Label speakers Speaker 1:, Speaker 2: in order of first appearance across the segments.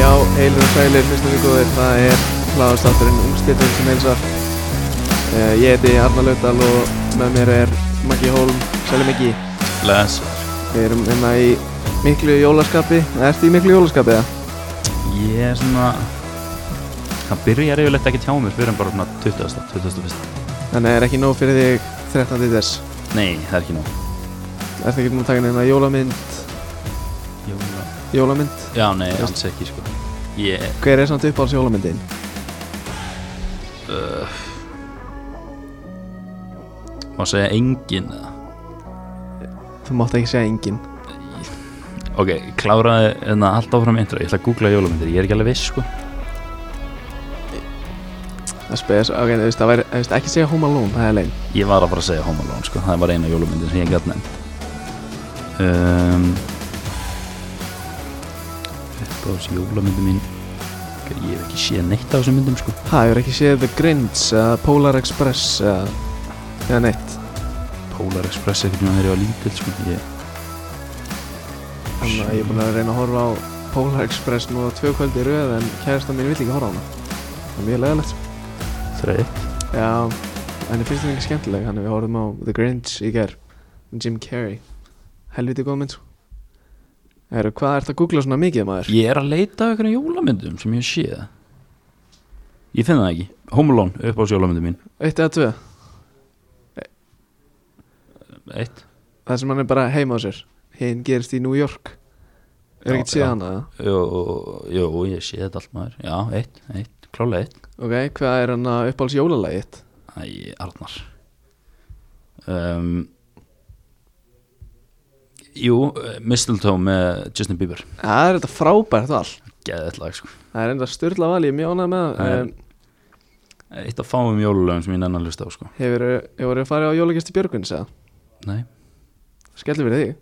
Speaker 1: Já, heilir og sælir, hlustum við góðir, það er hláðastátturinn Ungstildin sem heilsar. Uh, ég heiti Arnar Laudal og með mér er Maggi Hólm, sælir Maggi.
Speaker 2: Lesaður
Speaker 1: Við erum hérna í miklu jólaskapi, ertu í miklu jólaskapi eða?
Speaker 2: Ég er svona Það byrjar yfirleitt ekki tjá mér fyrir en bara svona 20. 21.
Speaker 1: Þannig er ekki nóg fyrir þig 13. des.
Speaker 2: Nei, það er ekki nóg
Speaker 1: Ertu ekki búin að taka neina jólamynd,
Speaker 2: Jóla.
Speaker 1: jólamynd?
Speaker 2: Já, nei, alls ekki sko Ég,
Speaker 1: Hver er samt uppáhalds jólamyndin?
Speaker 2: uh, má segja engin eða?
Speaker 1: Þú mátt ekki segja engin.
Speaker 2: Ok, kláraði en það allt áfram intro Ég ætla að googla jólamyndir, ég er ekki alveg viss sko
Speaker 1: Það spes, ok, þú veist, það væri, þú veist, ekki segja Home Alone, það er lein.
Speaker 2: Ég var að fara að segja Home Alone sko Það var eina jólumyndin sem ég gæt nefnd um, Uppáðs jólumyndin mín Ég hef ekki séð neitt af þessum myndum sko
Speaker 1: Ha, ég ekki séð The Grinch, uh, Polar Express, uh, eða neitt.
Speaker 2: Polar Express ekkert með þegar ég var lítill sko ég,
Speaker 1: Þannig að ég er búin að reyna að horfa á Polar Express nú á tvö kvöldi í röð en kærasta mín vill ekki horfa á hana. Það er mjög leðalegt.
Speaker 2: Þreytt
Speaker 1: Já, en ég finnst það ekki skemmtileg, þannig að við horfum á The Grinch í ger, með Jim Carrey. Helviti góð mynd, sko. Eru, hvað ert að googla svona mikið, maður?
Speaker 2: Ég er að leita að einhverjum jólamyndum sem ég hef séð Ég finn það ekki Home Alone, uppáðs jólamyndin mín
Speaker 1: Eitt eða tvö,
Speaker 2: Eitt
Speaker 1: það sem hann er bara heima á sér. Hinn gerist í New York. Er
Speaker 2: Já,
Speaker 1: ekki séð
Speaker 2: já.
Speaker 1: hana, það?
Speaker 2: Jó, jó ég sé þetta allt maður Já, eitt, eitt, klálega eitt
Speaker 1: Ok, hvað er hann að uppáhalds jólalagið?
Speaker 2: Æ, Arnar um, Jú, eh, Mistletoe með Justin Bieber
Speaker 1: Það er þetta frábært val.
Speaker 2: Geðið lag sko
Speaker 1: Það er enda styrla val, ég er mjónað með
Speaker 2: Það
Speaker 1: það.
Speaker 2: er-
Speaker 1: Um,
Speaker 2: Eitt af fáum jólulögum sem ég nennan hlusta á sko
Speaker 1: Hefur, hefur þið farið á jólagesti Björguns eða?
Speaker 2: Nei,
Speaker 1: Skellum við þig.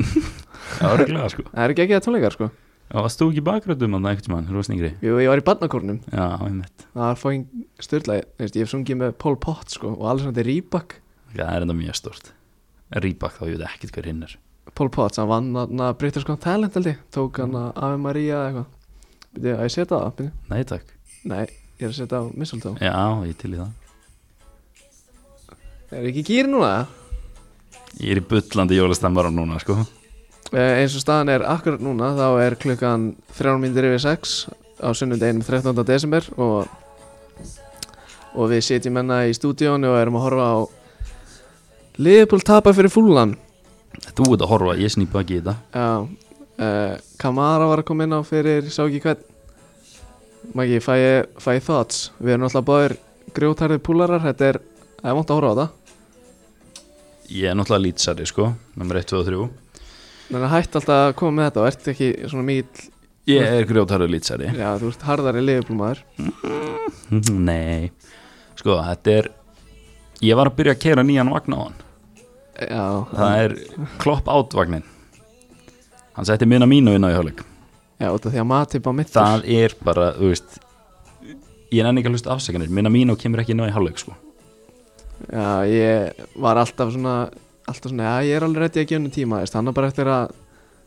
Speaker 2: það var glæða sko
Speaker 1: Það er ekki ekki það tónleikar sko.
Speaker 2: Já, varst þú ekki bakröndum að það einhvern mann, þú varst yngri
Speaker 1: Jú, ég var í barnakórnum.
Speaker 2: Já, einmitt
Speaker 1: Það var fóinn styrla, ég veist, ég hef sungið með Paul Potts sko og Alexander Rybak.
Speaker 2: Það er enda mjög stort Rýbak þá, ég veit ekkert hver hinn er
Speaker 1: Paul Potts, hann vann hann að breytta sko talent held ég. Tók hann að Ave Maria eða eitthvað. Býttu, að ég setja það? Býttu,
Speaker 2: Nei takk
Speaker 1: nei, ég er að setja á Mistletoe.
Speaker 2: Já, ég er til í það
Speaker 1: Er ekki gýr núna?
Speaker 2: Ég er í bullandi jólastemmar á núna sko
Speaker 1: Eh, eins og staðan er akkurat núna þá er klukkan 3 mínútur yfir 6 á sunnundeginum 13. desember og, og við sitjum enna í stúdíónu og erum að horfa á Liverpool tapa fyrir fúlan
Speaker 2: Þú ert að horfa, ég snýpa ekki í þetta
Speaker 1: Já, uh, Kamara var að koma inn á fyrir, ég sá ekki hvern Maggi, fæ, ég- fæ ég thoughts Við erum alltaf báðir grjótarði púlarar Þetta er, það er vant að horfa á þetta
Speaker 2: Ég er náttúrulega lýtsari sko Númer 1, 2 og 3
Speaker 1: Þannig að hætt alltaf að koma með þetta og ert ekki svona mikið
Speaker 2: Ég er grjótarður lýtsari
Speaker 1: Já, þú ert harðari Liverpool maður
Speaker 2: Nei Sko, þetta er Ég var að byrja að keira nýjan vagn á hann
Speaker 1: Já,
Speaker 2: Það er klopp átt vagnin Hann setti minna mínu inn á í hálfleik
Speaker 1: Já, út af því að Matip á mittur
Speaker 2: Það er bara, þú veist Ég nenni ekki að hlusta afsakanir Minna mínu kemur ekki inn á í hálfleik sko
Speaker 1: Já, ég var alltaf svona Alltaf svona, já, ég er alveg rétti að gefa henni tíma veist, Hann er bara eftir að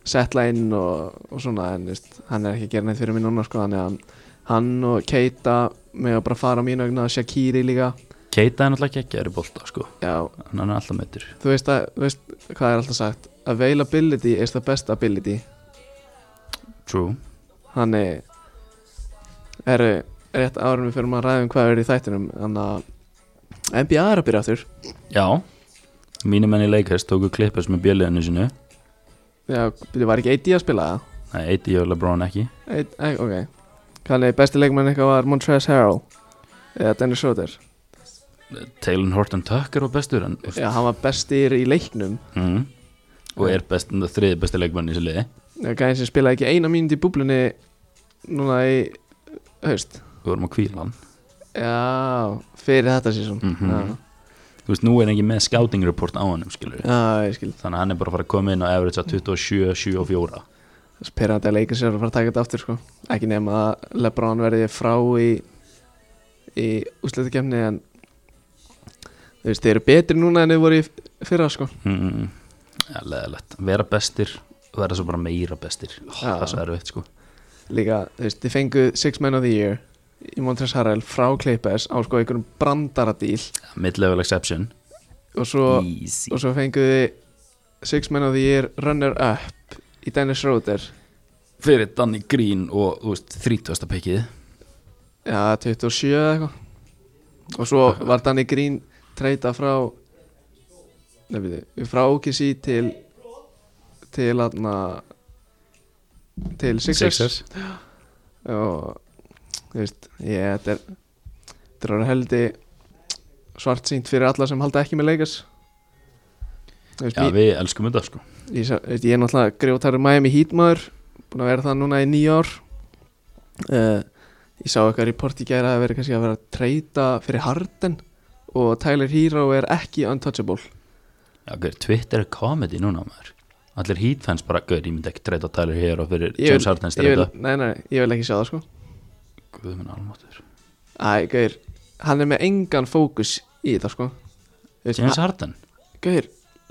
Speaker 1: setla inn og, og svona, en veist, hann er ekki að gera neitt fyrir mér núna, sko, þannig að hann- hann og Keita með að bara fara á mínu ögna Shakiri líka,
Speaker 2: Keita er náttúrulega ekki að eru bolta sko
Speaker 1: já,
Speaker 2: Hann er alltaf meittur
Speaker 1: þú veist að þú veist, hvað er alltaf sagt, availability is the best ability,
Speaker 2: True
Speaker 1: hann er eru rétt árum við fyrir maður að ræðum hvað er í þættinum þannig að NBA er að byrja aftur
Speaker 2: Já Mínu menn í leikast tóku klippast með bjöliðinu sinu
Speaker 1: já, byrju, var ekki AD að spila það?
Speaker 2: Nei, eiti ég og Lebron ekki
Speaker 1: Eitt, ei, eh, ok Þannig besti leikmann eitthvað var Montrezl Harrell eða Dennis Schroeder
Speaker 2: Taylor Horton Tucker og bestur en,
Speaker 1: Já, hann var bestir í leiknum
Speaker 2: mm, Og er best, þriði besti leikmann í þessu liði
Speaker 1: Gæðin sem spilaði ekki eina mínúti í búblunni núna í haust
Speaker 2: Við vorum að kvíla hann
Speaker 1: Já, fyrir þetta sísón
Speaker 2: Mhm. Þú veist, nú er ekki með scouting report á hann skilur.
Speaker 1: Já, ég skil
Speaker 2: Þannig að hann er bara að fara að koma inn á average að 27, 7 og 4
Speaker 1: Spyrrandi að leika sér að fara að taka þetta aftur sko Ekki nema að Lebron verði frá í í úsleitakefni en þú veist, þeir eru betri núna en þeir voru í fyrra sko
Speaker 2: mm, ja, Leðilegt, vera bestir og vera svo bara meira bestir oh,
Speaker 1: Já.
Speaker 2: Það er svo erfitt sko
Speaker 1: líka, þú veist, þið fenguð Six Men of the Year í Montres Harrell frá Clippers á sko einhverjum brandaradíl
Speaker 2: Mid-level exception
Speaker 1: og svo,
Speaker 2: Easy
Speaker 1: og svo fenguð þið Six Men of the Year Runner Up í Dennis Schroeder
Speaker 2: Fyrir Danny Green og, þú veist, 30. pekið
Speaker 1: Já, 27 eða eitthvað Og svo var Danny Green treyta frá nefnir, frá OKC til til aðna til Sixers, og þú veist, ég, þetta er þetta er orðið heldi svart sínt fyrir alla sem halda ekki með leikas veist,
Speaker 2: Já,
Speaker 1: ég,
Speaker 2: við elskum þetta sko
Speaker 1: ég, sa- veist, ég er náttúrulega grjótarur Miami Heat maður búin að vera það núna í nýja ár uh, ég sá eitthvað report í gæra að vera kannski að vera að treyta fyrir Harden og Tyler Hero er ekki untouchable
Speaker 2: Já, gaur, Twitter er comedy núna maður Allir hítfans bara, gaur, ég myndi ekki treyta Tyler Hero fyrir
Speaker 1: Ég vil-
Speaker 2: James Harden
Speaker 1: ég vil,
Speaker 2: streyta
Speaker 1: nei, nei, ég vil ekki sjá það sko
Speaker 2: Guð minn almáttur
Speaker 1: Æ, Gaur, hann er með engan fókus í þetta sko Þú veist,
Speaker 2: James Harden
Speaker 1: Gauðir,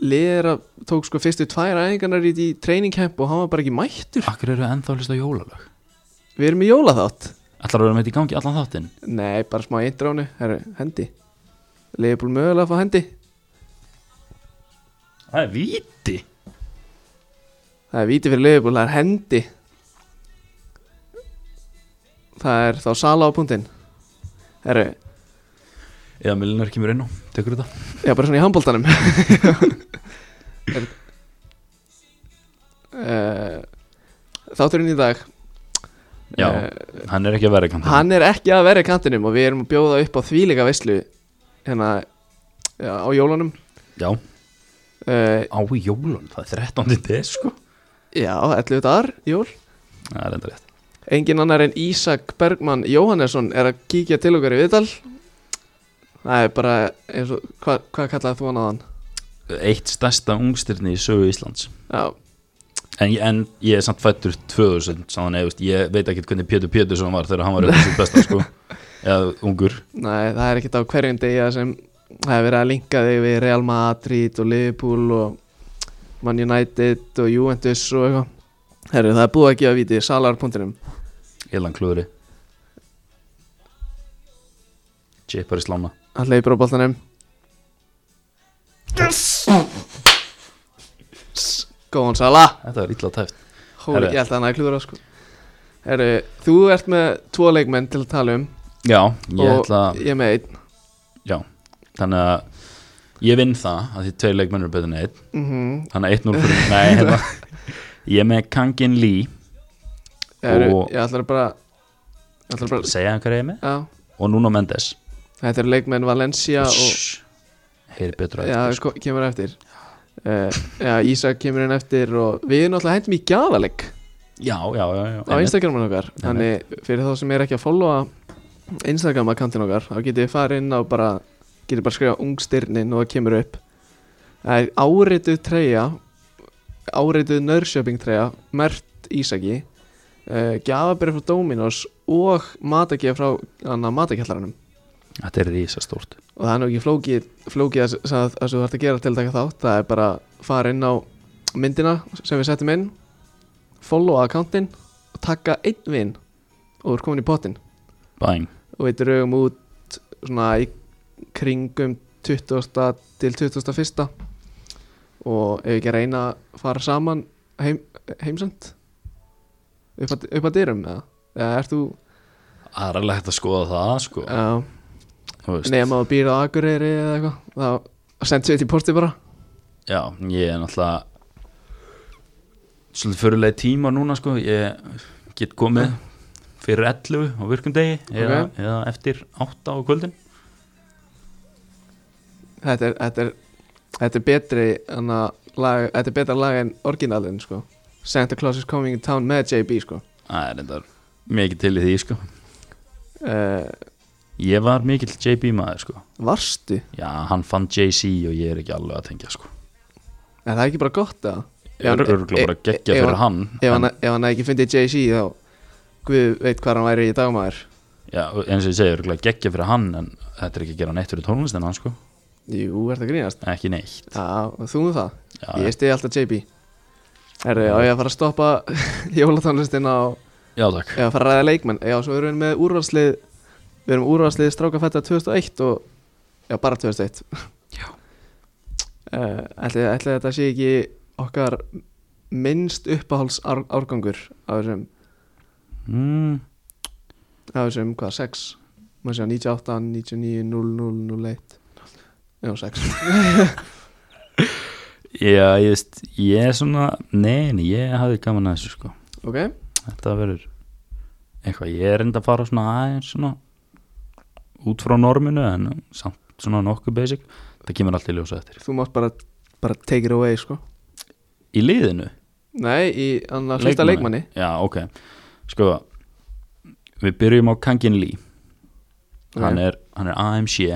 Speaker 1: liðra tók sko fyrstu tvær æfingarnar í training camp og hann var bara ekki mættur
Speaker 2: Akkur eru ennþá að hlusta á jólalög
Speaker 1: Við erum í jólaþátt
Speaker 2: Allar eru með þetta í gangi allan þáttinn
Speaker 1: Nei, bara smá eindráni, herru, hendi Leifbúl mögulega að fá hendi
Speaker 2: Það er víti
Speaker 1: Það er víti fyrir leifbúl, það er hendi Það er þá sala á punktinn Herru,
Speaker 2: Eða Milinar kemur inn og tekur þetta
Speaker 1: já bara svona í handbóltanum Eh, Þátturinn í dag
Speaker 2: Já,
Speaker 1: eh,
Speaker 2: hann er ekki að vera ekki
Speaker 1: Hann er ekki að vera í kantinum og við erum að bjóða upp á þvíleika veislu hérna já, á jólunum
Speaker 2: Já,
Speaker 1: uh,
Speaker 2: á jólun, það er 13. des sko
Speaker 1: Já, 11 dagar, jól
Speaker 2: Það er enda rétt
Speaker 1: Engin annar en Ísak Bergmann Jóhannesson er að kíkja til okkar í viðtal Það er bara eins og, hva, hvað kallaði þú hann að hann?
Speaker 2: Eitt stærsta ungstyrni í sögu Íslands
Speaker 1: Já,
Speaker 2: En, ég- en ég er samt fættur 2000 Þannig að ég veit ekki hvernig Pétur Pétursson var Þegar hann var auðvitað sitt besta sko Eða ungur
Speaker 1: nei, það er ekkert á hverjum degi að sem það er verið að linka þig við Real Madrid og Liverpool og Man United og Juventus og eitthvað Herru, það er búið að gefa vítið salar.num
Speaker 2: Elan klúðri Chipar í slána
Speaker 1: Hann leipur á boltanum Yes Góðan Sala
Speaker 2: Þetta er illa tæft
Speaker 1: Hóli,
Speaker 2: Herru.
Speaker 1: ég held að hann hafi klúður á sko Heru, Þú ert með tvo leikmenn til að tala um
Speaker 2: Já, ég
Speaker 1: Og
Speaker 2: ætla að
Speaker 1: ég er með einn
Speaker 2: Já, þannig að Ég vinn það að því tveir leikmennur er betur en einn
Speaker 1: mm
Speaker 2: Þannig að 1-0 fyrir Nei, hérna Ég er með Kangin Lee
Speaker 1: Heru,
Speaker 2: Og-
Speaker 1: Ég ætla bara Ég ætla bara
Speaker 2: Segja hann hvað ég er með
Speaker 1: Já
Speaker 2: Og Nuno Mendes
Speaker 1: Þetta er leikmenn Valencia og
Speaker 2: Shhh, Heyri betur að
Speaker 1: Já,
Speaker 2: þetta
Speaker 1: sko, kemur eftir uh, Já, Ísak kemur inn eftir og við erum náttúrulega hættum í gjafaleg
Speaker 2: Já, já, já, já
Speaker 1: á
Speaker 2: einmitt.
Speaker 1: Instagramin okkar þannig fyrir þá sem er ekki að followa Instagram akkantin okkar þá getið þið farið inn á bara getið bara skrifa ungstirnin og það kemur upp það er árituð treyja árituð nörsjöping treyja mert Ísaki uh, gjafabrið frá Dominos og matakið frá annar matakjallaranum
Speaker 2: Þetta er risastórt
Speaker 1: og það er nú ekki flókið, flókið að, að, að þú þarf að gera til að taka þátt það er bara að fara inn á myndina sem við settum inn followa akkántin og taka einn vin og þú er komin í pottin
Speaker 2: Bæn
Speaker 1: og við draugum út svona í kringum 20. til 21. og ef ekki að reyna að fara saman heim, heimsend upp að, upp að dyrum eða, eða ert þú
Speaker 2: Það er alveg hægt að skoða það sko
Speaker 1: uh,
Speaker 2: Þú veist.
Speaker 1: nema að býra á Akureyri eða eitthvað þá sendt við til posti bara
Speaker 2: Já, ég er náttúrulega Svolítið fyrirlega tíma núna sko Ég get komið fyrir 11 á virkum degi eða,
Speaker 1: Ok.
Speaker 2: eða eftir 8 á kvöldin
Speaker 1: Þetta er, þetta er, þetta er betri en að lag, þetta er betra lag en orginalinn sko Santa Claus is coming in town með JB sko
Speaker 2: Það er reyndar mikið til í því sko
Speaker 1: uh,
Speaker 2: Ég var mikill JB maður sko
Speaker 1: Varstu?
Speaker 2: Já, hann fann JC og ég er ekki alveg að tengja sko
Speaker 1: Er það ekki bara gott að
Speaker 2: Ég er örgulega bara geggja fyrir hann
Speaker 1: e- Ef hann,
Speaker 2: en,
Speaker 1: ef hann hefði ekki fundið JC þá Guð veit hvað hann væri í dagmaður
Speaker 2: Já, eins og ég segi, örgulega geggja fyrir hann En þetta er ekki að gera neitt fyrir tónlistin hann sko
Speaker 1: Jú, er það grínast?
Speaker 2: Ekki neitt
Speaker 1: Já, og þú um það
Speaker 2: Já,
Speaker 1: Ég stiði alltaf JB Herru, á ég að fara að stoppa jólatónlistin á
Speaker 2: já takk
Speaker 1: Já, fara að ræða leikmenn Já, svo erum við með úrvarslið Við erum úrvarslið strákafætta 2001 og Já, bara 2001
Speaker 2: Já.
Speaker 1: uh, ætli, ætli þetta sé ekki okkar minnst uppáhalds ár, árgangur af þessum,
Speaker 2: mm,
Speaker 1: af þessum hvað, 6 Má sjá, 98, 99, 00, 01 Já, 6
Speaker 2: Já, ég veist, ég er svona Nei, nei, ég hafði gaman að þessu sko
Speaker 1: Ok,
Speaker 2: Þetta verður eitthvað, ég er enda að fara svona aðeins svona út frá norminu en samt svona nokkuð basic það kemur allt í ljósa eftir.
Speaker 1: þú mátt bara bara take it away, sko
Speaker 2: Í liðinu?
Speaker 1: Nei, í annars fyrsta leikmanni
Speaker 2: Já, ok. Sko, við byrjum á Kangin Lee hann, er, hann er AMC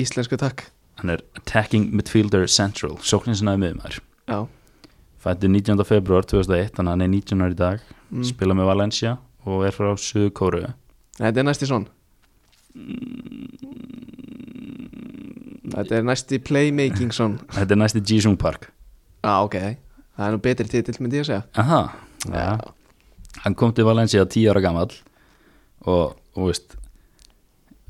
Speaker 1: Íslensku takk
Speaker 2: hann er Attacking Midfielder Central sóknin sinnaði miðumar.
Speaker 1: Já,
Speaker 2: Fættur 19. februar 2001 þannig að hann er 19 ári í dag,
Speaker 1: mm.
Speaker 2: spila með Valencia og er frá Suðu Kóru
Speaker 1: þetta er næst í svon Mm. Þetta er næst í playmaking svon
Speaker 2: Þetta er næsti Jisung Park
Speaker 1: Já, Ah, ok, það er nú betri titill myndi ég að segja
Speaker 2: Aha, já. hann kom til Valencia 10 ára gamall og, og veist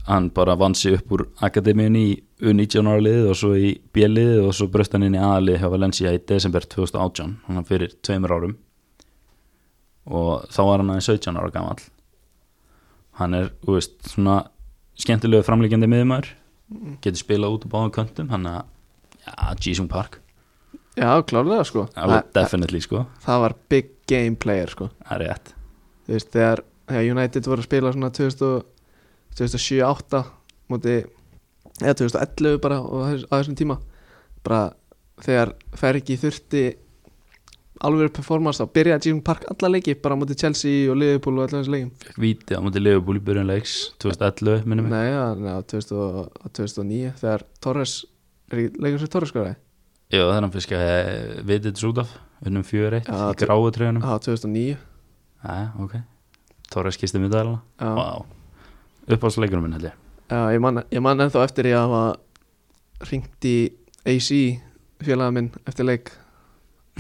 Speaker 2: hann bara vann sig upp úr akademíunni í U19 ára liðið og svo í B-liðið og svo bröst hann inn í A-liðið hjá Valencia í desember 2018 hann fyrir tveimur árum og þá var hann aðeins 17 ára gamall hann er, þú veist, svona skemmtilegu framlíkjandi miðumar getur spilað út á báðum köntum hann að, já, Jisung Park
Speaker 1: Já, klárlega sko
Speaker 2: alveg
Speaker 1: það,
Speaker 2: definitely, sko,
Speaker 1: það var big game player sko
Speaker 2: það er rétt
Speaker 1: Þú veist, þegar, þegar United voru að spila svona 2007-2008 múti, eða 2011 bara og þess- á þessum tíma bara þegar Fergi þurfti alveg performance þá byrjaði Jim Park alla leiki bara múti Chelsea og Liverpool og allan þessu leikum
Speaker 2: fekk víti á móti Liverpool í byrjun leiks 2011 minnum við
Speaker 1: Nei, já, neða, 2009 þegar Torres, er ekki leikur sem Torres skoraði?
Speaker 2: já það er hann fiskja vitið út af unnum 4-1
Speaker 1: Já,
Speaker 2: í
Speaker 1: þetta-
Speaker 2: gráu tröðunum
Speaker 1: Já, 2009
Speaker 2: já ok Torres kisti middalina
Speaker 1: Já,
Speaker 2: wow. uppáðsleikunum minn held ég
Speaker 1: já ég, man, ég man ennþá eftir ég að hafa ringt í AC félaga minn eftir leik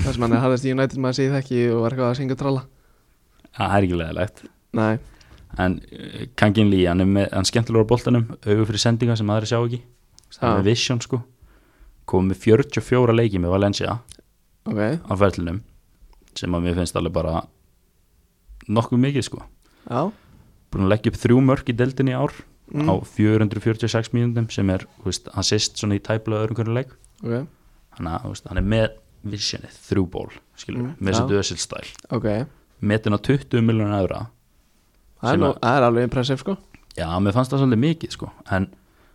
Speaker 1: þar sem hann er harðast í United maður segið ekki og var eitthvað að syngja og tralla
Speaker 2: Já, það er ekki leðilegt
Speaker 1: Nei,
Speaker 2: en eh, Kangin Lee hann er með, hann skemmtilegur á boltanum augur fyrir sendinga sem aðri sjá ekki það
Speaker 1: Já.
Speaker 2: er vision sko komið með 44 leiki með Valencia
Speaker 1: ok
Speaker 2: á ferlinum sem að mér finnst alveg bara nokkuð mikið sko
Speaker 1: Já,
Speaker 2: búin að leggja upp þrjú mörk í deildinni í ár
Speaker 1: mm,
Speaker 2: á 446 mínúndum sem er þú veist, assist svona í tæpla öðrum hvernig leik
Speaker 1: ok,
Speaker 2: þannig að þú veist, hann er með visionið, þrjú ból skilur,
Speaker 1: Mm,
Speaker 2: mm, með þessu
Speaker 1: já.
Speaker 2: döðsild stæl
Speaker 1: ok
Speaker 2: metin á 20 miljonar eðra
Speaker 1: Það er,
Speaker 2: Sem
Speaker 1: nú,
Speaker 2: að-
Speaker 1: það er alveg impressive sko
Speaker 2: já, mér fannst það svolítið mikið sko en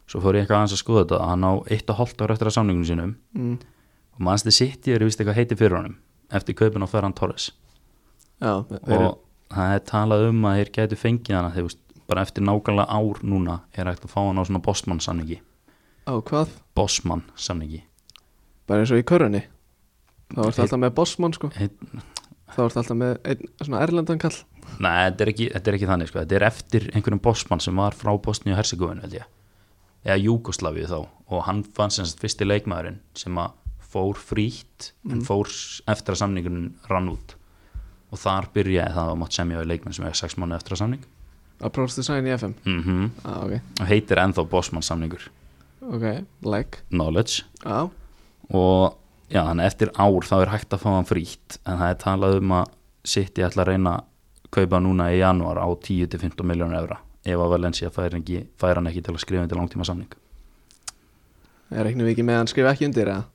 Speaker 2: svo fór ég eitthvað aðeins að skoða þetta að hann á 1,5 ára eftir að samningunum sínum
Speaker 1: mm,
Speaker 2: og mannst þið sitt ég er vist eitthvað heiti fyrir honum eftir kaupin á Ferran Torres
Speaker 1: Já, þeir eru
Speaker 2: og það er talað um að þeir gætu fengið hana þegar þú veist, bara eftir nákvæmlega ár núna er hægt að fá hann á svona Bosman samningi
Speaker 1: á hvað?
Speaker 2: Bosman samningi
Speaker 1: Bara eins og í körunni Þá ertu
Speaker 2: Einn-
Speaker 1: alltaf með bossmann sko
Speaker 2: Einn-
Speaker 1: Þá ertu alltaf með einn svona erlendan kall
Speaker 2: Nei, þetta er ekki, þetta er ekki þannig sko. Þetta er eftir einhverjum bossmann sem var frá Bosníu og Herzegovinu held ég eða Júkoslavíu þá og hann fann sem sagt fyrsti leikmaðurinn sem að fór frítt en fór s- eftir að samningunum rann út og þar byrjaði það að mátt semja við leikmenn sem er 6 mánu eftir að samning
Speaker 1: Approach design í FM
Speaker 2: mm
Speaker 1: Já, ok,
Speaker 2: og heitir ennþá bossmann samningur
Speaker 1: ok, like
Speaker 2: Knowledge
Speaker 1: Já,
Speaker 2: og já, þannig að eftir ár þá er hægt að fá hann frítt en það er talað um að City ætla að reyna að kaupa hann núna í janúar á 10-15 miljónur evra ef að Valencia fær, ekki, fær hann ekki til að skrifa til langtíma samning
Speaker 1: er Eh, ekki mikið með að hann skrifa ekki undir eða?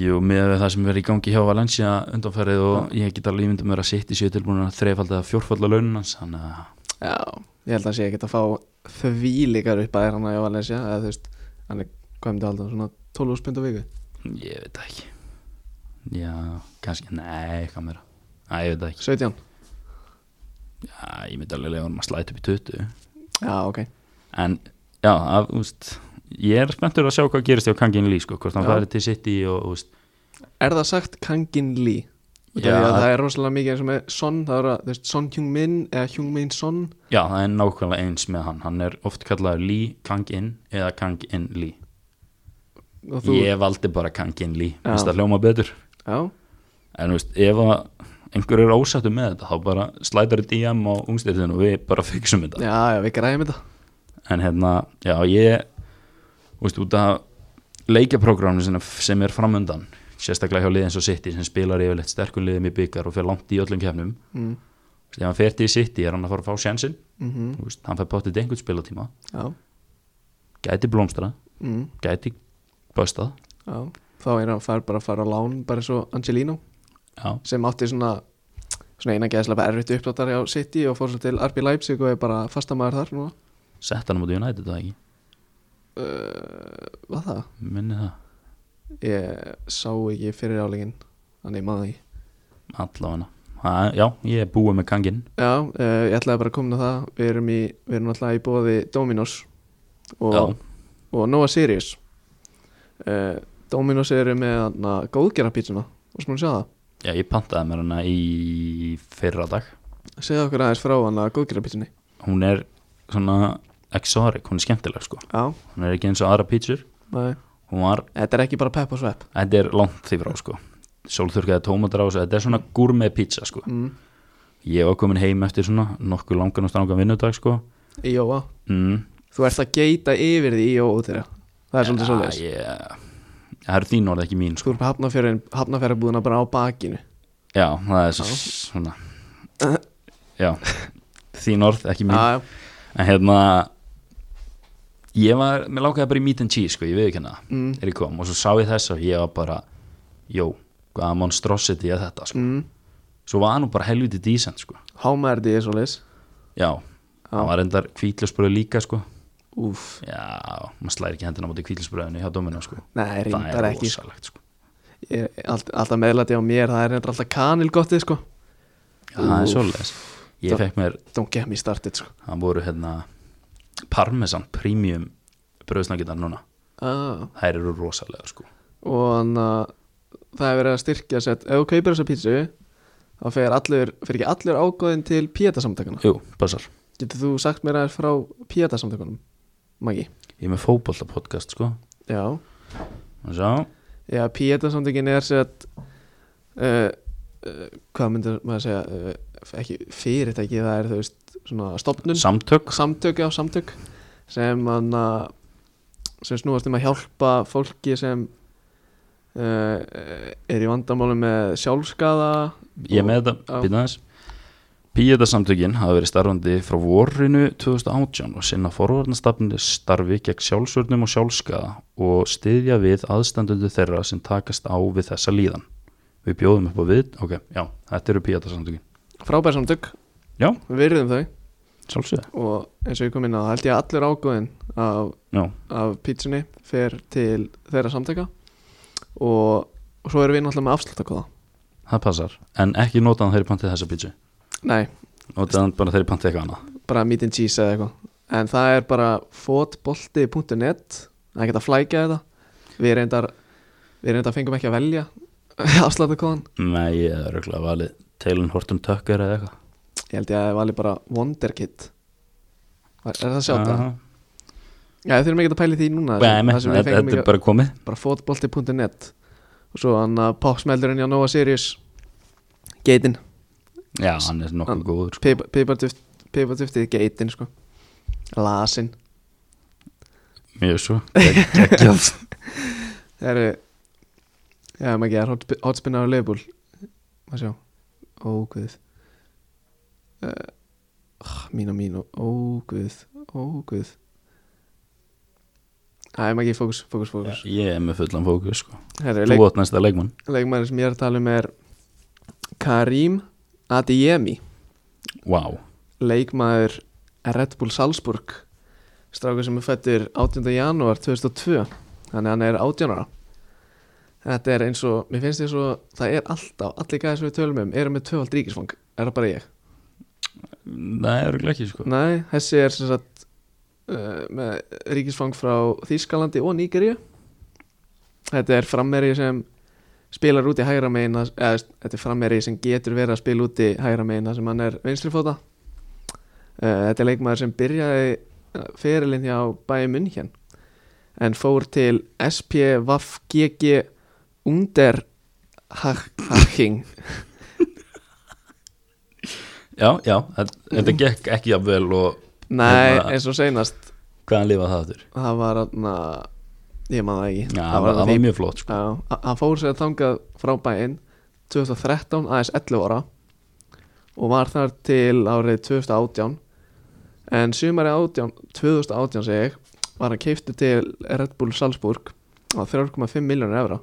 Speaker 2: Jú, með það sem verið í gangi hjá Valencia undanfærið og ég get alveg ímyndum verið að City séu tilbúin að þreifalda fjórfalda launin hans þannig að
Speaker 1: Já, ég held að sé ekkert að fá því líkar upp að er hann að Jóvalencia eða þú veist, hann er, hvað myndi halda svona 12 spund á viku
Speaker 2: ég veit það ekki Já, kannski, nei, hvað meira Æ, ég veit það ekki
Speaker 1: 17,
Speaker 2: Já, ég myndi alveg lega honum að slæta upp í 20
Speaker 1: já ok
Speaker 2: en já, að, úst, ég er spenntur að sjá hvað gerist hjá Kangin Lee sko, hvort hann
Speaker 1: Já.
Speaker 2: færi til City og úst,
Speaker 1: Er það sagt Kangin Lee? Já,
Speaker 2: Já.
Speaker 1: það er rosalega mikið eins og með Son, það er að, þú veist, Son Hyung Min eða Hyung Min Son
Speaker 2: já, það er nákvæmlega eins með hann, hann er oft kallaður Lee Kangin eða Kangin Lee
Speaker 1: og þú,
Speaker 2: ég valdi bara Kangin Lee,
Speaker 1: Já.
Speaker 2: Mér finnst það hljóma betur
Speaker 1: já,
Speaker 2: en úst, ef að einhver er ósættu með þetta þá bara slætar DM á ungstiltinu og við bara fixum þetta
Speaker 1: já, já, við græðum þetta
Speaker 2: en hérna, já ég þú veist, út af leikjaprógraminu sem, sem er framundan sérstaklega hjá liði eins og City sem spilar yfirleitt sterkur liðum í byggar og fer langt í öllum kefnum
Speaker 1: mm.
Speaker 2: Þú veist, ef hann fer til City er hann að fara að fá sjansinn
Speaker 1: Mm
Speaker 2: Þú veist, hann fer bóttið einhvern spilatíma
Speaker 1: já,
Speaker 2: gæti blómstra,
Speaker 1: mm.
Speaker 2: gæti böstað
Speaker 1: já þá er hann fær bara að fara á lán bara eins og Angelino
Speaker 2: já,
Speaker 1: sem átti svona svona eina geðslega bara erfitt uppdáttar á City og fór svo til RB Leipzig og er bara fastamæður þar núna
Speaker 2: sett hann á móti United það ekki,
Speaker 1: Var það?
Speaker 2: minni það
Speaker 1: Ég sá ekki fyrir álegin Þannig maður ekki
Speaker 2: allavega Ha, já, ég er búið með kangin
Speaker 1: Já, uh, ég ætlaði bara að koma inn á það Við erum, í, við erum alltaf í bóði Dominos og, og Nova Sirius uh, Dominos eru með góðgera pítsuna og sem hún sjá það
Speaker 2: Já, ég pantaði mér hana í fyrra dag
Speaker 1: Segðu okkur aðeins frá hann að góðgera pítsunni
Speaker 2: Hún er svona exotic, hún er skemmtileg sko
Speaker 1: Já,
Speaker 2: Hún er ekki eins og aðra pítsur
Speaker 1: nei
Speaker 2: Hún var,
Speaker 1: Þetta er ekki bara pepp og svepp
Speaker 2: þetta er langt því frá sko Sólþurkaði tómatar á þessu, þetta er svona gourmet pizza sko
Speaker 1: mm.
Speaker 2: Ég var komin heim eftir svona nokkuð langan og strangan vinnudag sko
Speaker 1: Jóa,
Speaker 2: mm.
Speaker 1: þú ert að geita yfir því í Jóa út þeirra Það er svolítið
Speaker 2: ja,
Speaker 1: svolítið
Speaker 2: ég... Það eru þín orð ekki mín sko
Speaker 1: Þú erum hafnafjörðin, hafnafjörðabúðuna bara á bakinu
Speaker 2: Já, það er svo, svona Já, þín orð ekki mín
Speaker 1: Já, já,
Speaker 2: En hérna Ég var, mér lákaði bara í meat and cheese sko, ég veið ekki hana
Speaker 1: mm,
Speaker 2: er ég kom og svo sá ég þess og ég var bara Jó, hvaða monstrosity er þetta sko.
Speaker 1: mm.
Speaker 2: Svo var hann nú bara helviti dísent sko.
Speaker 1: Hámærdi er svolítið
Speaker 2: Já, hann var endar kvítljósbröð líka sko.
Speaker 1: Úf,
Speaker 2: Já, maður slæri ekki hendina á móti kvítljósbröðinu hjá dóminu sko.
Speaker 1: nei,
Speaker 2: Það
Speaker 1: reyndar
Speaker 2: er
Speaker 1: ekki sko.
Speaker 2: rosalegt sko.
Speaker 1: Ég er allt, Alltaf meðlæti á mér, það er reyndar alltaf kanilgottið sko
Speaker 2: Já, það er
Speaker 1: Úff.
Speaker 2: svoleiðis Ég
Speaker 1: Það-
Speaker 2: fekk mér,
Speaker 1: Don't get me started sko
Speaker 2: hann voru hérna Parmesan Premium bröðsnakitar núna
Speaker 1: ah.
Speaker 2: Þær eru rosalega sko.
Speaker 1: Og þannig að það er verið að styrkja sett Ef þú kaupir þessa pítsu þá fer allur, fer ekki allur ágóðin til píetasamtökuna
Speaker 2: Jú, passar
Speaker 1: Getur þú sagt mér aðeins frá píetasamtökunum? Maggi?
Speaker 2: Ég er með fótbolta podcast sko.
Speaker 1: Já
Speaker 2: Og Svo,
Speaker 1: Já, píetasamtökin er sett uh, uh, Hvað myndir maður segja uh, Ekki fyrirtæki, það er þú veist Svona stopnun
Speaker 2: samtök
Speaker 1: samtök já, samtök sem hann að- sem snúast um að hjálpa fólki sem uh, er í vandamálu með sjálfskaða
Speaker 2: Ég er með þetta,
Speaker 1: Já.
Speaker 2: býta aðeins Píeta samtökin hafa verið starfandi frá vorinu 2018 og sinna forvarnastafni starfi gegn sjálfsvörnum og sjálfskaða og styðja við aðstandundu þeirra sem takast á við þessa líðan. Við bjóðum upp á við, ok, já, þetta eru píeta samtökin.
Speaker 1: frábær samtök,
Speaker 2: Já,
Speaker 1: við virðum þau
Speaker 2: sjálfsögða,
Speaker 1: og eins og ég kom inn á það held ég að allur ágóðin af,
Speaker 2: já,
Speaker 1: af pítsunni fer til þeirra samtöka og, og svo erum við náttúrulega með afsláttakóða
Speaker 2: það passar. En ekki notaðan þeirri pantið þessa pítsu,
Speaker 1: nei,
Speaker 2: notaðan bara þeirri pantið eitthvað annað.
Speaker 1: bara meet and cheese eða eitthvað en það er bara fotbolti.net það er ekki að flækja þetta við reyndar, við reyndar fengum ekki að velja afsláttakóðan
Speaker 2: Nei, ég er auðvitað valið Taylor Horton Tucker eða eitthvað.
Speaker 1: ég held ég að það vali bara wonderkid er, er það sjátt það?
Speaker 2: Aha.
Speaker 1: Já, við þurfum ekki að pæli því núna
Speaker 2: Nei, nei,
Speaker 1: það sem við
Speaker 2: þetta
Speaker 1: fengum
Speaker 2: þetta
Speaker 1: ekki
Speaker 2: er bara komið.
Speaker 1: bara fotbolti.net og svo hann að popsmeldurinn hjá Nova Sirius geitin,
Speaker 2: Já, hann er nokkuð
Speaker 1: Hann-
Speaker 2: góður. sko.
Speaker 1: pipartuftið geitin sko, lasin
Speaker 2: Mjög svo Gekkjað
Speaker 1: Það eru Já, maður ekki, það er hotspin- hotspinna á leifbúl Maður sjá Óguð uh, Mín og mín og óguð Óguð Það er maður ekki, fókus, fókus, fókus
Speaker 2: Ég er með fullan fókus sko.
Speaker 1: Herri,
Speaker 2: Þú
Speaker 1: leik,
Speaker 2: átt næsta leikmann
Speaker 1: Leikmaður sem ég er að tala um er Karim Adeyemi
Speaker 2: Vá wow.
Speaker 1: Leikmaður Red Bull Salzburg Strákur sem er fættur 18. janúar 2002 Þannig að hann er 18 ára Þetta er eins og, mér finnst því svo Það er alltaf, allir gæðir sem við tölum um Eru með tvöfald ríkisfang, er það bara ég
Speaker 2: Nei, örugglega ekki sko
Speaker 1: Nei, þessi er sem sagt uh, Með ríkisfang frá Þýskalandi og Nígeríu Þetta er frammeri sem Spilar úti hægra meina eða, veist, Þetta er frammeri sem getur verið að spila úti hægra meina sem hann er vinstrifóta uh, Þetta er leikmaður sem byrjaði eh, Ferilinn hjá Bayern München En fór til SP Vaff GG Underhacking
Speaker 2: já, já, þetta, þetta gekk ekki að vel og
Speaker 1: Nei,
Speaker 2: Hérna-
Speaker 1: eins og seinast
Speaker 2: hvaðan lifað það þurr
Speaker 1: það var aðna, ég man það ekki
Speaker 2: Já, það var, það
Speaker 1: því-
Speaker 2: var mjög flott sko.
Speaker 1: Já, a- hann fór sér þangað frá bæinn 2013 aðeins 11 ára og var þar til árið 2018 en sumari 18, 2018 segi ég var hann keiftu til Red Bull Salzburg á 3,5 miljónir evra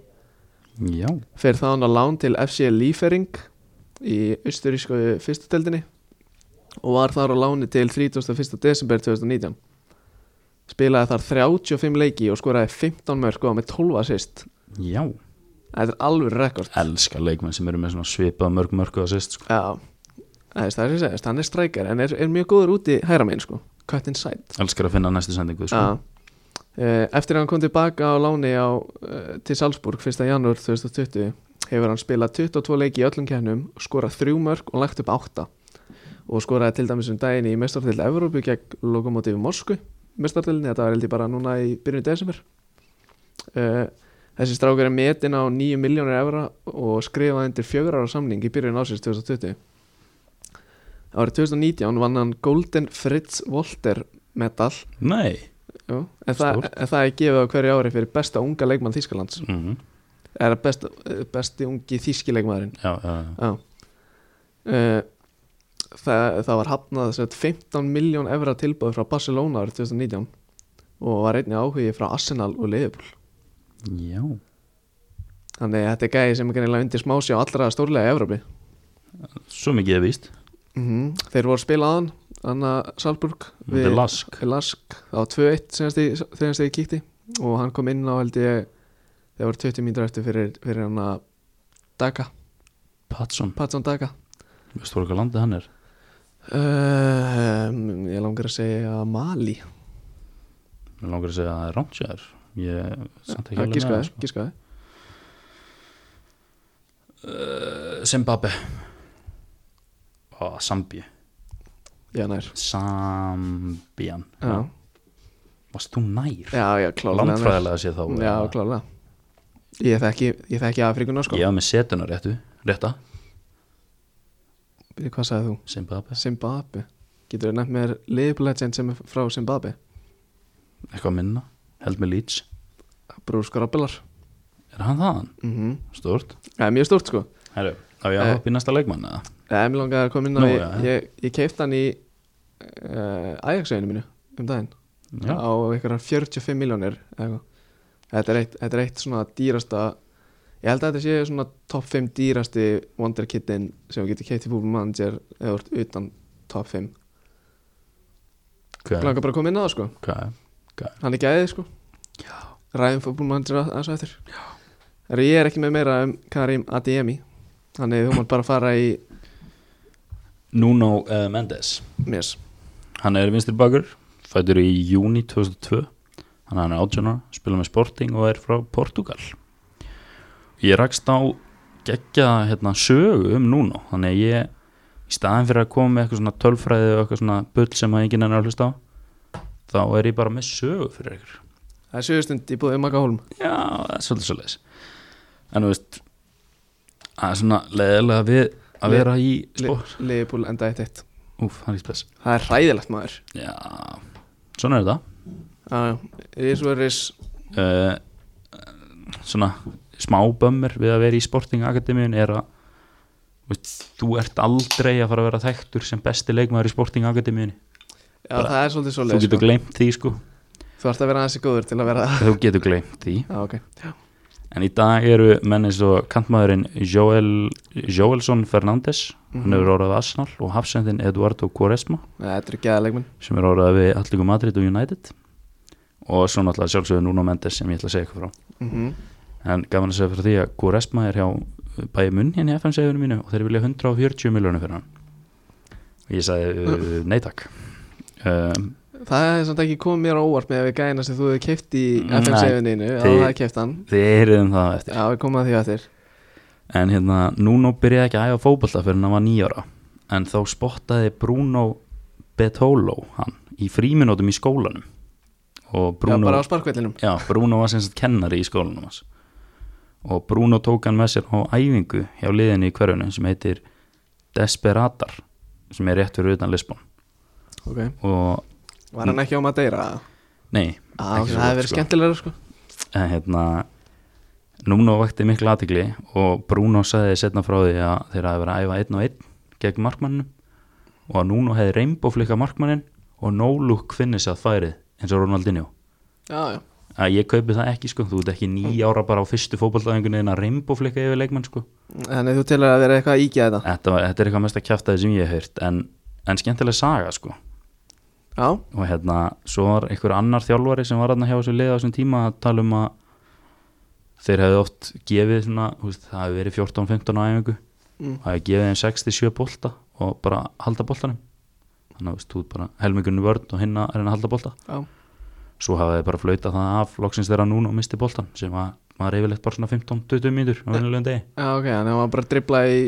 Speaker 2: Já,
Speaker 1: fyrir þá hann á lán til FC Liefering í austurísku fyrstuteldinni og var þar á láni til 31. desember 2019 spilaði þar 35 leiki og skoraði 15 mörg og var með 12 assist
Speaker 2: já
Speaker 1: Þetta er alveg rekord
Speaker 2: Elskar leikmenn sem eru með svona svipað mörg mörg og assist sko.
Speaker 1: Já Það er það sem ég segist, hann er strækjar en er, er mjög góður úti hæra megin sko Cut inside
Speaker 2: Elskar að finna næstu sendingu sko.
Speaker 1: Já. Eh, Eftir að hann kom tilbaka á láni á, eh, til Salzburg 1. janúar 2020 hefur hann spilað 22 leiki í öllum kennum skorað þrjú mörg og lagt upp átta og skoraði til dæmis um daginn í mestartill Evrópu gegn lokomotífi Morsku mestartillinni, þetta var held ég bara núna í byrjun desember Eh, Þessi strákur er metin á 9 miljónir evra og skrifaði undir fjögur ára samning í byrjun ásins 2020 Árið 2019 vann hann Golden Fritz Volter medal
Speaker 2: Nei
Speaker 1: Jú, en, það,
Speaker 2: Stórt.
Speaker 1: en það er gefið á hverju ári fyrir besta unga leikmann Þískalands
Speaker 2: mm
Speaker 1: er best, eh, besti ungi þíski leikmaðurinn
Speaker 2: Já, já, já
Speaker 1: Já uh, það, það var hafnað sem sagt 15 miljón evra tilbúð frá Barcelona árið 2019 og var einnig áhugi frá Arsenal og Liverpool
Speaker 2: Já,
Speaker 1: þannig að þetta er gæði sem er kannilega undir smási á allra stórlega Evrópi
Speaker 2: svo mikið er víst
Speaker 1: mm þeir voru spilaðan Anna Salburg
Speaker 2: Þetta er lask
Speaker 1: Lask á 2-1 senast ég- þegar ég kíkti og hann kom inn á held ég þegar voru 20 mínútur eftir fyrir, fyrir hann að Daga,
Speaker 2: Patson,
Speaker 1: Patson Daga
Speaker 2: veistu hvað landið hann er?
Speaker 1: uh,
Speaker 2: Ehm,
Speaker 1: um, ég langar að segja Mali
Speaker 2: Mér langar að segja að það er rámtjær Ég samt ekki
Speaker 1: Ja,
Speaker 2: alveg með
Speaker 1: giskaði,
Speaker 2: það
Speaker 1: giskaði
Speaker 2: sko. Zimbabwe Ó, Sambí
Speaker 1: já nær
Speaker 2: Sambían
Speaker 1: já,
Speaker 2: Varst þú nær?
Speaker 1: já, já klálega
Speaker 2: Landfræðilega sé þá
Speaker 1: já, klálega ég þekki, ég þekki Afrikuna sko
Speaker 2: Ég var með setuna réttu Rétta,
Speaker 1: Bíddu, hvað sagði þú?
Speaker 2: Zimbabwe
Speaker 1: Zimbabwe getur þú nefnt mér Liverpool legend sem er frá Zimbabwe
Speaker 2: Eitthvað minna Held með Leeds
Speaker 1: Brúr Skorabellar
Speaker 2: Er hann þaðan?
Speaker 1: mm
Speaker 2: Stort
Speaker 1: það er mjög stórt sko
Speaker 2: Herru, á ég að
Speaker 1: Eh.
Speaker 2: hoppa í næsta leikmann eða?
Speaker 1: Nei, mér langaði að koma inn á
Speaker 2: Nú,
Speaker 1: ég,
Speaker 2: já.
Speaker 1: ég, ég keipta hann í uh, Ajax-veginu mínu um daginn
Speaker 2: Já,
Speaker 1: á einhverjar 45 miljónir þetta er, eitt, þetta er eitt svona dýrasta ég held að þetta sé svona top 5 dýrasti wonderkittin sem þú getur keipt í fútbolmanager eða þú ert utan top 5 okay.
Speaker 2: hvað er?
Speaker 1: langar bara að koma inn á það sko
Speaker 2: Hvað er?
Speaker 1: hann er gæðið sko
Speaker 2: Já.
Speaker 1: ræðum fútbolmanager aðeins á eftir Já. ég er ekki með meira um Karim Adeyemi þannig þú mátt bara fara í
Speaker 2: Nuno uh, Mendes
Speaker 1: mérs
Speaker 2: Hann er vinstri bakur, fættur í júni 2002 Þannig að hann er átjónar, spila með Sporting og er frá Portugal Ég rakst á geggja hérna, sögu um Nuno Þannig að ég, í staðin fyrir að koma með eitthvað svona tölfræði og eitthvað svona bull sem að enginn er að hlusta á þá er ég bara með sögu fyrir ykkur
Speaker 1: það er sögustund í búið um Magahólm
Speaker 2: Já, það er svolítið svolítið En þú veist það er svona leiðilega við að
Speaker 1: Le-
Speaker 2: vera í
Speaker 1: Le-
Speaker 2: sport
Speaker 1: Liverpool enda eitt eitt
Speaker 2: Úf, hann er ekki spes
Speaker 1: Það er hræðilegt maður
Speaker 2: Já, svona er þetta
Speaker 1: Já, It is what it is
Speaker 2: uh, svona smá bömmur við að vera í Sporting Akademíun er að þú veist, þú ert aldrei að fara að vera þekktur sem besti leikmaður í Sporting Akademíun
Speaker 1: Já,
Speaker 2: Bara-
Speaker 1: það er svolítið svo
Speaker 2: þú getur
Speaker 1: sko.
Speaker 2: gleymt því sko
Speaker 1: Þú ert að vera aðeins í góður til að vera
Speaker 2: þú getur gleymt því
Speaker 1: Já, ok
Speaker 2: en í dag eru menn eins og kantmaðurinn Joel, Joelson Fernandes hann
Speaker 1: Mhm.
Speaker 2: hefur orðað við Arsenal og hafsendin Eduardo Quaresma
Speaker 1: Nei, Þetta er gæða leikmenn
Speaker 2: sem er orðað við Allíku Madrid og United og svo náttúrulega sjálfsögur Nuno Mendes sem ég ætla að segja eitthvað frá
Speaker 1: mm
Speaker 2: En gaman að segja fyrir því að Quaresma er hjá bæja munn hérna í FM-segjunum mínu og þeir vilja 140 miljónum fyrir hann og ég sagði uh, nei takk um,
Speaker 1: Það er samt ekki komið mér á óvart með að við gæna sem þú hefur keift í
Speaker 2: Nei.
Speaker 1: FM7-inu Já,
Speaker 2: Þið-
Speaker 1: það er keift hann
Speaker 2: Þið heyriðum það á eftir
Speaker 1: Já, við komum að því að þér
Speaker 2: En hérna, Nuno byrjaði ekki að æfa fótbolta fyrir hann var nýjára en þá spottaði Bruno Betolo hann í fríminótum í skólanum og
Speaker 1: Já,
Speaker 2: Bruno
Speaker 1: bara á sparkvellinum
Speaker 2: Já, Bruno var sem sagt kennari í skólanum hans og Bruno tók hann með sér á æfingu hjá liðinu í hverjunum sem heitir Desperadar sem er rétt fyrir utan Lisbon
Speaker 1: ok
Speaker 2: og
Speaker 1: Var hann ekki á Madeira?
Speaker 2: nei,
Speaker 1: Ah,
Speaker 2: Ekki
Speaker 1: okay,
Speaker 2: svo
Speaker 1: það
Speaker 2: gott,
Speaker 1: hefði verið
Speaker 2: sko.
Speaker 1: skemmtilegra sko
Speaker 2: en hérna Núno vakti miklu aðtikli og Bruno sagði setna frá því að þeirra hefði verið að æfa einn og einn gegn markmanninu og að Núno hefði reymbóflikka markmannin og no-look finnis að færið eins og Ronaldinho
Speaker 1: Já, já,
Speaker 2: að ég kaupi það ekki sko, þú ert ekki nýja ára bara á fyrstu fótballtæðingunni en að reymbóflikka yfir leikmann sko
Speaker 1: þannig þú telur að vera eitthvað að íkja þetta
Speaker 2: þetta, var- þetta er eitthvað mest að kjæfta því sem ég hef heyrt en, en skemmtileg saga sko
Speaker 1: Já,
Speaker 2: og hérna, svo var einhver annar þjálfari sem var hérna hjá þessu liða á þessum tíma að tala um að þeir hefði oft gefið svona, þú veist, það hefði verið 14-15 á æfingu
Speaker 1: Mm.
Speaker 2: það hefði gefið þeim 6-7 bolta og bara halda boltanum þannig að þú veist, þú ert bara helmingurinn í vörn og hinn að reyna að halda bolta
Speaker 1: já,
Speaker 2: svo hafa þeir bara flautað það af loksins þeirra núna og misti boltan sem að maður yfirleitt bara svona 15-20 mínútur á venjulegum degi
Speaker 1: já ok, þannig að hann bara dribblaði í,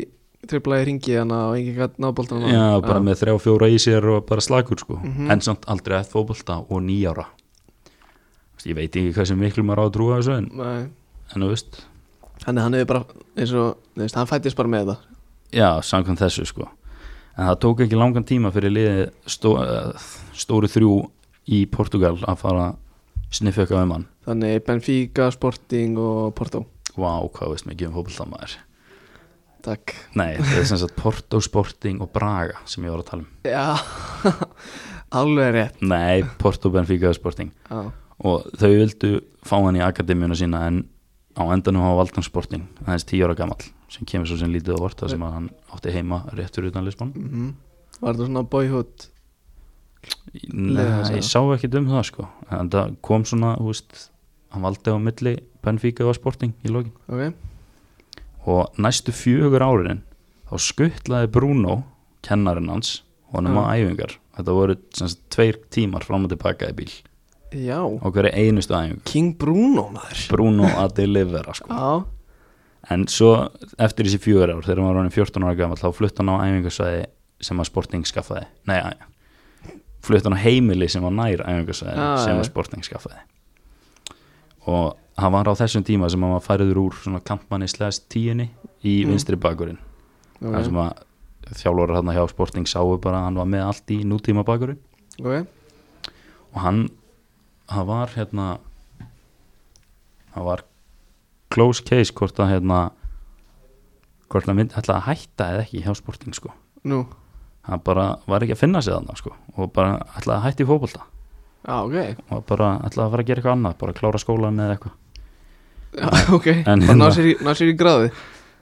Speaker 1: dribblaði í ringi þannig að enginn gætt náboltan
Speaker 2: Já, bara með þrjá fjóra í sér og bara slagur sko en samt aldrei að fótbolta og nýjára ég veit ekki hvað sem miklu maður á að trúa þessu en,
Speaker 1: Nei,
Speaker 2: en þú veist,
Speaker 1: þannig að hann hefur bara eins og, þú veist, hann fættist bara með það
Speaker 2: já, samkvæmt þessu sko en það tók ekki langan tíma fyrir liði stó, eh, stóru þrjú í Portugal að fara sniffjöka um hann
Speaker 1: Þannig Benfica, Sporting og Porto
Speaker 2: Vá, hvað veist mikið um fótbolta maður
Speaker 1: Takk
Speaker 2: Nei, það er sem sagt Porto, Sporting og Braga sem ég var að tala um
Speaker 1: Já, alveg rétt
Speaker 2: Nei, Porto, Benfica og Sporting
Speaker 1: Já,
Speaker 2: og þau vildu fá hann í akademíuna sína en á endanum hafa vald hann sporting aðeins 10 ára gamall sem kemur svo sem lítið á vort þar sem að hann átti heima réttur utan Lisbon
Speaker 1: mhm Var þetta svona boyhood? Leiða
Speaker 2: Nei,
Speaker 1: þess að-
Speaker 2: ég sá ekkit um það sko en það kom svona, þú veist hann valdi á milli Benfica og Sporting í lokin
Speaker 1: Ok,
Speaker 2: og næstu fjögur árin þá skuttlaði Bruno kennarinn hans og hann um að æfingar þetta voru sem sagt, tveir tímar fram og tilbaka í bíl
Speaker 1: já
Speaker 2: á hverju einustu æfingu
Speaker 1: King Bruno maður
Speaker 2: Bruno að delivera sko
Speaker 1: Já,
Speaker 2: En svo eftir þessi fjögur ár þegar maður var orðinn 14 ára gammal þá flutt hann á æfingarsvæði sem að Sporting skaffaði Nei, að, flutt hann á heimili sem var nær æfingarsvæði
Speaker 1: Ah,
Speaker 2: sem
Speaker 1: já.
Speaker 2: að Sporting skaffaði og hann var á þessum tíma sem hann var færiður úr svona kampmanni slæðast tíunni í
Speaker 1: Mm.
Speaker 2: vinstri bakurinn
Speaker 1: ok,
Speaker 2: þar sem að þjálfur hann hjá Sporting sáu bara að hann var með allt í nútíma bakurinn
Speaker 1: ok
Speaker 2: og hann hann var hérna hann var close case hvort að hérna hvort að myndi ætla að hætta eða ekki hjá sporting sko
Speaker 1: Nú,
Speaker 2: hann bara var ekki að finna sig þarna sko og bara ætla að hætta í fótbolta
Speaker 1: já, ok
Speaker 2: og bara ætla að fara að gera eitthvað annað bara klára skólan eða eitthvað
Speaker 1: Já, ok,
Speaker 2: En
Speaker 1: bara ná
Speaker 2: hérna-
Speaker 1: sér, í- ná sér í gráði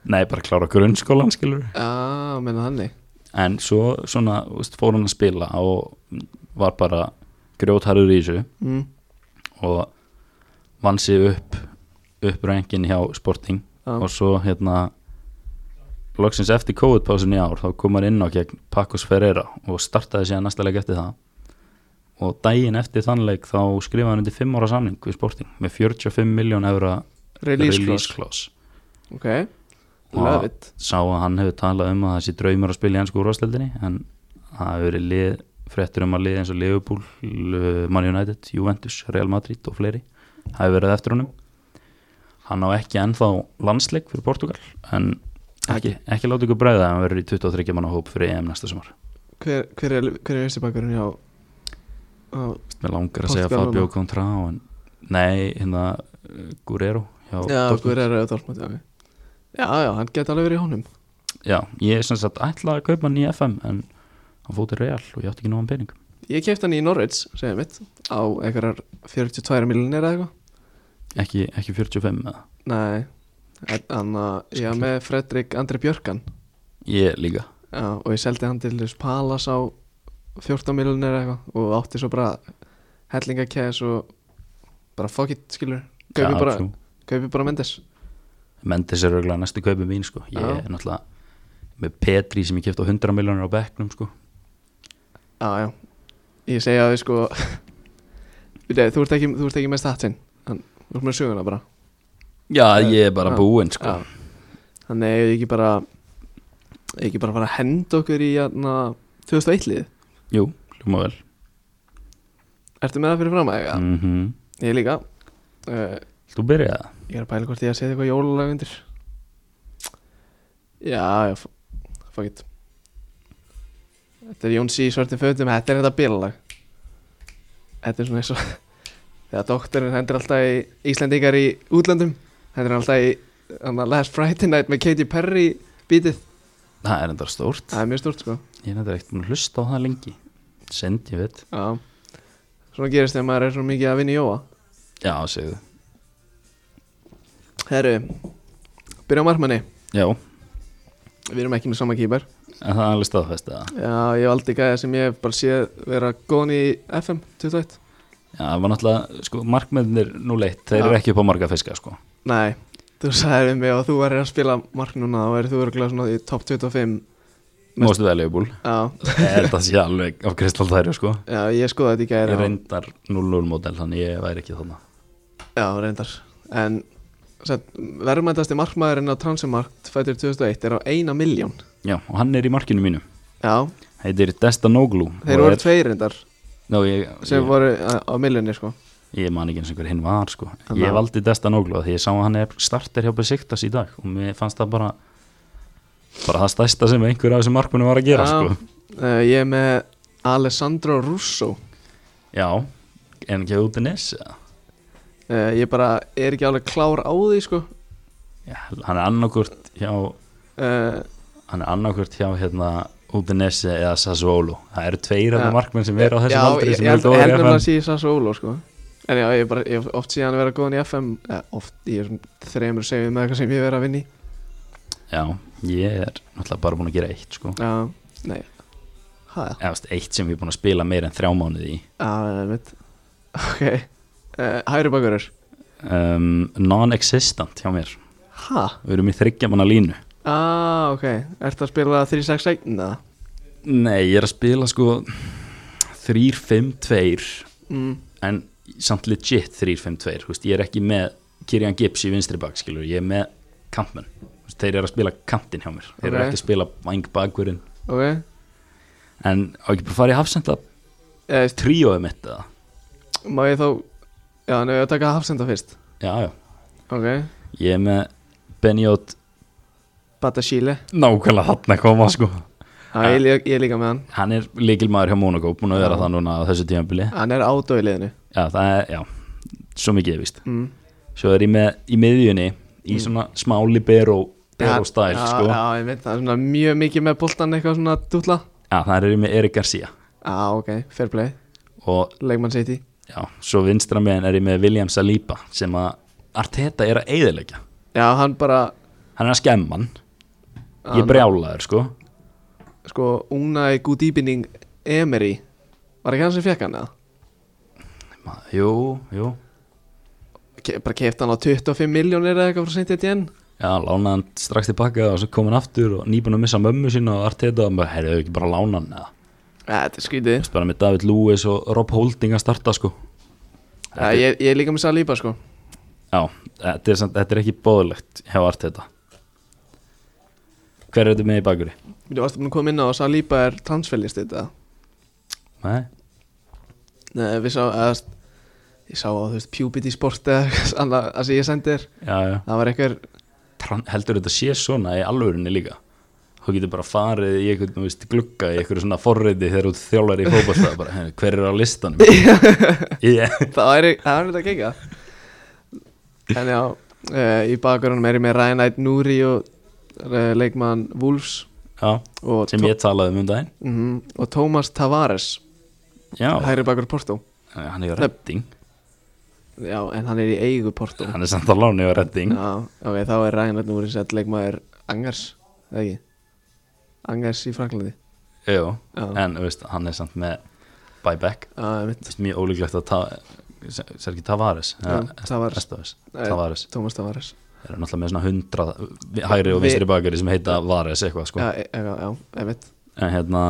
Speaker 2: nei bara klára grunnskólan skilur
Speaker 1: Já, menna þannig
Speaker 2: en svo svona þú veist, fór hann að spila og var bara grjótharður í þessu
Speaker 1: mm.
Speaker 2: og vann sig upp upp reyngin hjá Sporting
Speaker 1: Já.
Speaker 2: og svo hérna loksins eftir COVID-pásun í ár þá kom hann inn á gegn Pakkus Ferreira og startaði síðan næsta leik eftir það og daginn eftir þann leik þá skrifaði hann undir 5 ára samning við Sporting með 45 miljón evra
Speaker 1: Release clause
Speaker 2: clause
Speaker 1: Ok,
Speaker 2: Ah, Og
Speaker 1: love it
Speaker 2: sá að hann hefur talað um að það sé draumur að spila í ennsku úrvastildinni en það hefur verið lið, fréttur um að lið eins og Liverpool, L- Man United, Juventus, Real Madrid og fleiri hafi verið eftir honum hann á ekki ennþá landsleik fyrir Portugal en ekki, ekki láta ykkur bregða að hann verður í 23 manna hóp fyrir EM næsta sumar
Speaker 1: Hver, hver er, hver er vinstri bakurinn hjá á,
Speaker 2: mér langar að segja
Speaker 1: Portugal
Speaker 2: Fabio
Speaker 1: núna?
Speaker 2: Contrao en nei, hérna uh, Guerrero hjá
Speaker 1: Já,
Speaker 2: Dortmund.
Speaker 1: hver er að Dortmund, já ok. Já, já, hann geti alveg verið í honum
Speaker 2: já, ég er sem sagt ætlaði að kaupa hann í FM en hann fótið Real og ég átti ekki nógan pening
Speaker 1: Ég kefti hann í Norwich, segja mitt Á einhverjar 42 miljonir eða eitthvað
Speaker 2: ekki, ekki 45 eða
Speaker 1: Nei, hann að Ég var með Fredrik Andri Björkan
Speaker 2: Ég líka
Speaker 1: já, Og ég seldi hann til þess Palas á 14 miljonir eða eitthvað Og átti svo bara hellingakæs og bara fuck it, skilur Kaupi bara,
Speaker 2: trú.
Speaker 1: kaupi bara Mendes
Speaker 2: Mendes er auðvitað næstu kaupið mín sko. Ég
Speaker 1: Já.
Speaker 2: er náttúrulega með Petri sem ég kæfti á 100 miljónir á bekknum sko.
Speaker 1: Já, já Ég segja að við sko Nei, þú, ert ekki, þú ert ekki með statsinn Hann- Þú ert með söguna bara
Speaker 2: Já,
Speaker 1: Eh,
Speaker 2: ég er bara
Speaker 1: já,
Speaker 2: búinn sko.
Speaker 1: Já. Þannig eigum við ekki bara eigum við ekki bara að fara að henda okkur í hérna, jæna, 2001 lið
Speaker 2: Jú, hljóma vel
Speaker 1: Ertu með það fyrir fram að eiga?
Speaker 2: mm -hmm.
Speaker 1: Ég líka uh,
Speaker 2: Þú byrjaði það
Speaker 1: Ég er að pæla hvort ég að setja eitthvað jólulag undir Já, já, f- fuck it Þetta er Jón C. í svörtum fötum Þetta er þetta bílalag Þetta er svona eins og Þegar doktorinn hendur alltaf í Íslendingar í útlöndum Hendur hann alltaf í hana, Last Friday Night með Katy Perry bítið
Speaker 2: það er enda stórt
Speaker 1: Það er mjög stort sko
Speaker 2: ég er enda ekkert búin að hlusta á það lengi send ég veit
Speaker 1: Já Svona gerist þegar maður er svo mikið að vinna í jóa
Speaker 2: já segðu
Speaker 1: Herru Byrja á markmanni
Speaker 2: já en
Speaker 1: Við erum ekki með sama kýpar
Speaker 2: það er alveg staðfest eða
Speaker 1: Já, ég valdi gæða sem ég hef bara séð vera góðan í FM 21
Speaker 2: já það var náttúrulega sko markmennir nú leitt þeir
Speaker 1: Já.
Speaker 2: eru ekki upp á marga fiska sko
Speaker 1: Nei, þú sagði við mig að þú væri að spila mark núna þá væri þú örgulega svona í top 25
Speaker 2: most valuable
Speaker 1: Já,
Speaker 2: þetta sé alveg á kristaldæri sko
Speaker 1: já ég skoði þetta í
Speaker 2: ég
Speaker 1: gæri
Speaker 2: reyndar 0-0 mótel þannig ég væri ekki þarna
Speaker 1: Já, reyndar En verðmæntasti markmaðurinn á Transfermarkt fættur 2001 er á eina miljón
Speaker 2: já og hann er í markinu mínu
Speaker 1: Já,
Speaker 2: heitir Destanoglu
Speaker 1: þeir
Speaker 2: og
Speaker 1: voru
Speaker 2: er-
Speaker 1: tveir reyndar
Speaker 2: Ná, ég,
Speaker 1: sem
Speaker 2: ég,
Speaker 1: voru á, á miljónni sko
Speaker 2: ég man ekki eins og hver hinn var sko.
Speaker 1: Þannig
Speaker 2: ég
Speaker 1: að-
Speaker 2: valdi Destanoglu af því ég sá að hann er starter hjá Besiktas í dag og mér fannst það bara bara það stærsta sem einhver af þessum markmunum var að gera
Speaker 1: Já.
Speaker 2: sko.
Speaker 1: uh, Ég er með Alessandro Russo
Speaker 2: já, en ekki út í nes eða?
Speaker 1: uh, Ég bara er ekki alveg klár á því sko
Speaker 2: Já, hann er annarkvort hjá
Speaker 1: uh,
Speaker 2: hann er annarkvort hjá hérna út í nes eða Sassuolo það eru tveir af
Speaker 1: Já.
Speaker 2: þeim markmenn sem eru á
Speaker 1: Já,
Speaker 2: þessum aldri
Speaker 1: ég,
Speaker 2: sem
Speaker 1: ég
Speaker 2: eru
Speaker 1: held
Speaker 2: góðir í
Speaker 1: nefnilega að
Speaker 2: FM
Speaker 1: sé í Sassu Ólo sko. En já, ég er bara, ég hef oft síðan verið að góðan í FM eh, Oft í þessum þreymur segjum með eitthvað sem ég hef verið að vinni
Speaker 2: já, ég er náttúrulega bara búin að gera eitt sko.
Speaker 1: Já, nei Hæ, já,
Speaker 2: eða þú veist, eitt sem ég er búin að spila meira en þrjá mánuði í
Speaker 1: það er mitt Ok, uh, hægri bakurur
Speaker 2: um, non-existent hjá mér
Speaker 1: Hæ,
Speaker 2: við erum í þryggjamanna línu
Speaker 1: ah, ok Ertu að spila 361? Nei
Speaker 2: nei, ég er að spila sko 3-5-2
Speaker 1: mm,
Speaker 2: en samt legit 3-5-2 þú veist, ég er ekki með Kirjan Gibbs í vinstri bak skilur, ég er með kampmenn Þú veist, þeir eru að spila kantinn hjá mér þeir eru
Speaker 1: Ok.
Speaker 2: ekki að spila vang bakurinn
Speaker 1: Ok,
Speaker 2: en á ekki bara að fara í hafsenda
Speaker 1: eða veist,
Speaker 2: tríóið mitt eða
Speaker 1: má ég þá Já, nefnir að taka hafsenda fyrst
Speaker 2: já, já,
Speaker 1: Ok,
Speaker 2: ég er með Benjótt
Speaker 1: Bata Chile
Speaker 2: nákvæmlega hann að koma sko
Speaker 1: Já, ég, ég, ég er líka með hann
Speaker 2: hann er líkilmaður hjá Monaco búin að vera
Speaker 1: Já.
Speaker 2: það núna á þessu tímanbili
Speaker 1: Hann er ádó í liðinu
Speaker 2: Já, það er, já, svo mikið ég víst
Speaker 1: mm.
Speaker 2: Svo er ég með, í miðjunni, í svona smá libero,
Speaker 1: Já,
Speaker 2: libero stæl,
Speaker 1: já,
Speaker 2: sko Já,
Speaker 1: Já, ég veit, það er svona mjög mikið með boltan eitthvað svona dútla
Speaker 2: það er ég með Erik Garcia
Speaker 1: Já, ok, fair play,
Speaker 2: Og,
Speaker 1: leikmann City
Speaker 2: já, svo vinstra meðan er ég með William Saliba Sem að Arteta er að eyðileggja
Speaker 1: Já, hann bara,
Speaker 2: Hann er að skemma hann Ég
Speaker 1: Hann-
Speaker 2: brjálaður, sko
Speaker 1: sko, Unai Gudíbining Emery Var ekki hann sem fekk hann eða?
Speaker 2: Ma- Jú, jú
Speaker 1: Ke bara kefti hann á 25 miljónir eða eitthvað frá Saint Etienne
Speaker 2: Já, lánaði hann strax tilbaka og svo kom hann aftur og nýbúin að missa mömmu sína og Arteta og hann bara, heyrðu ekki bara að lána hann eða
Speaker 1: Já, þetta er skrítið
Speaker 2: Þess bara með David Lewis og Rob Holding að starta, sko
Speaker 1: Já, ég, ég er líka með Saliba, sko
Speaker 2: Já, þetta er, samt, þetta er ekki bóðlegt hjá Arteta Hver er þetta með í bakuri?
Speaker 1: Þú varst búin að koma inn á að Saliba er transferlist þetta
Speaker 2: Nei?
Speaker 1: Nei, við sá, eða Ég sá á, þú veist, Pubity Sport eða eitthvað annað, það sem ég sendi þér
Speaker 2: Já, já
Speaker 1: Það var eitthvað,
Speaker 2: Tran, Heldur þetta sé svona í alvörinni líka? Þú getur bara farið í einhvern, þú veist, glugga í einhverju svona forriði þegar þú þjólar í fótballtað bara, "Hey, hver er á listanum? yeah.
Speaker 1: það væri, það væri þetta að kika en já uh, í bakgrunum er ég með Rænætt Núri og uh, leikmann Wolfs
Speaker 2: Já,
Speaker 1: og,
Speaker 2: sem ég talaði um um daginn
Speaker 1: mm og Tómas Tavares
Speaker 2: Já,
Speaker 1: hægri bakur Porto
Speaker 2: hann er í redding
Speaker 1: já, en hann er í eigu Porto
Speaker 2: Hann er samt á láni á redding
Speaker 1: já, ok, þá er Rænætt Núri sett leikmaður Angers, eða ekki Angers í Franklandi
Speaker 2: Jú,
Speaker 1: Já.
Speaker 2: en þú veist, hann er samt með buyback
Speaker 1: já, mitt,
Speaker 2: Þú veist, Mjög ólíklegt að ta, Sergi Tavares
Speaker 1: Já,
Speaker 2: eða-
Speaker 1: Tavares.
Speaker 2: Estóes.
Speaker 1: Nei.
Speaker 2: Eh, Tavares
Speaker 1: Tómas Tavares
Speaker 2: Þeir eru náttúrulega með svona hundra hægri og vinstri bakari sem heita Vares eitthvað sko.
Speaker 1: já, e- já, já, einmitt
Speaker 2: En hérna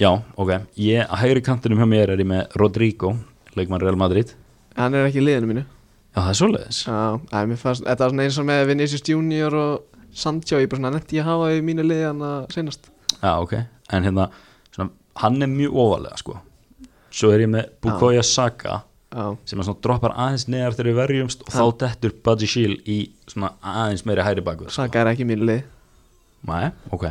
Speaker 2: Já, ok Ég, að hægri kantinum hjá mér er ég með Rodrigo leikmann Real Madrid
Speaker 1: hann er ekki í liðinu mínu
Speaker 2: Já, það er svoleiðis
Speaker 1: Já, að, mér fannst, þetta var svona eins og með Vinicius Junior og Sancho, ég bara svona netti að hafa í mínu liði hann að senast
Speaker 2: Já, ok En hérna, svona, hann er mjög ofalega sko. Svo er ég með Bukoya Saka
Speaker 1: Já,
Speaker 2: sem að svona droppar aðeins neðar þegar við verjumst og þá dettur Budgie Shield í svona aðeins meiri hægri bakur
Speaker 1: Saka er ekki í mínu liði
Speaker 2: Nei, ok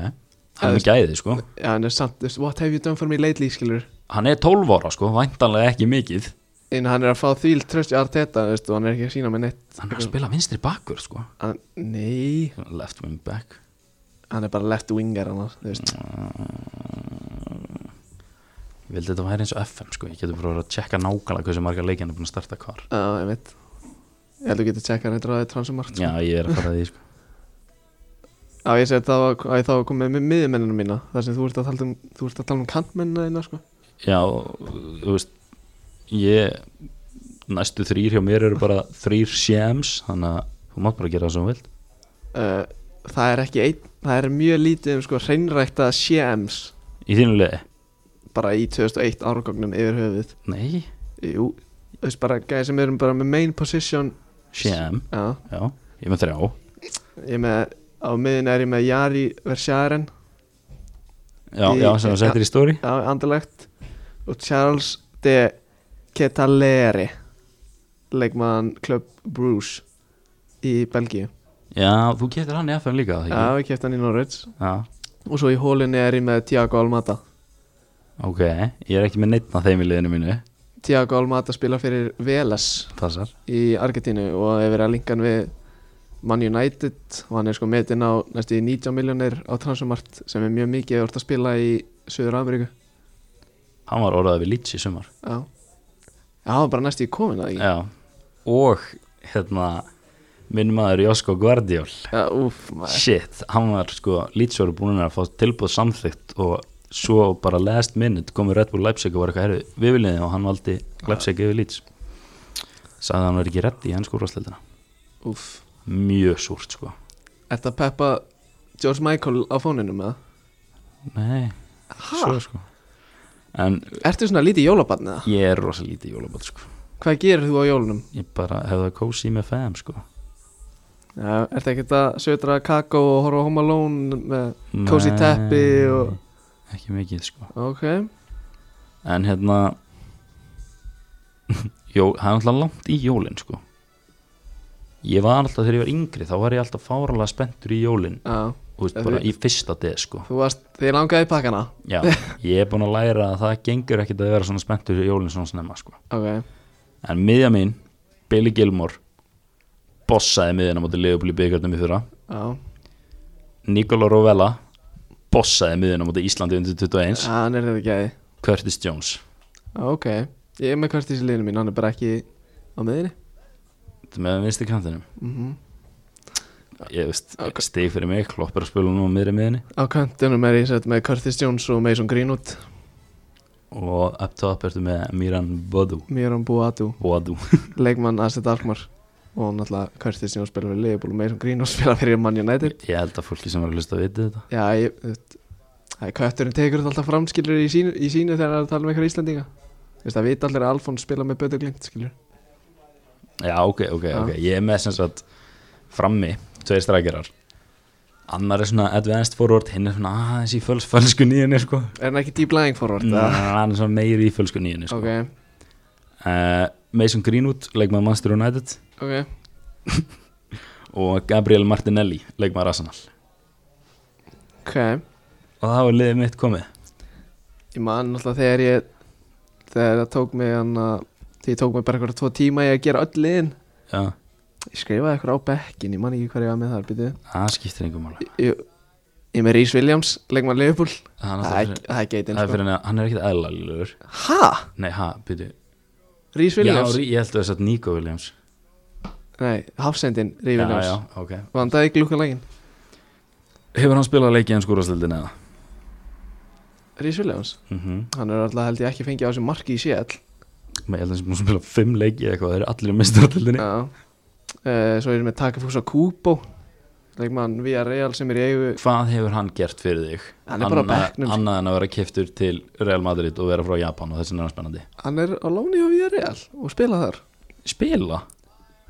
Speaker 2: hann er gæði sko
Speaker 1: Já, en er samt, þú veist, what have you done for me lately, skilur
Speaker 2: hann er 12 ára sko, væntanlega ekki mikið
Speaker 1: En hann er að fá þvíl tröst í Arteta, þú veist, og hann er ekki að sína með neitt
Speaker 2: hann er að spila vinstri bakur sko
Speaker 1: hann, Nei,
Speaker 2: left wing back
Speaker 1: hann er bara left winger hann, þú veist
Speaker 2: ég vildi þetta væri eins og FM sko ég getur bara að tjekka nákvæmlega hversu marga leikinn er búin að starta hvar
Speaker 1: Já, ég veit Ég held að þú getur tjekkað hann eitthvað á transumart
Speaker 2: já, ég er að fara að því sko
Speaker 1: Já, ég segi það var- að ég þá var komið með miðmennina mína þar sem þú ert að tala um, þú ert að tala um kantmennina þína, sko
Speaker 2: já, þú veist ég, næstu þrýr hjá mér eru bara þrýr shams þannig að þú mátt bara gera það sem þú vilt
Speaker 1: uh, Það er ekki einn, það er mjög lítið um sko hreinrækta CMs
Speaker 2: í þínu liði,
Speaker 1: bara í 2001 árgangnum yfir höfuð
Speaker 2: nei,
Speaker 1: Jú, þú veist bara gæði sem erum bara með main position
Speaker 2: sham
Speaker 1: Já,
Speaker 2: já, ég er með þrjá
Speaker 1: ég er með á miðin er ég með Jari Versjæren
Speaker 2: já,
Speaker 1: Í-
Speaker 2: já, sem þú settir í stóri
Speaker 1: Já, andalegt og Charles de Ketaleri leikmann Club Bruce í Belgíu
Speaker 2: já, þú getur hann í FM líka það
Speaker 1: Já,
Speaker 2: ekki?
Speaker 1: ég kefti hann í Norwich
Speaker 2: já,
Speaker 1: og svo í hólunni er ég með Tiago Almada
Speaker 2: ok, ég er ekki með neitt af þeim í liðinu mínu,
Speaker 1: Tiago Almada spila fyrir Velas
Speaker 2: passar
Speaker 1: í Argentínu og hefur verið að linka hann við Man United og hann er sko metinn á næstu í 19 miljónir á transumart sem er mjög mikið að að spila í Suður Ameríku
Speaker 2: hann var orðað við Leeds í sumar
Speaker 1: Já, Já, hann var bara næstu í komin að ekki
Speaker 2: Já, og hérna minn maður Josko Guardiol
Speaker 1: Já, úff, maður
Speaker 2: shit, hann var sko lýtsjóru búin að fá tilbúð samþygt og svo bara last minute komið Red Bull Leipzig og var eitthvað herri við viljum þið og hann valdi Leipzig yfir Leeds sagði að hann var ekki reddi í ennsku úrvarsleildina
Speaker 1: Úff,
Speaker 2: mjög súrt sko
Speaker 1: þetta peppa George Michael á fóninum eða?
Speaker 2: nei, svo sko en
Speaker 1: Ertu svona lítið jólabarn eða?
Speaker 2: ég er rosa lítið jólabot sko
Speaker 1: Hvað gerir þú á jólunum?
Speaker 2: ég bara hefði það kósi með fæðum sko
Speaker 1: Já, ertu ekkert að södra kakó og horfa á Home Alone með Cozy
Speaker 2: Nei,
Speaker 1: teppi og-
Speaker 2: ekki mikið sko
Speaker 1: Ok,
Speaker 2: En hérna Jó, það er alltaf langt í jólin sko Ég var alltaf þegar ég var yngri þá var ég alltaf fáralega spenntur í jólin
Speaker 1: já,
Speaker 2: og veist,
Speaker 1: Ef
Speaker 2: bara
Speaker 1: þú-
Speaker 2: í fyrsta deg sko
Speaker 1: þú varst, þið langaði í pakkana
Speaker 2: Já, ég er búin að læra að það gengur ekkit að vera svona spenntur í jólin svona snemma sko
Speaker 1: Ok,
Speaker 2: En miðja mín, Billy Gilmore bossaði miðjana mútið Leopold í byggarnum í fyrra
Speaker 1: já
Speaker 2: Nikola Rovella bossaði miðjana mútið Íslandi undir 21
Speaker 1: Já, Ah, hann er þetta gæði
Speaker 2: Curtis Jones
Speaker 1: Ah, Ok, ég er með Curtis í liðinu mín, hann er bara ekki á miðinni
Speaker 2: Þetta með vinstri kantinum
Speaker 1: mm
Speaker 2: Ég veist, stig fyrir mig, klopp er að spila nú á miðri miðinni
Speaker 1: Á kantinum er ég sett með Curtis Jones og Mason Greenwood
Speaker 2: og up top ertu með Miran Bodu
Speaker 1: Miran Boadu,
Speaker 2: Bodu
Speaker 1: leikmann Asset Alkmaar og náttúrulega Curtis Jones spila fyrir Leifbúl og Mason Greenwood spila fyrir Man United
Speaker 2: ég held að fólki sem var að hlusta viti þetta
Speaker 1: Já, ég, þú veist, það er kötturinn tekur þetta alltaf fram skilur í sínu, í sínu þegar hann er að tala með einhverja Íslandinga Þú veist, það vita allir að Alfons spila með Bödu Glimt skilur
Speaker 2: já ok, ok,
Speaker 1: Já.
Speaker 2: ok, ég er með sem sagt frammi, tveir strækjarar annar er svona advanced forward hinn er svona aðeins í föls, fölsku nýjunni sko.
Speaker 1: Er hann ekki deep lying forward?
Speaker 2: Ná,
Speaker 1: eða?
Speaker 2: hann er svona meiri í fölsku nýjunni sko.
Speaker 1: Ok,
Speaker 2: uh, Mason Greenwood, leikmaður Manchester United
Speaker 1: ok
Speaker 2: og Gabriel Martinelli, leikmaður Arsenal
Speaker 1: Ok,
Speaker 2: og það var liðið mitt komið
Speaker 1: Ég man alltaf þegar ég þegar það tók mig hann að því ég tók mig bara eitthvað tvo tíma í að gera öll liðin
Speaker 2: já,
Speaker 1: ég skrifaði eitthvað á bekkin, ég man ekki hvað ég var með þar byrju,
Speaker 2: það skiptir engum máli
Speaker 1: ég, ég er með Rhys Williams leikmann Liverpool,
Speaker 2: Ah, það
Speaker 1: það
Speaker 2: er náttúrulega
Speaker 1: er- það er
Speaker 2: fyrir-
Speaker 1: geitin
Speaker 2: það er
Speaker 1: sko.
Speaker 2: fyrir henni að hann er ekkert eðlalilur
Speaker 1: ha?
Speaker 2: nei, ha, byrju
Speaker 1: Rhys Williams?
Speaker 2: Já, ég held að það er Nico Williams
Speaker 1: nei, Hafsendin Rhys Williams,
Speaker 2: ok
Speaker 1: vandaði ekki lúka lægin
Speaker 2: Hefur hann spilað leikið en skúrastildin eða?
Speaker 1: Rhys Williams,
Speaker 2: Mm -hmm.
Speaker 1: hann er alltaf held ég ekki fengið á þessu marki í séll
Speaker 2: Ég held að hann spilað fimm leikið eitthvað Það eru allir í mistratildinni
Speaker 1: uh, Eh, svo er ég með Takafúsa Kubo leikmann Via Real sem er í eigu
Speaker 2: Hvað hefur hann gert fyrir þig?
Speaker 1: Hann er bara á
Speaker 2: Annað-
Speaker 1: bekknum. sko.
Speaker 2: Annað en að vera keftur til Real Madrid og vera frá Japan og þessin er hann spennandi
Speaker 1: hann er á láni á Via Real og spila þar,
Speaker 2: Spila?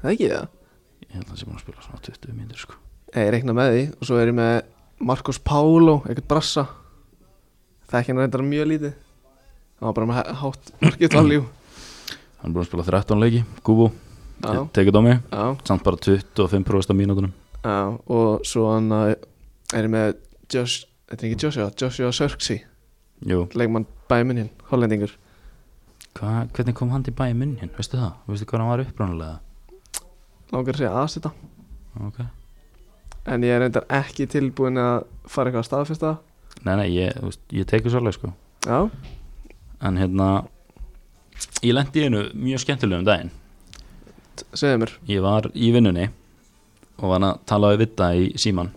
Speaker 1: það er ekki það
Speaker 2: Ég held að hann sé búin að spila svona 20 mínir sko
Speaker 1: Nei, Ég reikna með því og svo er ég með Marcos Paulo, ekkert brassa Þekki hann reyndar mjög lítið Það var bara með há- hátt market value
Speaker 2: Hann er búin að spila 13 leiki, Kubo
Speaker 1: Já,
Speaker 2: Tekið á mig,
Speaker 1: já,
Speaker 2: samt bara 25% af mínútunum
Speaker 1: já Og svo hann að- er ég eh, með Josh þetta er ekki Joshua, Joshua Sörksi
Speaker 2: Jú,
Speaker 1: leikmann bæmuninn, hollendingur
Speaker 2: Hva, hvernig kom hann til bæja munnin, veistu það? Veistu hvað hann var upprónulega?
Speaker 1: langar að segja aðstita
Speaker 2: Ok
Speaker 1: en ég er reyndar ekki tilbúin að fara eitthvað að staðfesta það.
Speaker 2: Nei, nei, ég, þú veist, ég tekur svolítið sko
Speaker 1: já,
Speaker 2: En hérna Ég lendi í einu mjög skemmtilegum daginn
Speaker 1: segðu mér
Speaker 2: Ég var í vinnunni Og var að tala við vitta í síman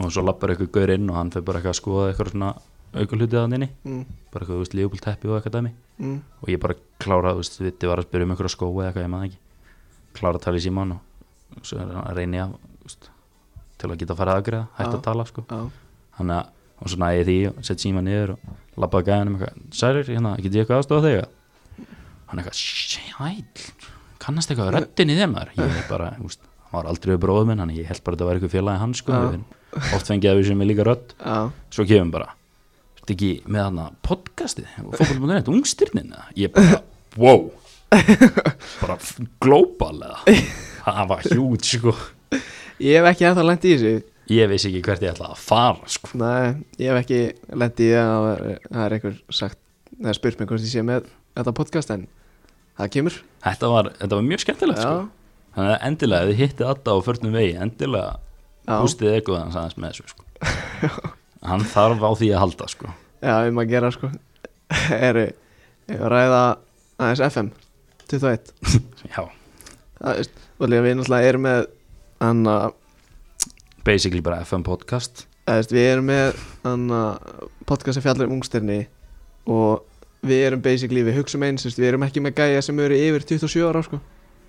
Speaker 2: Og svo lappar eitthvað gaur inn Og hann fyrir bara eitthvað að skoða eitthvað svona Aukur hluti að henni
Speaker 1: mm,
Speaker 2: Bara eitthvað, þú veist, lífbúl teppi og eitthvað dæmi
Speaker 1: mm,
Speaker 2: Og ég bara kláraði, þú veist, vitti var að spyrja um einhverja skóa eða eitthvað, ég maður ekki Kláraði að tala í síman og, og svo reyni ég að, þú veist Til að geta að fara aðgreða, hætt
Speaker 1: Já.
Speaker 2: að tala, sko
Speaker 1: já,
Speaker 2: hann að og svo næði ég því og sett síma niður og labbaði gæðanum eitthvað, sælir, hérna, get ég eitthvað aðstofa þig hann eitthvað, sæl kannast eitthvað röddin í þeim maður ég er bara, úst, hann var aldrei við bróðum minn hann ég held bara að þetta var eitthvað félagi hans sko,
Speaker 1: Já.
Speaker 2: við finn- oft fengið að við sem er líka rödd
Speaker 1: já,
Speaker 2: svo kemum bara, þetta ekki með hann podcastið, fókbólum.net, ungstyrnin eða?" ég bara, wow bara f- global eða það var hjút sko
Speaker 1: ég hef ekki ennþá lent í þessu
Speaker 2: ég vissi ekki hvert ég ætlaði að fara sko
Speaker 1: nei, ég hef ekki lent í það að það er einhver sagt það er spurt mig hvort ég sé með þetta podcast en það kemur
Speaker 2: Þetta var, þetta var mjög skemmtilegt sko.
Speaker 1: já,
Speaker 2: Þannig að endilega, ef þið hittið Adda á förnum vegi, endilega
Speaker 1: já,
Speaker 2: bústið eitthvað hans aðeins með þessu sko. Hann þarf á því að halda sko.
Speaker 1: já, um að gera sko eru, ég var að ræða aðeins FM 21
Speaker 2: Já,
Speaker 1: Það veist, og líka við náttúrulega erum með anna,
Speaker 2: basically bara FM podcast
Speaker 1: veist, við erum með anna, podcast sem fjallar um ungstyrni og við erum basically við hugsum eins, veist, við erum ekki með gæja sem eru yfir 27 ára sko,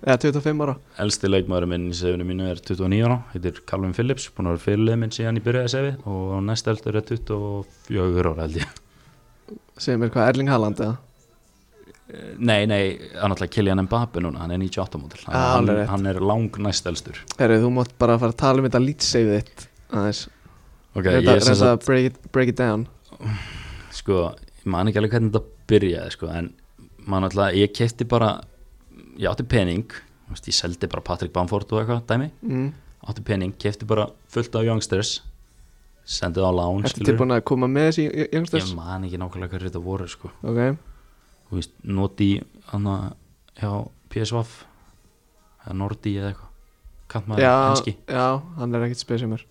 Speaker 1: eða 25 ára
Speaker 2: Elsti leikmaður minn í sefinu mínu er 29 ára, heitir Calvin Phillips búin að vera fyrirlið minn síðan ég byrjaði sefi og næst eldur er 24 ára held ég
Speaker 1: sem er hvað Erling Haaland eða
Speaker 2: Eh, Nei, nei, hann alltaf Kylian Mbappe núna, hann er 98 mótil hann,
Speaker 1: Ah, alveg
Speaker 2: hann,
Speaker 1: rétt.
Speaker 2: hann er lang næst eldur
Speaker 1: Herri, þú mátt bara fara að tala um þetta lýtseif þitt aðeins,
Speaker 2: Ok,
Speaker 1: okay,
Speaker 2: ég
Speaker 1: þetta
Speaker 2: er sem
Speaker 1: er
Speaker 2: sagt
Speaker 1: að break it, break it down
Speaker 2: sko, ég man ekki alveg hvernig þetta byrjaði sko, en man alltaf, ég kefti bara ég átti pening þú veist, ég seldi bara Patrick Bamford og eitthvað dæmi,
Speaker 1: mm.
Speaker 2: átti pening, kefti bara fullt af youngsters sendið á lán,
Speaker 1: Ertu tilbúin að koma með þessi youngsters?
Speaker 2: ég man ekki nákvæmlega hverju þetta voru sko,
Speaker 1: Ok,
Speaker 2: þú veist, noti hann að, já, PSVaf eða Nordi eða eitthvað kantmaður,
Speaker 1: já,
Speaker 2: hanski
Speaker 1: já, hann er ekkit spesimur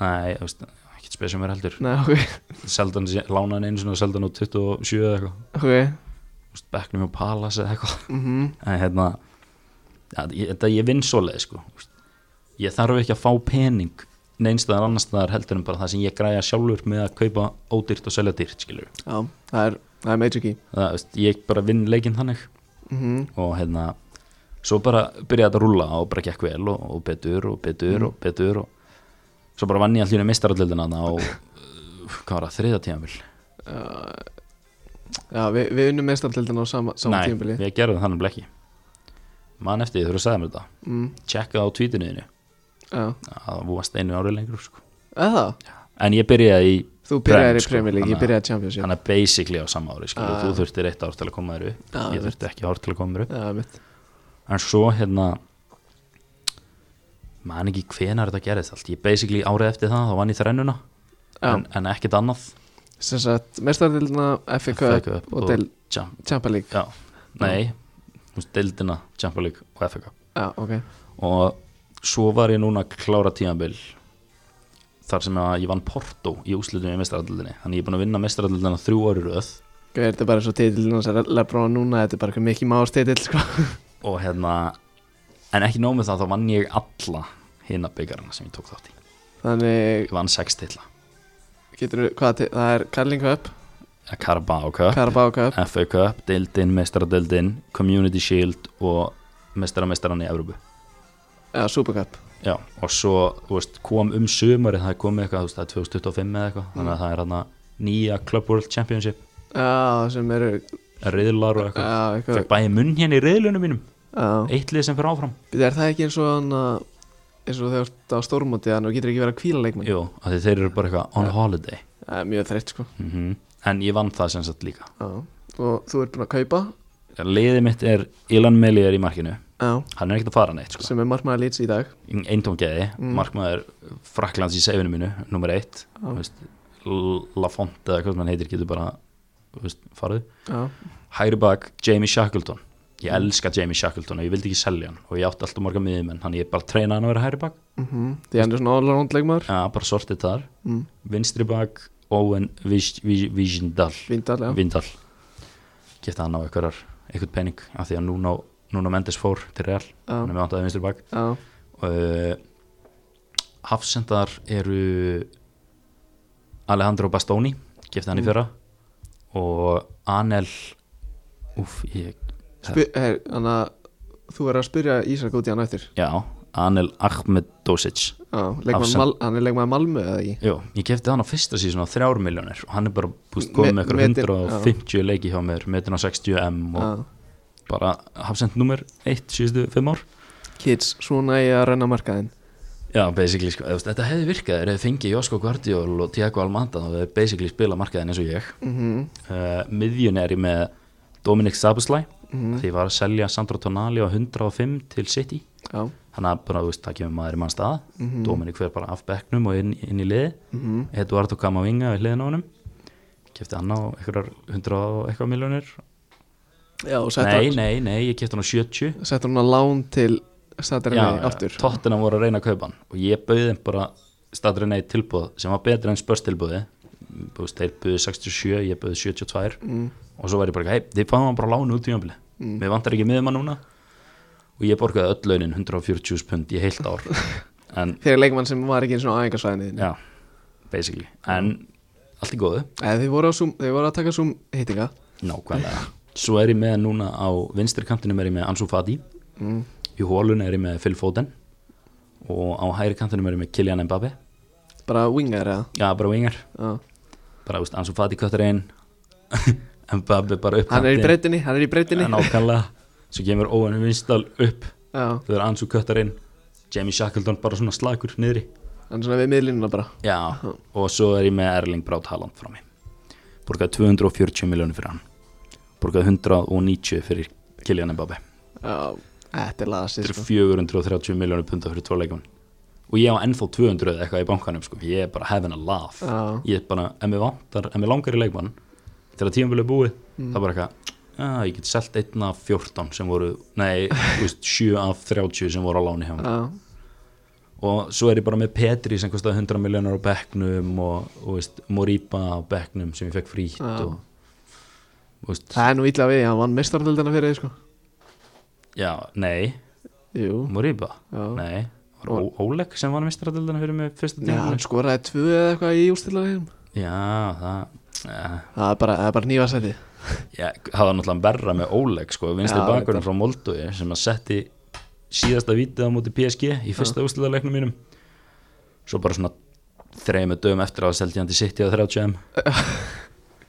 Speaker 2: nei, þú veist, ekki spesum mér heldur
Speaker 1: Nei, ok,
Speaker 2: seldan, lánaðan einu svona, seldan á 27 eða eitthvað,
Speaker 1: ok
Speaker 2: þú veist, Becknum og Palace eða eitthvað
Speaker 1: mm
Speaker 2: en hérna ja, ég, þetta ég vinn svoleið sko Þú veist, ég þarf ekki að fá pening neinstæðar annarstæðar heldur en bara það sem ég græja sjálfur með að kaupa ódýrt og selja dýrt skilur
Speaker 1: Já, það er, það er major key
Speaker 2: það, þú veist, ég bara vinn leikinn þannig
Speaker 1: mm
Speaker 2: og hérna svo bara byrjaði þetta að rúlla og bara gekk vel og, og betur og betur
Speaker 1: Mm.
Speaker 2: og betur og svo bara vann ég allir mistarallildina og uh, hvað var það, þriða tíðanvill
Speaker 1: Já, við, við unnum mestartildin á sama, sama
Speaker 2: nei,
Speaker 1: tímabili
Speaker 2: við gerðum þannig blekki mann eftir því þú eru að segja mér þetta
Speaker 1: mm,
Speaker 2: tjekka á tvítinuðinu
Speaker 1: Já,
Speaker 2: það varst einu ári lengur sko
Speaker 1: eða
Speaker 2: En ég byrjaði í
Speaker 1: Þú byrjaði
Speaker 2: Prem, sko.
Speaker 1: í Premier League, ég
Speaker 2: þannig að-
Speaker 1: byrjaði í Champions League
Speaker 2: Þannig að basically á sama ári skilur,
Speaker 1: Ah.
Speaker 2: Þú þurftir eitt ár til að koma þér upp
Speaker 1: Ah,
Speaker 2: Ég
Speaker 1: einmitt.
Speaker 2: þurfti ekki ár til að koma þér upp
Speaker 1: Já, mitt
Speaker 2: En svo hérna Man ekki hvenar þetta gerðist allt Ég basically árið eftir það Þá vann ég þrennuna
Speaker 1: Já.
Speaker 2: en, en ekkert annað
Speaker 1: Sem sagt, mestartildina, FA
Speaker 2: FA
Speaker 1: Cup
Speaker 2: Cup
Speaker 1: og del,
Speaker 2: Champ-
Speaker 1: Champions League
Speaker 2: Já, nei Þú veist, deildina, Champions League og FA Cup
Speaker 1: Já, ok
Speaker 2: Og svo var ég núna að klára tímabil Þar sem að ég vann Porto Í úslitinu í mestarallilinni Þannig ég er búin að vinna mestarallilina þrjú ári röð
Speaker 1: Ok, Sko, er þetta bara svo titilin hans er Lebron núna Þetta er bara eitthvað mikið más titil, sko
Speaker 2: og hérna en ekki nóg með það, þá vann ég alla hinna byggarana sem ég tók þátt í
Speaker 1: Þannig,
Speaker 2: ég vann sex tilla,
Speaker 1: getur við, hvað, til- það er Carling Cup,
Speaker 2: Eh, Carabao Cup,
Speaker 1: Carabao Cup
Speaker 2: FA Cup deildin, mestaradeildin, Community Shield og mestaramestraran í Evrópu
Speaker 1: Já, Super Cup
Speaker 2: já, og svo þú veist, kom um sumari það kom eitthvað, þú veist, það er 2025 eða eitthvað þannig að það er hérna nýja Club World Championship
Speaker 1: Já, sem eru,
Speaker 2: riðlar og eitthvað,
Speaker 1: já, eitthvað
Speaker 2: fekk bæði munn hérna í riðlunum mínum,
Speaker 1: Já,
Speaker 2: eitt lið sem fyrir áfram
Speaker 1: Bíddu, er það ekki eins og hann að- eins og þegar þú ert á stórmóti þannig að þú getur ekki verið að kvíla leikmenn
Speaker 2: jú, af því þeir eru bara eitthvað on holiday
Speaker 1: Það er mjög þreytt sko
Speaker 2: mm en ég vann það sem sagt líka
Speaker 1: Já. Og þú ert búinn að kaupa
Speaker 2: liðið mitt er Ilan Melier í markinu
Speaker 1: Já,
Speaker 2: hann er ekkert að fara neitt sko.
Speaker 1: sem er markmaður lýts í dag
Speaker 2: eintómgeði, mm. markmaður Fraklands í seifinu mínu, nummer eitt
Speaker 1: Já.
Speaker 2: Þú veist, Lafont eða hvað sem hann heitir getur bara þú veist, farið
Speaker 1: já,
Speaker 2: hægri bak Jamie Shackleton ég
Speaker 1: Mm.
Speaker 2: elska Jamie Shackleton og ég vildi ekki selja hann og ég átti alltaf marga miðjumenn hann ég bara treina hann að vera hægri bak
Speaker 1: mm því hann er svona allroundleikmaður
Speaker 2: ja, bara sortið þar
Speaker 1: mm.
Speaker 2: vinstri bak Owen Vis- Vis- Vísindal
Speaker 1: Vindal, já
Speaker 2: Vindal geta hann á einhverjar einhvern penning af því að núna, núna Mendes fór til Real
Speaker 1: já,
Speaker 2: hann er með vantaði vinstri bak
Speaker 1: já,
Speaker 2: uh, Hafsendar eru Alejandro Bastoni gefti hann í
Speaker 1: Mm.
Speaker 2: fyrra og Anel úf, ég,
Speaker 1: Spyr, her, anna, þú er að spyrja Ísak út í hann eftir
Speaker 2: já Anel Ahmed Dosic
Speaker 1: já, leikmann
Speaker 2: Afsan-
Speaker 1: Mal, hann er leikmann Malmö eða ekki
Speaker 2: Jó, ég gefti hann á fyrsta síðan á þrjár miljónir og hann er bara búst komið
Speaker 1: Me-
Speaker 2: með
Speaker 1: metin-
Speaker 2: eitthvað 150 leiki hjá mér metin á 60M og
Speaker 1: já.
Speaker 2: bara hafsend nummer 1 síðustu 5 ár
Speaker 1: kids, svona ég að renna markaðin
Speaker 2: Já, basically, sko, eða, þú veist, þetta hefði virkað þeir hefði fengið Josko Guardiol og Tiago Almanda og þeir basically spila markaðin eins og ég
Speaker 1: mm -hmm.
Speaker 2: uh, miðjun er ég með Dominic Sabuslæ því ég var að selja Sandro Tonali á 105 til City
Speaker 1: já,
Speaker 2: þannig að bara, þú veist, það kemur maður í mann stað
Speaker 1: Mhm.
Speaker 2: Dominic fer bara af bekknum og inn, inn í liði
Speaker 1: mm -hmm.
Speaker 2: Eduardo Camavinga við liðin á honum kefti hann á einhverjar 100 og eitthvað miljónir
Speaker 1: já og setta
Speaker 2: nei, nei, nei, ég kefti hann á 70
Speaker 1: setta hún að lán til stættirinn aftur
Speaker 2: tóttina voru að reyna að kaupa hann og ég bauði þeim bara staðurinn eitt tilbúð sem var betra en spörstilbúði Búst, þeir buðu 67, ég buðu 72
Speaker 1: mm,
Speaker 2: og svo var ég bara, hei, þið fáum hann bara lánu út í jömbli
Speaker 1: Mm.
Speaker 2: mér vantar ekki miðum hann núna og ég borgaði öll launin 140 pund í heilt ár en,
Speaker 1: þegar leikmann sem var ekki eins og aðingarsvæðinni
Speaker 2: já, basically en allt í góðu,
Speaker 1: eða þeir voru, á Zoom, þeir voru að taka zoom hittinga
Speaker 2: nákvæmlega svo er ég með núna á vinstri kantinum er ég með Ansu Fati,
Speaker 1: mm,
Speaker 2: í hólun er ég með Phil Foden og á hægri kantinum er ég með Kylian Mbappe
Speaker 1: bara wingar eða
Speaker 2: já, bara vingar,
Speaker 1: já.
Speaker 2: bara þú veist, Ansu Fati köttur einn Mbappe bara upp
Speaker 1: hann er í
Speaker 2: kantinn.
Speaker 1: breytinni hann er í breytinni
Speaker 2: Já, nákvæmlega, svo kemur Óan Vinstal upp
Speaker 1: já,
Speaker 2: þau eru Ansu köttar inn Jamie Shackleton bara svona slagur niðri
Speaker 1: hann er svona við miðlínuna bara
Speaker 2: já, og svo er ég með Erling Braut Haaland frá mig borgaði 240 miljónir fyrir hann borgaði 190 fyrir Kylian Mbappe
Speaker 1: já, þetta er sko. laðast
Speaker 2: þetta eru 430 miljónir punta fyrir tvo leikmann og ég á ennþá 200 eða eitthvað í bankanum sko. ég er bara having a laugh
Speaker 1: Já.
Speaker 2: ég er bara, ef mér vantar, ef mér langar í leikmann þegar tíum vilja búið
Speaker 1: Mm.
Speaker 2: það er bara eitthvað, ah, ég get selt 1 af 14 sem voru, nei, þú veist, 7 af 30 sem voru á láni hjá mér
Speaker 1: já,
Speaker 2: og svo er ég bara með Petri sem kostaði 100 miljónar á bekknum og, og veist, Moriba á bekknum sem ég fekk frýtt
Speaker 1: Já.
Speaker 2: og, og veist,
Speaker 1: það er nú illa við hann vann mistardöldina fyrir því sko
Speaker 2: já, nei
Speaker 1: jú,
Speaker 2: Moriba,
Speaker 1: já
Speaker 2: nei var Ó, Óleg sem var mistradildina fyrir mig fyrsta
Speaker 1: Já, hann
Speaker 2: tíma
Speaker 1: skoraði tvö eða eitthvað í ústilaðum
Speaker 2: já, það eh,
Speaker 1: Það er bara, það er bara nývarsæti
Speaker 2: já, það var náttúrulega verra með Óleg sko, vinstri
Speaker 1: Já,
Speaker 2: bakurinn frá Moldói sem að setti síðasta vítið á móti PSG í fyrsta úrslitaðleiknum mínum svo bara svona þreymu dögum eftir að seldi hann til City á 30M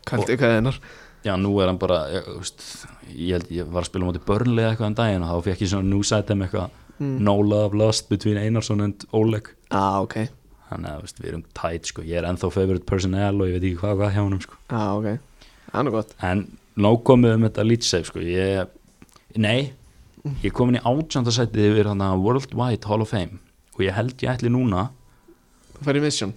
Speaker 1: Kaldi hvað hennar
Speaker 2: Já, nú er hann bara, ég, þú veist, ég, held, ég var að spila mútið börnlega eitthvað en daginn og þá fekk ég svona newsætum eitthvað no love lost between Einarsson and Oleg
Speaker 1: Já, ok Já,
Speaker 2: þannig að þú veist, við erum tætt sko, ég er ennþá favorite personnel og ég veit ekki hvað og hvað hjá honum sko.
Speaker 1: ok Það er nú gott
Speaker 2: en nóg komið um þetta lýtsef sko, ég, nei ég er komin í átjöndasætið yfir þannig að Worldwide Hall of Fame og ég held ég ætli núna
Speaker 1: Þú fær í mission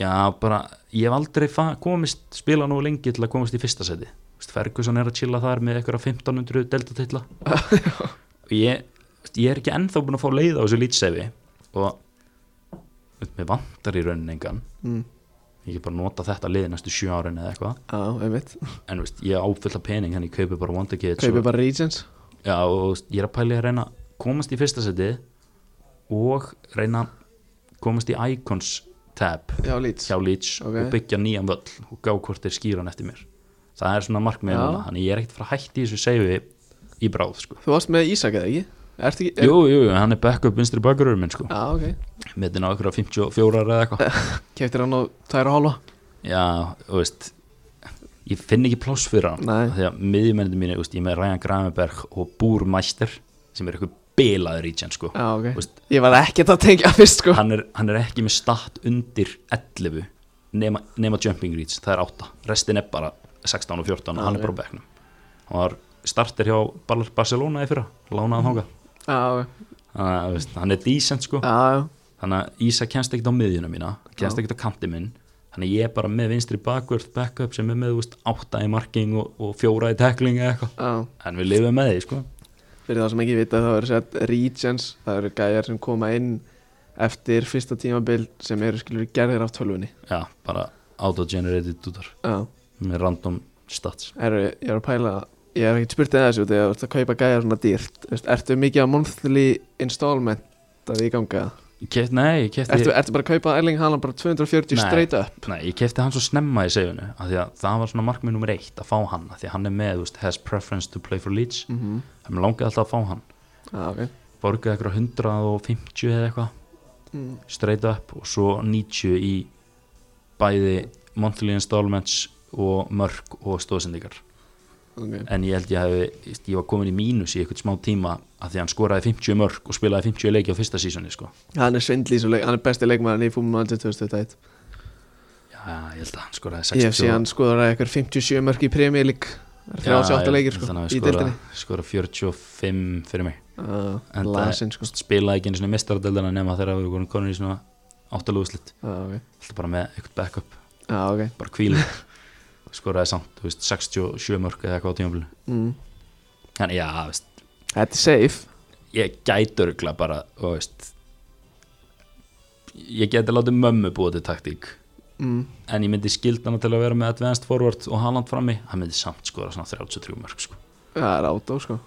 Speaker 2: Já, bara, ég hef aldrei fa- komist, spila nú lengi til að komast í fyrsta seti Vist, Ferguson er að chilla þar með einhverja 1500 delta titla og ég, veist, ég er ekki ennþá búin að fá leið á þessu lýtsefi og veist, mér vantar í raunin engan
Speaker 1: mm.
Speaker 2: ég get bara nota þetta lið næstu sjö árin eða eitthvað
Speaker 1: Já, einmitt
Speaker 2: en veist, ég áfylla pening hann ég kaupi bara Wonderkids
Speaker 1: Kaupið
Speaker 2: og,
Speaker 1: bara Regents
Speaker 2: já, og veist, ég er að pæli að reyna að komast í fyrsta seti og reyna að komast í Icons tab
Speaker 1: Já, Leeds
Speaker 2: hjá Leeds
Speaker 1: Ok.
Speaker 2: og byggja nýjan völl og gá hvort þeir skýra hann eftir mér það er svona markmið
Speaker 1: Já.
Speaker 2: núna, þannig ég er ekkert frá hætti þessu seifi í bráð sko.
Speaker 1: Þú varst með Ísak eða ekki? Ertu ekki?
Speaker 2: jú, jú, jú, hann er backup vinstri bakurur minn sko.
Speaker 1: Já, ok
Speaker 2: metin á ykkur 54 eða eitthvað
Speaker 1: Keftir hann á tæra hálfa
Speaker 2: já, þú veist ég finn ekki pláss fyrir hann
Speaker 1: Nei.
Speaker 2: af því að miðjumennir mínu, veist, ég er með Ryan Gravenberg og Búr Mæster sem er eitthvað bilaður í tjens sko.
Speaker 1: Já, ok
Speaker 2: Veist-
Speaker 1: Ég var ekkert að tengja fyrst sko
Speaker 2: hann, er, hann er ekki með stat undir 11 nema, nema jumping reach, það er 8 restin er bara 16 og 14 og hann er
Speaker 1: Já,
Speaker 2: bara á bekknum hann var starter hjá Bar- Barcelona í fyrra lánaði þánga
Speaker 1: Já, ok
Speaker 2: þannig að þú veist, hann er decent sko
Speaker 1: Já, já
Speaker 2: þannig að Ísa kemst ekkert á miðjuna mína kemst
Speaker 1: Já.
Speaker 2: ekkert á kanti minn þannig ég er bara með vinstri bakvörð backup sem er með þú veist, átta í marking og, og fjóra í tackling eða eitthvað
Speaker 1: Já,
Speaker 2: en við lifum með því sko
Speaker 1: fyrir það sem ekki vita þá eru sett regions, það eru gæjar sem koma inn eftir fyrsta tímabil sem eru skilur gerðir af tölvunni
Speaker 2: já, bara auto-generated dútar
Speaker 1: Já,
Speaker 2: með random stats
Speaker 1: eru, ég er að pæla ég hef ekki spurt það þessu út þegar þú ert að kaupa gæjar svona dýrt Þú veist, Ertu mikið á monthly installment að því ganga?
Speaker 2: ég kefti, nei, ég kefti
Speaker 1: Ertu, ertu bara að kaupa Erling Haaland bara 240
Speaker 2: Nei.
Speaker 1: straight up?
Speaker 2: Nei, ég kefti hann svo snemma í segunu af því að það var svona markmið nummer eitt að fá hann af því að hann er með, þú veist, has preference to play for Leeds
Speaker 1: Mm -hmm.
Speaker 2: hann langaði alltaf að fá hann
Speaker 1: ah, okay.
Speaker 2: borgaði eitthvað 150 eða eitthvað
Speaker 1: mm.
Speaker 2: straight up og svo 90 í bæði monthly installments og mörg og stóðsendingar
Speaker 1: ok
Speaker 2: en ég held ég hefði, ég var komin í mínus í eitthvað smá tíma af því að hann skoraði 50 mörg og spilaði 50 leiki á fyrsta sísoni sko.
Speaker 1: Hann er svindlís og leik, hann er besti leikmaðurinn í fútbol Manager 2001
Speaker 2: já, ég held að hann skoraði
Speaker 1: Ég
Speaker 2: 60
Speaker 1: hef síðan skoður að eitthvað 57 mörk í Premier League Það er 38 leikir sko, í dildinni
Speaker 2: skora 45 fyrir mig
Speaker 1: uh,
Speaker 2: En það-
Speaker 1: Lasin sko
Speaker 2: spilaði ekki einu svona mistaradeldana nema þegar við vorum konur í svona áttalúðslitt
Speaker 1: ah, ok,
Speaker 2: alltaf bara með eitthvað backup,
Speaker 1: ah, okay.
Speaker 2: bara kvílu skoraði samt, þú veist, 67 mörg eða eitthvað á tímafélug
Speaker 1: Mm.
Speaker 2: þannig já, þú veist,
Speaker 1: Þetta er safe
Speaker 2: ég gæti örgla bara, þú veist ég gæti látið mömmu búa til taktík
Speaker 1: mm.
Speaker 2: en ég myndi skilda hana til að vera með advanced forward og Haaland frammi, hann myndi samt skora svona 33 mörg sko.
Speaker 1: Það er átó sko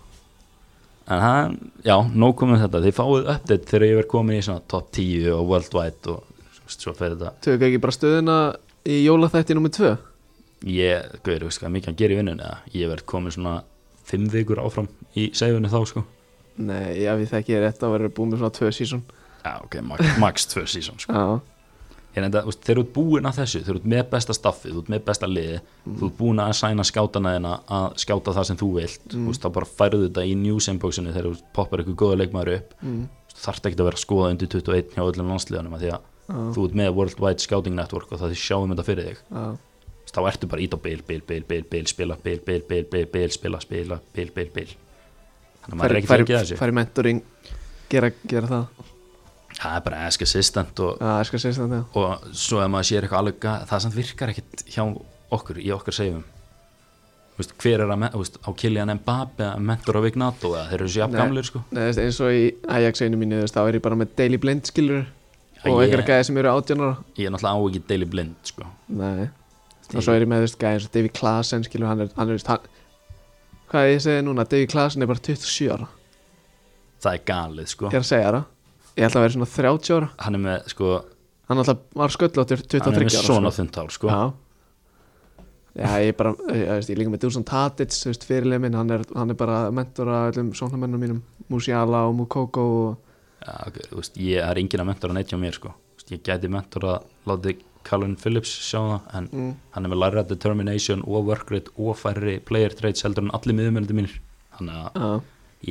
Speaker 2: en hann, já, nóg komið um þetta þið fáið update þegar ég verð komin í svona top 10 og worldwide og þú veist, svo fer þetta
Speaker 1: Tökum ekki bara stöðuna í jólaþætti nummer 2
Speaker 2: ég, gauður, veist hvað mikið hann gerir í vinnun eða ég verð komið svona fimm vikur áfram í segjunni þá sko
Speaker 1: Nei, já, við þekki ég rétt að vera búin með svona 2 sísón
Speaker 2: já ok, max, max tvö sísón sko
Speaker 1: Já,
Speaker 2: ég reynda, veist, þeir eru búin að þessu, þeir eru með besta staffið þú ert með besta liði, þú ert búin að sæna skátana þeirna að skáta það sem þú vilt þú veist, þá bara færðu þetta í news inboxinu þegar þú poppar eitthvað góða leikmaður upp
Speaker 1: mm.
Speaker 2: Þú þarft ekki að vera að skoða undir 21 hjá öllum landsliðanum af því að
Speaker 1: já,
Speaker 2: þú ert með worldwide scouting network og það þið sjáum um þetta fyrir þig
Speaker 1: já,
Speaker 2: þá ertu bara ít á bil, bil, bil, bil, bil, spila, bil, bil, bil, bil, bil, spila, spila, bil, bil, bil. Þannig að maður er ekki fyrir að gera þessu.
Speaker 1: Færi mentoring Gera, gera það
Speaker 2: Það er bara ask assistant og,
Speaker 1: Já, ah, ég skal segja þetta já
Speaker 2: og svo ef maður sér eitthvað alveg, ga- það samt virkar ekkit hjá okkur, í okkar seifum. Veist, hver er að, me- þú veist, á Kylian Mbappe að mentor á Vignato eða þeir eru sér jafn
Speaker 1: Nei.
Speaker 2: gamlir sko.
Speaker 1: Nei, þú veist, eins og í Ajax einu mínu, þú veist, þá er ég bara með Daily Blind skilur
Speaker 2: Já,
Speaker 1: og
Speaker 2: ég-
Speaker 1: einhverja gæði sem eru átjánar
Speaker 2: Ég er náttúrulega á ekki deili blind sko.
Speaker 1: Nei, og svo er ég með, þú veist, gæði eins og David Klaasen skilur, hann er, hann er, þú veist, hann hvað ég segi núna, David Klaasen er bara 27 ára,
Speaker 2: Það er galið sko.
Speaker 1: ég er að segja það ég held að vera svona 30 ára,
Speaker 2: Hann er með sko,
Speaker 1: hann alltaf var sköllóttur
Speaker 2: hann er
Speaker 1: 23
Speaker 2: með
Speaker 1: ára
Speaker 2: svona
Speaker 1: sko.
Speaker 2: þundtál sko.
Speaker 1: Já Já, ég bara, eh, ég, ég, ég líka með Dusan Tadic, þú veist, fyrirlið minn, hann er, hann er bara mentor að öllum sóknarmennum mínum, Musiala og Mukoko og,
Speaker 2: Já, ok, þú veist, ég það er engin að mentora neitt hjá mér sko. Þú veist, ég gæti mentora láti Colin Phillips sjá það en
Speaker 1: mm,
Speaker 2: hann er með læra determination og work rate og færri player traits heldur en allir miðumennandi mínir þannig að
Speaker 1: já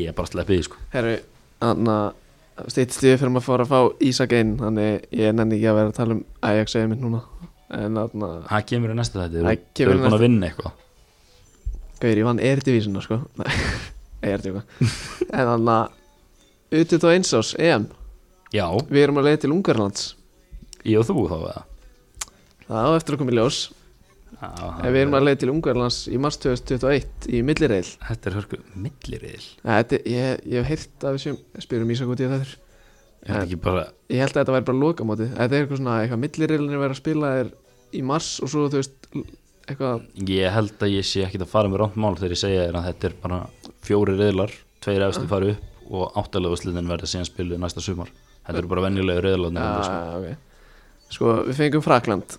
Speaker 2: ég er bara sleppið því sko.
Speaker 1: Herru, þannig að stýttist ég fyrir maður að fara að fá Ísak inn þannig ég nenni ekki að vera að tala um Ajax eða mitt núna en þannig að,
Speaker 2: það kemur í næsta þetta,
Speaker 1: Það
Speaker 2: þú
Speaker 1: kemur í
Speaker 2: eru búin
Speaker 1: næsta.
Speaker 2: að vinna eitthvað
Speaker 1: gauðir, ég vann erdivísuna sko Nei, ég er djóka en þannig að Utið og einsás, EM
Speaker 2: já,
Speaker 1: Við erum að leiða til Ungarlands
Speaker 2: ég og þú þá eða
Speaker 1: Það á eftir að koma í ljós
Speaker 2: Já, það
Speaker 1: En við erum að leiða til Ungarlands í mars 2021 í millireil
Speaker 2: þetta er hörku milliriðil
Speaker 1: Þetta, ég, ég hef heyrt af þessum spyrum Ísak út í þetta
Speaker 2: er þetta ekki bara,
Speaker 1: Ég held að þetta væri bara lokamótið Þetta er eitthvað svona, eitthvað millireilinni verið að spila er í mars og svo þú veist eitthvað
Speaker 2: ég held að ég sé ekki að fara með rámt mál þegar ég segja þér að þetta er bara fjóri riðlar, tveir efstu fara upp og áttalega úrslitin verða síðan spiluð næsta sumar, þetta eru bara venjulegu riðlarnir
Speaker 1: Já,
Speaker 2: sko.
Speaker 1: Ah, ok Sko, við fengum Frakland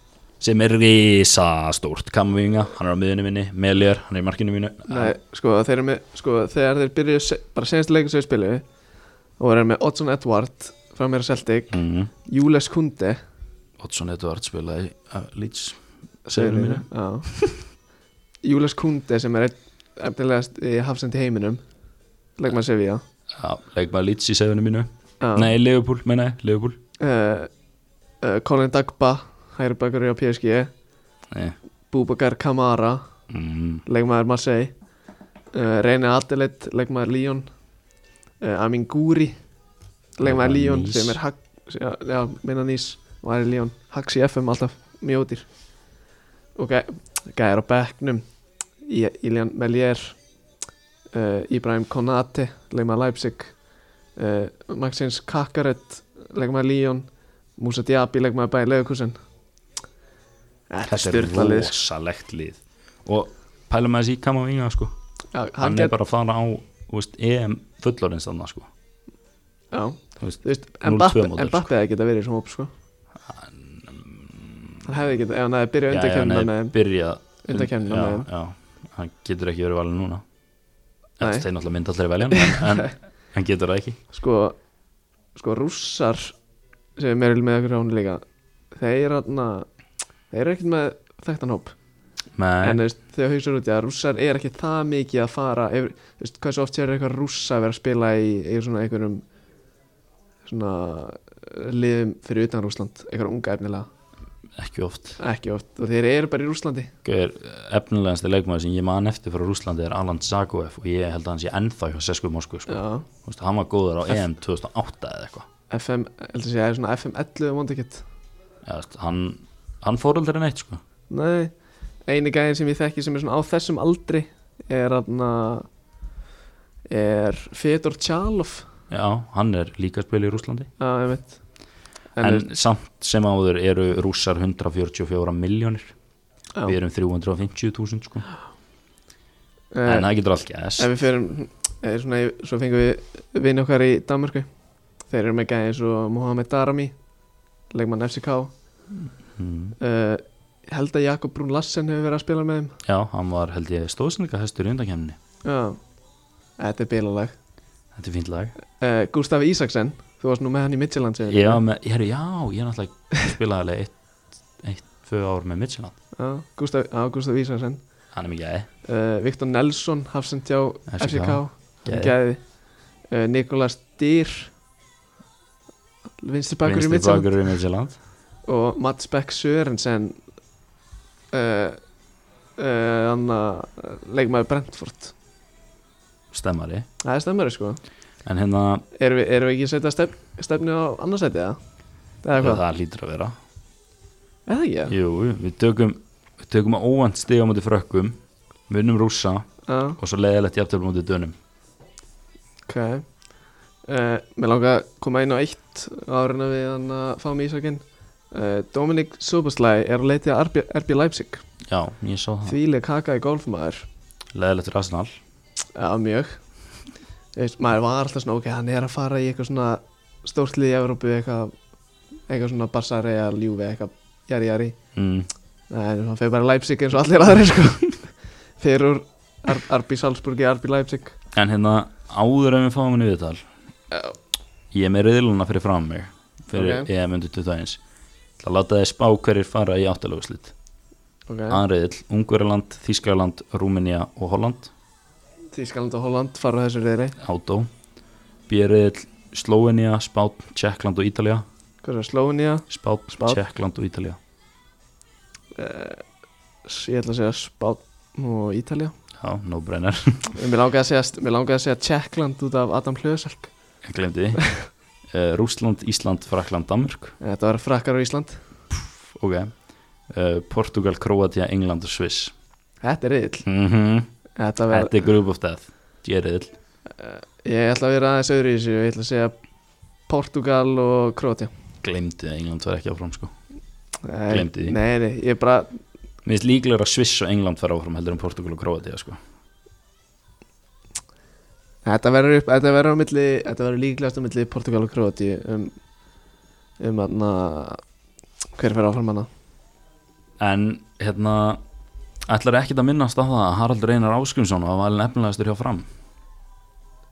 Speaker 2: sem er risastórt kamvinga, hann er á miðunni minni Melier, hann er í markinu mínu
Speaker 1: Nei, sko, þeir eru með Sko, þegar þeir byrjuðu se- Bara senast leikur sem við spilum Og þeir eru með Oddsson Edward Frá mér að Celtic
Speaker 2: Mhm.
Speaker 1: Júles Kunde
Speaker 2: Oddsson Edvard spilaði uh, Leeds segir mínu
Speaker 1: Já Júles Kunde sem er Efnilegast í hafsend í heiminum Legmann Sevilla
Speaker 2: Já, leikmaður Leeds í seginu mínu
Speaker 1: Já.
Speaker 2: Nei, Liverpool, meina ég, Liverpool
Speaker 1: uh, uh, Colin Dagba Hæri bakur á PSG
Speaker 2: Nei.
Speaker 1: Búbakar Kamara
Speaker 2: mm,
Speaker 1: leikmaður Marseille uh, Reyni Adelit, leikmaður Lyon uh, Amin Guri leikmaður
Speaker 2: Leikmaður
Speaker 1: Lyon
Speaker 2: Nice.
Speaker 1: sem er Hag, já, já, minna nýs var í Lyon, Haxi FM alltaf mjög ódýr og gæ, gæjar á bekknum Í- Ilian Melier uh, Ibrahim Konate leikmaður Leipzig uh, Maxins Kakaret leikmaður Lyon Musa Diaby leikmaður Eh, Bæði Leikusen Þetta er
Speaker 2: þetta er
Speaker 1: styrlalið sko.
Speaker 2: rosalegt lið og pælum að þessi í Kamavinga sko
Speaker 1: Já,
Speaker 2: hann
Speaker 1: hann
Speaker 2: er
Speaker 1: get,
Speaker 2: bara að fara á þú veist, EM fullorins þarna sko
Speaker 1: já,
Speaker 2: Þú veist,
Speaker 1: þú veist,
Speaker 2: 0-2
Speaker 1: Mbappe
Speaker 2: módel, sko.
Speaker 1: Mbappe hefði geta verið í svona hóp sko. hann hefði geta ef hann hefði byrjað undarkemna með þeim
Speaker 2: byrja
Speaker 1: undankeppnina
Speaker 2: já,
Speaker 1: með þeim.
Speaker 2: já, hann getur ekki verið valin núna
Speaker 1: Nei.
Speaker 2: það er náttúrulega mynd allir að velja hann en, en hann getur það ekki
Speaker 1: sko, sko rússar sem er með okkur á hún líka þeir, anna, þeir eru ekkert með þekktan hóp en
Speaker 2: Men,
Speaker 1: þú veist, þegar hugsaður út í að rússar er ekki það mikið að fara yfir, þú veist, hversu oft sér eitthvað rússa vera að spila í, í svona einhverjum svona eh, liðum fyrir utan Rússland eitthvað unga efnilega,
Speaker 2: ekki oft
Speaker 1: ekki oft og þeir eru bara í Rússlandi
Speaker 2: Gauðir, efnilegasti leikmaður sem ég man eftir frá Rúslandi er Alan Zagoev og ég held að hann sé ennþá hjá Sesku Moskvu sko.
Speaker 1: Já,
Speaker 2: Þú veist, hann var góður á EM 2008 eða eitthvað
Speaker 1: FM, heldur að segja, er svona FM 11 mondakett
Speaker 2: Eða, þú veist, hann, hann fór aldrei neitt sko.
Speaker 1: Nei, eini gæðin sem ég þekki sem er svona á þessum aldri er aðna er Fedor Tjalov
Speaker 2: já, hann er líka að spila í Rúslandi
Speaker 1: að ég veit en,
Speaker 2: en, samt sem áður eru rússar 144 miljónir
Speaker 1: Já.
Speaker 2: við erum 350.000 sko.
Speaker 1: eh,
Speaker 2: en það getur allt gæst
Speaker 1: ef við fyrir svona, svo fengum við vinn okkar í Danmörku þeir eru með gæði eins og Mohamed Darami leikmann FCK uh,
Speaker 2: mm.
Speaker 1: Eh, ég held að Jakob Brún Lassen hefur verið að spila með þeim
Speaker 2: já, hann var held ég stóðsendika hestur í undankemni
Speaker 1: já, þetta er bilalag
Speaker 2: þetta er fínt lag
Speaker 1: uh, Gustaf Ísaksen, þú varst nú með hann í Midtjylland segirðu?
Speaker 2: já, með, heru, já, ég er náttúrulega spilaði alveg eitt, eitt, tvö ár með Midtjylland
Speaker 1: já, Gustaf, já, Gustaf Ísaksen
Speaker 2: hann er mikið aðeins
Speaker 1: uh, Viktor Nelson, hafsend hjá
Speaker 2: FCK.
Speaker 1: FCK
Speaker 2: Gæði.
Speaker 1: gæði uh, Nikolas Dýr vinstri bakur í
Speaker 2: vinstri
Speaker 1: Midtjylland
Speaker 2: bakur í Midtjylland
Speaker 1: og Mats Beck Sörensen uh, uh, anna, leikmaður Brentford
Speaker 2: stemmari
Speaker 1: það er stemmari sko
Speaker 2: en hérna,
Speaker 1: erum við, erum við ekki að setja stef, stefni á annarsæti eða? eða hvað?
Speaker 2: það lítur að vera
Speaker 1: eða ekki eða?
Speaker 2: jú, jú, við tökum við tökum að óvænt stiga á móti frökkum munum rússa
Speaker 1: já,
Speaker 2: og svo leiðilegt jafntöflum mútið dönum
Speaker 1: ok uh, mér langar að koma inn á eitt áriðna við hann að fá mig ísakinn uh, Dominik Soboslæ er að leitja RB, RB Leipzig
Speaker 2: Já, ég sá það
Speaker 1: þvíleg kaka í golfmaður
Speaker 2: Leðilegt fyrir Arsenal
Speaker 1: Já, mjög Þú veist, Maður var alltaf svona, ok, hann er að fara í eitthvað svona stórt lið í Evrópu eitthvað, eitthvað svona Barsari eða Ljúfi eitthvað, jari jari
Speaker 2: mm.
Speaker 1: en hann fyrir bara í Leipzig eins og allir aðri sko. fyrir úr Ar Arbi Salzburg í Arbi Leipzig
Speaker 2: En hérna, áður en við fáum henni viðtal
Speaker 1: Já.
Speaker 2: Ég er með reyðluna fyrir fram mig Fyrir
Speaker 1: Ok.
Speaker 2: okay. EM undir 21 Það láta þið spá hverjir fara í áttalöguslit
Speaker 1: okay.
Speaker 2: Anriðil, Ungverjaland, Þískaland, Rúmenía og Holland
Speaker 1: Þískaland og Holland fara á þessu reyðri
Speaker 2: Átó Björriðil, Slóvenía, Spán, Tjekkland og Ítalía
Speaker 1: Hvað er Slónia?
Speaker 2: Spán,
Speaker 1: Spánn.
Speaker 2: Tjekkland og Ítalía
Speaker 1: Ég ætla að segja Spán og Ítalja
Speaker 2: Já, no brainer
Speaker 1: Mér langaði að segja, mér langaði að segja Tjekkland út af Adam Hlöðsalk
Speaker 2: Ég glemdi því uh, Rússland, Ísland, Frakland, Danmörk
Speaker 1: Þetta var frakkar á Ísland
Speaker 2: Ok uh, Portugal, Kroatia, England og Sviss
Speaker 1: Þetta er reyðil
Speaker 2: mm
Speaker 1: Þetta var
Speaker 2: Þetta er Group of Death Gerriðil
Speaker 1: Ég ætla að vera aðeins öðru í þessu Ég ætla að segja Portugal og Króti
Speaker 2: Glemdi að England var ekki áfram sko Gleymdi því.
Speaker 1: Eh, Nei, nei, ég bara
Speaker 2: Mér finnst líklega að Sviss og England fara áfram heldur en Portugal og Kroatia sko
Speaker 1: Þetta verður upp Þetta verður á milli Þetta verður líklegast á milli Portugal og Króti Um Um aðna Hver fer áfram hana
Speaker 2: En hérna Ætlar ekkert að minnast á það að Haraldur Einar Áskunsson var valin efnilegastur hjá fram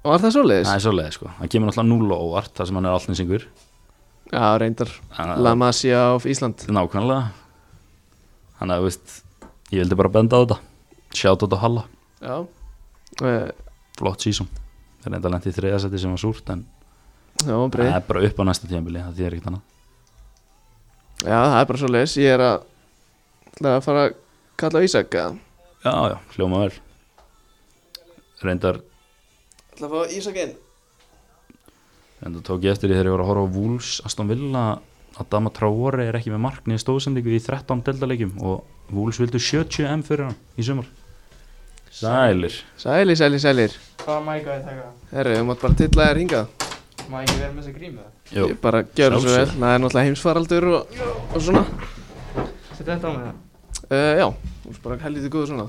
Speaker 1: Og var það svoleiðis?
Speaker 2: Það er svoleiði sko Það kemur náttúrulega núla óvart þar sem hann er alltinsingur
Speaker 1: Já, reyndar La Masia of Ísland
Speaker 2: eh, Nákvæmlega Þannig að þú veist Ég vildi bara benda á þetta Sjátt á þetta Halla
Speaker 1: Já Eh,
Speaker 2: Flott sísum Það er enda lent í þriðasæti sem var súrt en
Speaker 1: Já, breið
Speaker 2: það er bara upp á næsta tíðanbili það þýðir ekkert annað
Speaker 1: Já, það er bara svoleiðis Ég er að ætla að fara að kalla á Ísak eða?
Speaker 2: Já, já, hljóma vel Reyndar,
Speaker 1: Ætla að fá Ísak inn
Speaker 2: reyndar tók ég eftir því þegar ég var að horfa á Wolves Aston Villa Adama Traore er ekki með marknið stóðsendingu í 13 deildalegjum og Wolves vildu 70 M fyrir hann í sumar Sælir
Speaker 1: Sælir, sælir, sælir
Speaker 3: Hvað mæka ég taka?
Speaker 1: Herru, við mátt bara tilla þér hingað
Speaker 3: Má ég ekki vera með þess að gríma það?
Speaker 2: Jó,
Speaker 1: Ég bara gjör þessu vel
Speaker 2: Sjálfsögðu.
Speaker 1: Það er náttúrulega heimsfaraldur og, og svona
Speaker 3: Sett þetta á mig það
Speaker 1: uh, Já, þú er bara helviti góður svona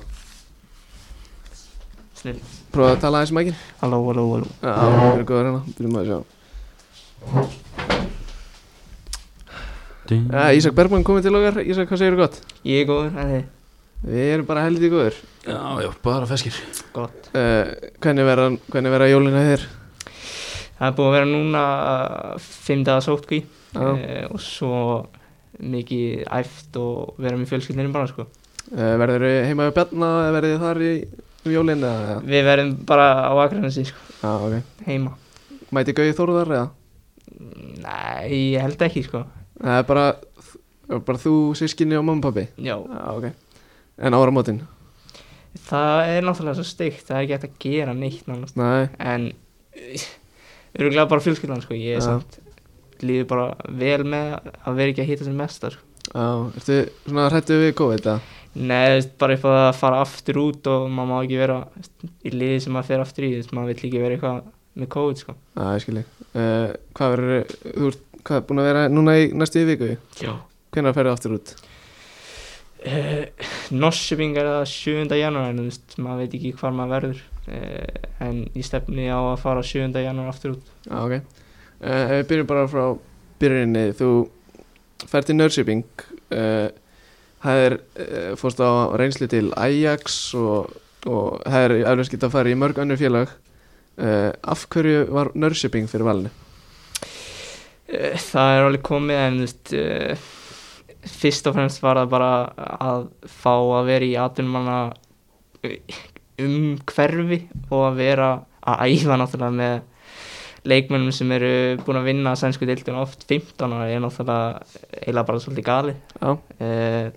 Speaker 3: Snill
Speaker 1: Prófaðu að tala aðeins mækin
Speaker 3: Halló, halló, halló
Speaker 1: Já, það er góður hérna Byrjum að sjá
Speaker 2: Ding.
Speaker 1: Já, Ísak Bergman komið til okkar Ísak, hvað segir þú gott?
Speaker 3: Ég er góður, það er
Speaker 1: Við erum bara helviti góður
Speaker 2: já, já, bara feskir
Speaker 3: gott
Speaker 1: uh, Hvernig verða, hvernig verða jólina þér?
Speaker 3: Það er búið að vera núna uh, fimm daga sótkví
Speaker 1: Já.
Speaker 3: uh, og svo mikið æft og vera með fjölskyldinni bara sko
Speaker 1: Uh, verður þið heima hjá Bjarna eða verður þið þar í um jólina? eða?
Speaker 3: Við verðum bara á Akranesi sko,
Speaker 1: Já, ok
Speaker 3: heima
Speaker 1: Mæti Gauði Þórðar eða?
Speaker 3: Nei, ég held ekki sko
Speaker 1: Það er bara, bara þú, sískinni og mamma og pappi
Speaker 3: Já,
Speaker 1: Já, ok En áramótin?
Speaker 3: það er náttúrulega svo steikt, það er ekki hægt að gera neitt nánast
Speaker 1: Nei,
Speaker 3: en öruglega bara fjölskyldan sko,
Speaker 1: Já.
Speaker 3: ég er samt líður bara vel með að vera ekki að hýta sem mestar sko.
Speaker 1: já, ertu svona hrættu við COVID eða?
Speaker 3: Nei, þú veist, bara upp að fara aftur út og maður má ekki vera þú veist, í liði sem maður fer aftur í, þú veist, maður vill ekki vera eitthvað með COVID sko.
Speaker 1: Já, ég skilji uh, Hvað verður, þú ert, hvað er búin að vera núna í næstu viku?
Speaker 3: Já.
Speaker 1: Hvenær ferðu aftur út?
Speaker 3: Uh, Norsjöping er það 7. janúar en þú veist, maður veit ekki hvar maður verður uh, en ég stefni á að fara 7. janúar aftur út.
Speaker 1: Já, ok uh, Við byrjum bara frá byrjunni Þú fer til Nörsjöping uh, Það er, uh, fórst á reynslu til Ajax og, og það er eflaust geta að fara í mörg önnur félag uh, Af hverju var Nörsjöping fyrir valinu?
Speaker 3: Eh, Það er alveg komið en þú veist uh, fyrst og fremst var það bara að fá að vera í atvinnumanna um hverfi og að vera að æfa náttúrulega með leikmennum sem eru búin að vinna sænsku deildin oft 15 og ég er náttúrulega eiginlega bara svolítið gali
Speaker 1: Já,
Speaker 3: uh,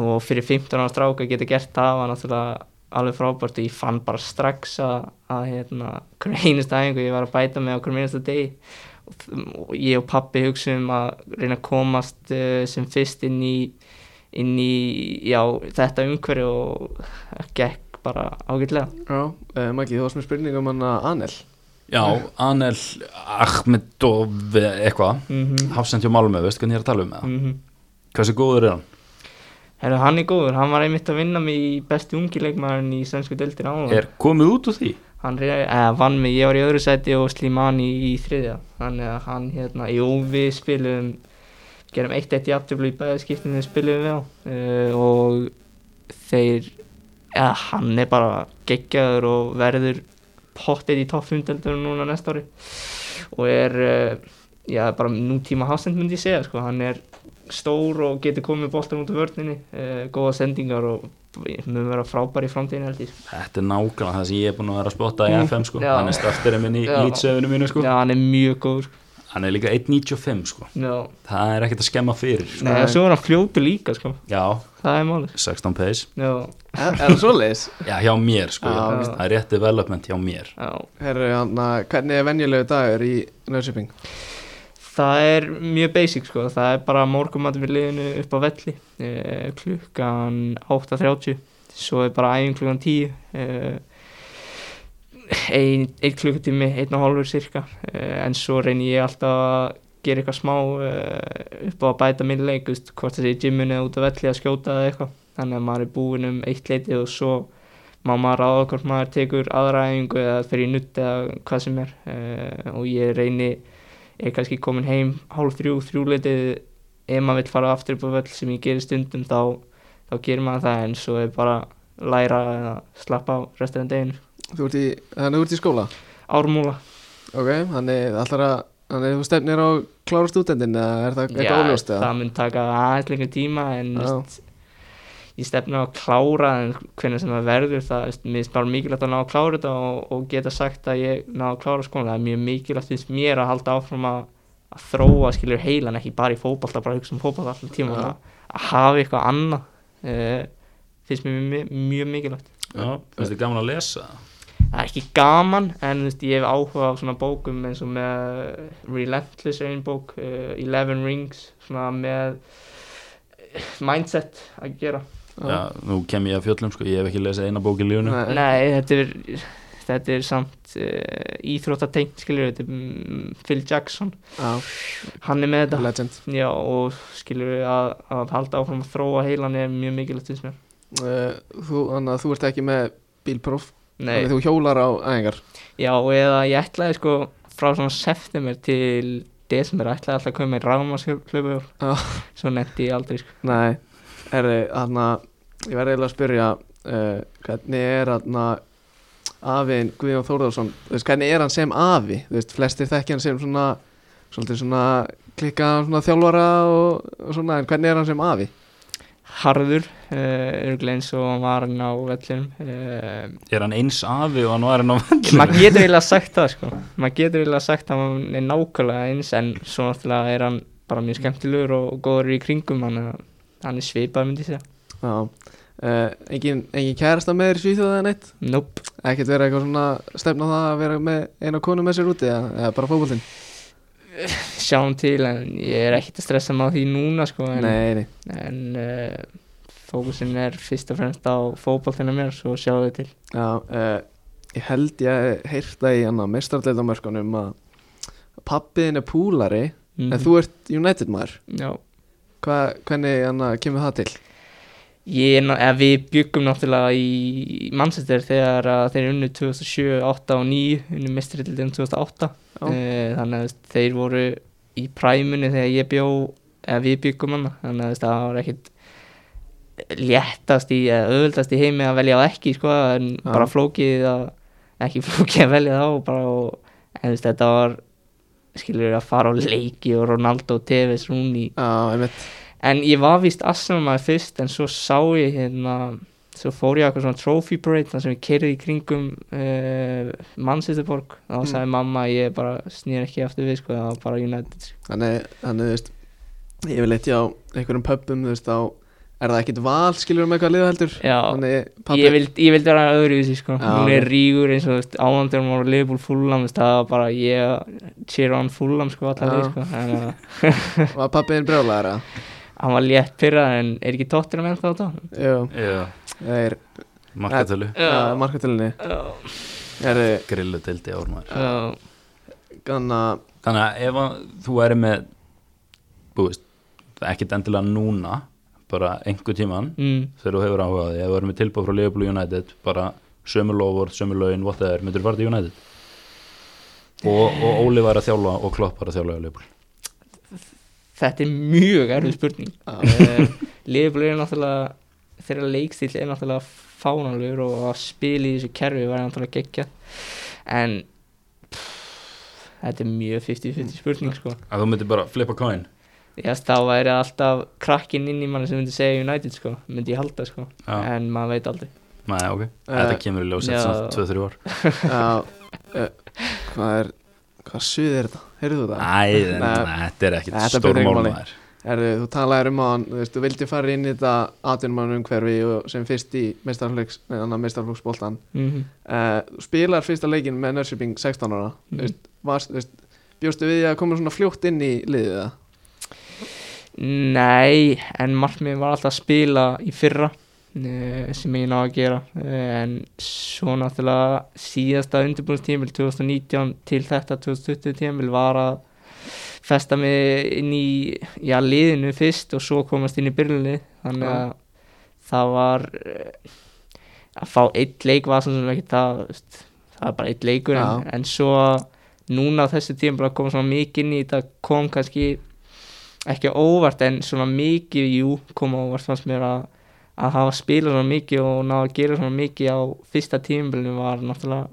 Speaker 3: og fyrir 15 ára stráka geta gert það var náttúrulega alveg frábært og ég fann bara strax að, að hérna, hver einasta æfingu ég var að bæta með á hver einasta degi og, þ- og ég og pappi hugsaum að reyna að komast uh, sem fyrst inn í, inn í já, þetta umhverju og það gekk bara ágætlega
Speaker 1: já uh, Maggi, þú varst með spurning um hann að Anel
Speaker 2: Já, Anel Ahmedov eða eitthvað
Speaker 3: mm -hmm.
Speaker 2: Hafsend hjá Malmö, veistu hvernig ég er að tala um með það Hversu góður er hann?
Speaker 3: hann er góður, hann var einmitt að vinna mig í besti ungileikmaðurinn í svensku deildin áðan
Speaker 2: Er komið út úr því?
Speaker 3: hann re- eða, vann mig, ég var í öðru sæti og Slimani í þriðja þannig að hann hérna, jú við spilum gerum eitt eitt í afturblú í bæði skiptin við spilum við á uh, og þeir eða, hann er bara geggjaður og verður pottið í topp 5 deildunum núna næsta ári og er uh, já, bara nútíma hafsend myndi ég segja sko. hann er stór og getur komið boltan út af vörninni, uh, góða sendingar og mun vera frábær í framtíðin held ég
Speaker 2: Þetta er nákvæmlega það sem ég er búin að vera að spotta í
Speaker 1: Mm.
Speaker 2: FM sko.
Speaker 3: Já.
Speaker 2: Hann er starterinn minn í
Speaker 3: Já.
Speaker 2: lýtsefinu mínu sko.
Speaker 3: Já, hann er mjög góður sko.
Speaker 2: Hann er líka 1.95 sko.
Speaker 3: Já,
Speaker 2: Það er ekkert að skemma fyrir sko.
Speaker 3: nei, og svo er hann fljótu líka sko.
Speaker 2: Já,
Speaker 3: Það er málið
Speaker 2: 16 pace
Speaker 3: Já,
Speaker 1: Er er það svoleiðis?
Speaker 2: Já, hjá mér sko
Speaker 1: Já,
Speaker 3: veist.
Speaker 2: Það er rétt development hjá mér
Speaker 3: já
Speaker 1: Herru, hann að hvernig er venjulegu dagur í Nörsjöping?
Speaker 3: Það er mjög basic sko Það er bara morgumat við liðinu upp á velli eh, Klukkan 8.30 Svo er bara æfing klukkan 10 eh, ein, Eitt klukkutími, einn og hálfur cirka eh, En svo reynir ég alltaf að gera eitthvað smá eh, upp á að bæta minn leik þú veist, Hvort það sé í gyminu eða út á velli að skjóta eða eitthvað Þannig að maður er búinn um eitt leiti og svo má maður ráða hvort maður tekur aðra æfingu eða fer í nutt eða hvað sem er eh, og ég reyni ég er kannski komin heim hálf þrjú, þrjúleitið ef maður vill fara aftur upp á völl sem ég gerir stundum þá, þá gerir maður það en svo er bara læra eða slappa á restur en deginu
Speaker 1: Þú ert í, þannig að þú ert í skóla?
Speaker 3: Ármúla
Speaker 1: Ok, þannig allar að Þannig þú stefnir á klára stúdendin eða er það eitthvað óljóst eða?
Speaker 3: það mun taka aðeins lengur tíma en
Speaker 1: Já.
Speaker 3: veist, ég stefna á að klára en hvernig sem það verður það veist, mér finnst bara mikilvægt að ná að klára þetta og, og geta sagt að ég ná að klára skóla það er mjög mikilvægt finnst mér að halda áfram að, að þróa skilur heilan ekki bara í fótbalta bara að hugsa um fótbalta allan tíma
Speaker 1: Já.
Speaker 3: að, að hafa eitthvað annað uh, finnst mér mjög, mjög mikilvægt
Speaker 2: Já, finnst þið gaman að lesa
Speaker 3: það er ekki gaman en þú veist, ég hef áhuga á svona bókum eins og með eh, Relentless er einn bók, uh, Eleven Rings svona með eh, mindset að gera
Speaker 2: Já, nú kem ég að fjöllum sko, ég hef ekki lesið eina bók í lífunum
Speaker 1: Nei.
Speaker 3: Nei, þetta er, þetta er samt uh, íþróttatengt skilur þetta er mm, Phil Jackson
Speaker 1: Já,
Speaker 3: hann er með þetta
Speaker 1: legend
Speaker 3: Já, og skilur að, að halda áfram að þróa heilan er mjög mikilvægt finnst mér
Speaker 1: uh, þú, Þannig að þú ert ekki með bílpróf
Speaker 3: Nei,
Speaker 1: Þannig að þú hjólar á æfingar
Speaker 3: já, eða ég ætlaði sko frá svona september til desember ætlaði alltaf að koma með rámaslöfuhjól
Speaker 1: Já.
Speaker 3: svo netti ég aldrei sko
Speaker 1: Nei, herri, þannig að ég verði eiginlega að spyrja uh, hvernig er þarna afin Guðjón Þórðarsson þú veist, hvernig er hann sem afi þú veist, flestir þekki hann sem svona svolítið svona klikka svona þjálfara og, og svona, en hvernig er hann sem afi?
Speaker 3: harður, uh, örglega eins og hann var hann á vellinum uh,
Speaker 2: Er hann eins afi og hann var hann á
Speaker 3: maður getur eiginlega sagt það sko maður getur eiginlega sagt að hann er nákvæmlega eins en svo náttúrulega er hann bara mjög skemmtilegur og, og góður í kringum hann, hann er svipað myndi ég segja
Speaker 1: Já, uh, engin, engin kærasta með þér í Svíþjóða en eitt?
Speaker 3: nope.
Speaker 1: Ekkert vera eitthvað svona stefna á það að vera með eina konu með sér úti eða, eða bara fókbóltinn?
Speaker 3: sjáum til en ég er ekkert að stressa maður því núna sko en,
Speaker 1: Nei, nei,
Speaker 3: en uh, fókusin er fyrst og fremst á fótballtina mér svo sjáum við til
Speaker 1: já, uh, ég held ég heyrta í hann að mestrarleildamörkunum að pappiðin er púlari
Speaker 3: mm
Speaker 1: En þú ert United maður,
Speaker 3: já
Speaker 1: Hva, hvernig anna, kemur það til?
Speaker 3: Ég, er ná- eða við byggum náttúrulega í Manchester þegar að þeir unnu 2007, 2008 og 2009, unnu mistritildin 2008.
Speaker 1: Já.
Speaker 3: Eh, Þannig að þú veist, þeir voru í præmunni þegar ég bjó, eða við byggum hana, þannig að þú veist, það var ekkit léttast í, eða öðvöldast í heimi að velja það ekki, sko, en
Speaker 1: Já.
Speaker 3: bara flókið að, ekki flókið að velja það og bara, og, en þú veist, þetta var, skilur að fara á leiki og Ronaldo, Tevez, Rooney,
Speaker 1: Já, einmitt,
Speaker 3: En ég var víst Arsenal maður fyrst en svo sá ég hérna svo fór ég á eitthvað svona trophy parade þar sem ég kerði í kringum uh, Manchesterborg og þá
Speaker 1: Mm.
Speaker 3: sagði mamma að ég bara snýr ekki aftur við sko, það var bara United sko.
Speaker 1: þannig, þannig þú veist, ég vil eitthi á einhverjum pöppum, þú veist, þá er það ekkit val, skilur um eitthvað liða heldur?
Speaker 3: Já,
Speaker 1: Þannig,
Speaker 3: ég vildi, ég vildi vera öðru í þessu sko,
Speaker 1: Já,
Speaker 3: hún
Speaker 1: ok.
Speaker 3: er rígur eins og þú veist, áhandur hún var að lifa úr fullam það var bara ég cheer on fullam sko
Speaker 1: Já.
Speaker 3: alltaf við sko, þannig að
Speaker 1: var pappiðin brjólaðara?
Speaker 3: hann var létt pyrrað en er ekki tóttir að menn þá þá?
Speaker 1: Jú,
Speaker 2: Já,
Speaker 1: það er
Speaker 2: markatölu
Speaker 1: uh, markatölinni,
Speaker 3: Já,
Speaker 1: er
Speaker 2: Grillu deildi ár maður
Speaker 3: já,
Speaker 1: ganna,
Speaker 2: Þannig að ef að þú væri með Þú veist, ekkit endilega núna Bara einhver tíman
Speaker 3: mm,
Speaker 2: Þegar þú hefur áhugað því Ef þú væri með tilbúð frá Liverpool og United Bara sömur lofvort, sömur laun, what the er Myndur þú fara til United og, og Óli var að þjálfa og Klopp var að þjálfa í Liverpool
Speaker 3: þetta er mjög erfið spurning
Speaker 1: já,
Speaker 3: Eh, Liverpool er náttúrulega þeirra leikstíl er náttúrulega fánanlegur og að spila í þessu kerfi var náttúrulega geggja en pff, þetta er mjög 50-50 spurning sko
Speaker 2: Að þú myndir bara flippa coin
Speaker 3: ég veist þá væri alltaf krakkinn inn í manni sem myndi segja United sko myndi ég halda sko
Speaker 2: Já,
Speaker 3: en maður veit aldrei
Speaker 2: Nei, ok, þetta kemur í ljós
Speaker 3: já.
Speaker 2: eftir 2-3 ár
Speaker 1: já, uh, hvað er, hvað suð er þetta? Heyrðu þú það?
Speaker 2: Æ,
Speaker 1: Nei.
Speaker 2: en- nei, þetta er
Speaker 1: Nei,
Speaker 2: ekkit
Speaker 1: þetta
Speaker 2: stór
Speaker 1: breytir engu máli.
Speaker 2: málmaður
Speaker 1: Erðu, þú talaðir um hann, þú veist, þú vildi fara inn í þetta atvinnmann umhverfi og sem fyrst í meistarflöks, annar meistarflöksbóltan
Speaker 3: mm
Speaker 1: uh, þú spilar fyrsta leikin með Nörsjöping 16 ára
Speaker 3: Mhm.
Speaker 1: mm. veist, varst, veist, bjóstu við því að koma svona fljótt inn í liðið það
Speaker 3: Nei, en markmið var alltaf að spila í fyrra eh, sem ég náði að gera eh, en svo náttúrulega síðasta undirbúinstímil 2019 til þetta 2020 tímil var að festa mig inn í já, liðinu fyrst og svo komast inn í byrjunni þannig að það var eh, að fá eitt leik var svona sem ekki það þú veist, það er bara eitt leikur en, en svo að núna á þessu tímil að koma svona mikið inn í þetta kom kannski ekki á óvart en svona mikið jú kom á óvart fannst mér að að hafa spilað svona mikið og ná að gera svona mikið á fyrsta tímbilinu var náttúrulega